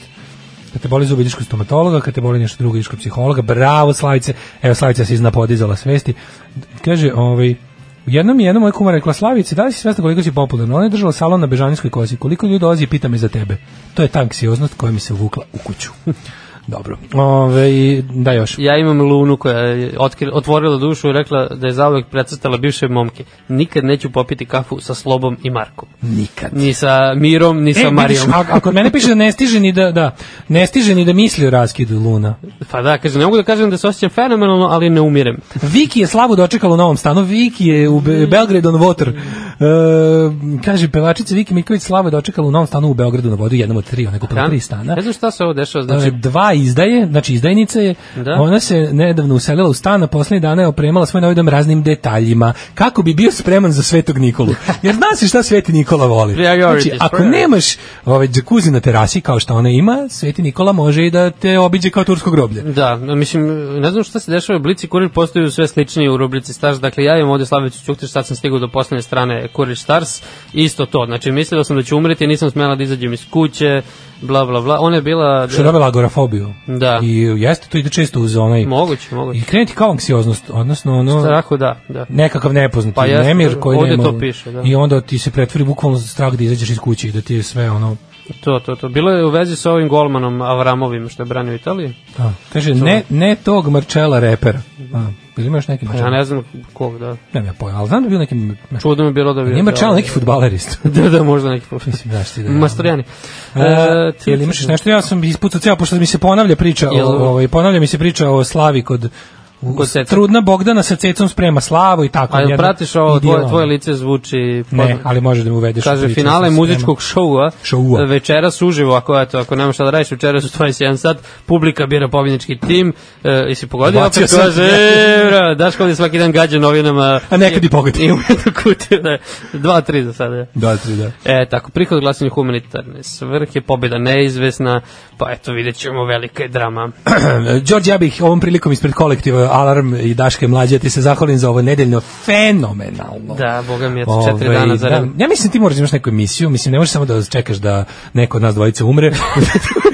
[SPEAKER 7] Kad te boli zubi, ideš kod stomatologa, kad te boli nešto drugo, ideš kod psihologa. Bravo, Slavice. Evo, Slavica se izna podizala svesti. Kaže, ovaj, Jednom je jedna moja kuma rekla, Slavice, da li si svesna koliko si popularna? Ona je držala salon na Bežanijskoj kozi. Koliko ljudi dolazi i pita me za tebe. To je ta anksioznost koja mi se uvukla u kuću. *laughs* Dobro. Ove, da još.
[SPEAKER 6] Ja imam Lunu koja je otkri- otvorila dušu i rekla da je zauvek precrtala bivše momke. Nikad neću popiti kafu sa Slobom i Markom.
[SPEAKER 7] Nikad.
[SPEAKER 6] Ni sa Mirom, ni sa
[SPEAKER 7] E, vidiš,
[SPEAKER 6] Marijom.
[SPEAKER 7] a- ako mene piše da ne stiže ni da, da, ne stiže ni da misli o raskidu Luna.
[SPEAKER 6] Pa da, kaže, ne mogu da kažem da se osjećam fenomenalno, ali ne umirem.
[SPEAKER 7] Viki je slavu dočekala u novom stanu, Viki je u Be Belgrade on Water. E, kaže, pevačica Viki Miković slavu je dočekala u novom stanu u Beogradu na vodu, jednom od tri, onako prvo tri stana.
[SPEAKER 6] Da. Ne znam šta se ovo dešava,
[SPEAKER 7] Znači,
[SPEAKER 6] znači,
[SPEAKER 7] dva izdaje, znači izdajnica je,
[SPEAKER 6] Da.
[SPEAKER 7] ona se nedavno uselila u stan, a poslednjih dana je opremala svoj novi dom raznim detaljima, kako bi bio spreman za Svetog Nikolu. Jer zna se šta Sveti Nikola voli.
[SPEAKER 6] Priorities,
[SPEAKER 7] Znači, ako
[SPEAKER 6] priorities.
[SPEAKER 7] nemaš ovaj, džakuzi na terasi, kao što ona ima, Sveti Nikola može i da te obiđe kao tursko groblje.
[SPEAKER 6] Da, mislim, ne znam šta se dešava, Blici kurir postaju sve sličniji u rubrici Stars, dakle ja imam ovde Slavicu Ćuktiš, sad sam stigao do poslednje strane Kurir Stars, isto to, znači mislio sam da ću umreti, nisam smela da izađem iz kuće, bla bla bla, ona je bila...
[SPEAKER 7] Što je dobila agorafobiju.
[SPEAKER 6] Da.
[SPEAKER 7] I jeste, to ide često uz onaj...
[SPEAKER 6] Moguće, moguće.
[SPEAKER 7] I krenuti kao anksioznost, odnosno ono...
[SPEAKER 6] Strahu, da, da.
[SPEAKER 7] nekakav nepoznati
[SPEAKER 6] Pa
[SPEAKER 7] pa
[SPEAKER 6] jeste,
[SPEAKER 7] nemir koji
[SPEAKER 6] ovde
[SPEAKER 7] nema.
[SPEAKER 6] to piše, da.
[SPEAKER 7] I onda ti se pretvori bukvalno strah da izađeš iz kuće i da ti je sve ono
[SPEAKER 6] To, to, to. Bilo je u vezi sa ovim golmanom Avramovim što je branio Italiju.
[SPEAKER 7] Da. Kaže, ne, ne tog Marčela repera. A, ili imaš neki
[SPEAKER 6] Ja
[SPEAKER 7] Marčela?
[SPEAKER 6] Pa ne znam kog, da.
[SPEAKER 7] Ne, ne, pojma, ali znam da je bio neki...
[SPEAKER 6] Čudno mi je bilo da bi...
[SPEAKER 7] Nije Marčela, neki futbaler isto.
[SPEAKER 6] *laughs* Da, da, možda neki
[SPEAKER 7] Mislim, znaš ti da-
[SPEAKER 6] Mastojani.
[SPEAKER 7] E, *laughs* jel imaš još nešto? Ja sam ispucao ceo, pošto mi se ponavlja priča,
[SPEAKER 6] Jel-
[SPEAKER 7] o, ovaj, ponavlja mi se priča o Slavi kod... u-
[SPEAKER 6] Kod Ceca.
[SPEAKER 7] Trudna Bogdana sa cecom sprema slavu i tako.
[SPEAKER 6] A jel
[SPEAKER 7] jedna-
[SPEAKER 6] pratiš ovo, tvoje,
[SPEAKER 7] idealno.
[SPEAKER 6] tvoje lice zvuči...
[SPEAKER 7] Ne,
[SPEAKER 6] podno.
[SPEAKER 7] ali može da mi uvedeš. u
[SPEAKER 6] Kaže,
[SPEAKER 7] priču,
[SPEAKER 6] finale
[SPEAKER 7] sam
[SPEAKER 6] muzičkog šoua,
[SPEAKER 7] Šoua.
[SPEAKER 6] večeras uživo, ako, eto, ako nema šta da radiš, večeras u 21 sat, publika bira pobjednički tim, e, i si pogodio,
[SPEAKER 7] Bacio
[SPEAKER 6] opet
[SPEAKER 7] sam.
[SPEAKER 6] kaže, e, bra, Daško ovdje svaki dan gađa novinama.
[SPEAKER 7] A nekad i pogodi.
[SPEAKER 6] I umetu kutiju, da, dva, tri za sada.
[SPEAKER 7] spreman. *laughs* Da, tri, da. *clears throat*
[SPEAKER 6] E, tako, prihod glasanju humanitarne svrhe, pobjeda neizvesna, pa eto, vidjet ćemo, velika je drama.
[SPEAKER 7] Đorđe, ja bih ovom prilikom ispred kolektiva Alarm i Daške Mlađe ti se zahvalim za ovo nedeljno fenomenalno.
[SPEAKER 6] Da, boga mi, eto, četiri dana za
[SPEAKER 7] da, ja mislim ti moraš da imaš neku emisiju, mislim ne možeš samo da čekaš da neko od nas dvojice umre. *laughs*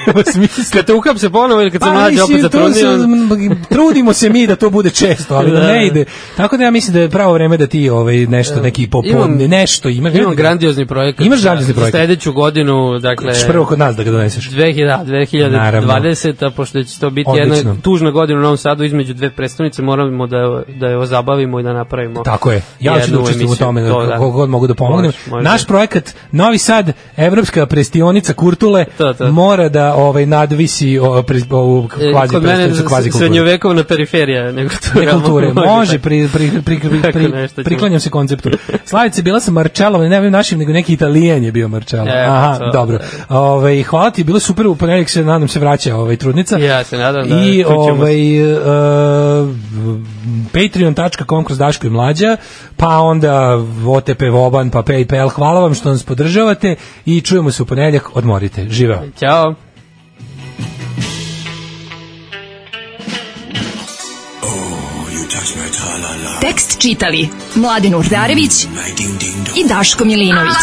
[SPEAKER 7] U smislu- Pa
[SPEAKER 6] Kad te ukap se ponovo ili kad se mlađe opet
[SPEAKER 7] mislim, to
[SPEAKER 6] zatrudnio,
[SPEAKER 7] se- m, trudimo se mi da to bude često, ali da,
[SPEAKER 6] Da.
[SPEAKER 7] ne ide. Tako da ja mislim da je pravo vreme da ti ovaj, nešto, neki popodne,
[SPEAKER 6] imam-
[SPEAKER 7] nešto imaš.
[SPEAKER 6] imam grandiozni projekat.
[SPEAKER 7] Imaš grandiozni
[SPEAKER 6] Za
[SPEAKER 7] projekat.
[SPEAKER 6] Sledeću godinu, dakle...
[SPEAKER 7] Ćeš prvo kod nas da ga doneseš.
[SPEAKER 6] 2000, 2020, a pošto će to biti Odlično.
[SPEAKER 7] Odlično.
[SPEAKER 6] jedna tužna godina u Novom Sadu između dve predstavnice, moramo da, je- da je zabavimo i da napravimo.
[SPEAKER 7] Tako je. Ja ću
[SPEAKER 6] jednu
[SPEAKER 7] da učestvujem u
[SPEAKER 6] emisiju.
[SPEAKER 7] tome
[SPEAKER 6] To,
[SPEAKER 7] da kako god mogu da pomognem.
[SPEAKER 6] Možeš, možeš.
[SPEAKER 7] Naš projekat Novi Sad, evropska prestionica Kurtule
[SPEAKER 6] To, to.
[SPEAKER 7] mora da ovaj nadvisi o, pre, ovu
[SPEAKER 6] E,
[SPEAKER 7] kvazi
[SPEAKER 6] kod mene
[SPEAKER 7] prestonicu kvazi kulturu.
[SPEAKER 6] srednjovekovna periferija nego *laughs* to
[SPEAKER 7] Ne kulture. Može, pri, pri, pri, pri,
[SPEAKER 6] Tako
[SPEAKER 7] pri-
[SPEAKER 6] nešto ćemo.
[SPEAKER 7] priklanjam se konceptu. Slavice, bila sam Marcello, ali ne ovim našim, nego neki Italijan je bio Marcello.
[SPEAKER 6] E,
[SPEAKER 7] Aha,
[SPEAKER 6] to.
[SPEAKER 7] dobro. Ove, hvala ti, bilo je super, u ponedjeljak se, nadam se, vraća ovaj, trudnica.
[SPEAKER 6] Ja se nadam da
[SPEAKER 7] I
[SPEAKER 6] čućemo se.
[SPEAKER 7] ovaj, e, patreon.com kroz Daško i Mlađa, pa onda OTP Voban, pa PayPal. Hvala vam što nas podržavate i čujemo se u ponedjeljak. Odmorite. Živeo.
[SPEAKER 6] Ćao.
[SPEAKER 4] Tekst čitali Mladin Urdarević i Daško Milinović.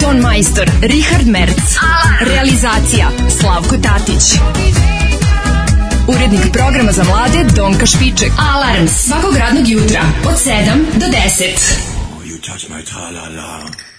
[SPEAKER 4] Ton majstor Richard Merc. Realizacija Slavko Tatić. Urednik programa za mlade Donka Špiček. Alarms svakog radnog jutra od 7 do 10.
[SPEAKER 9] You touch my tra-la-la.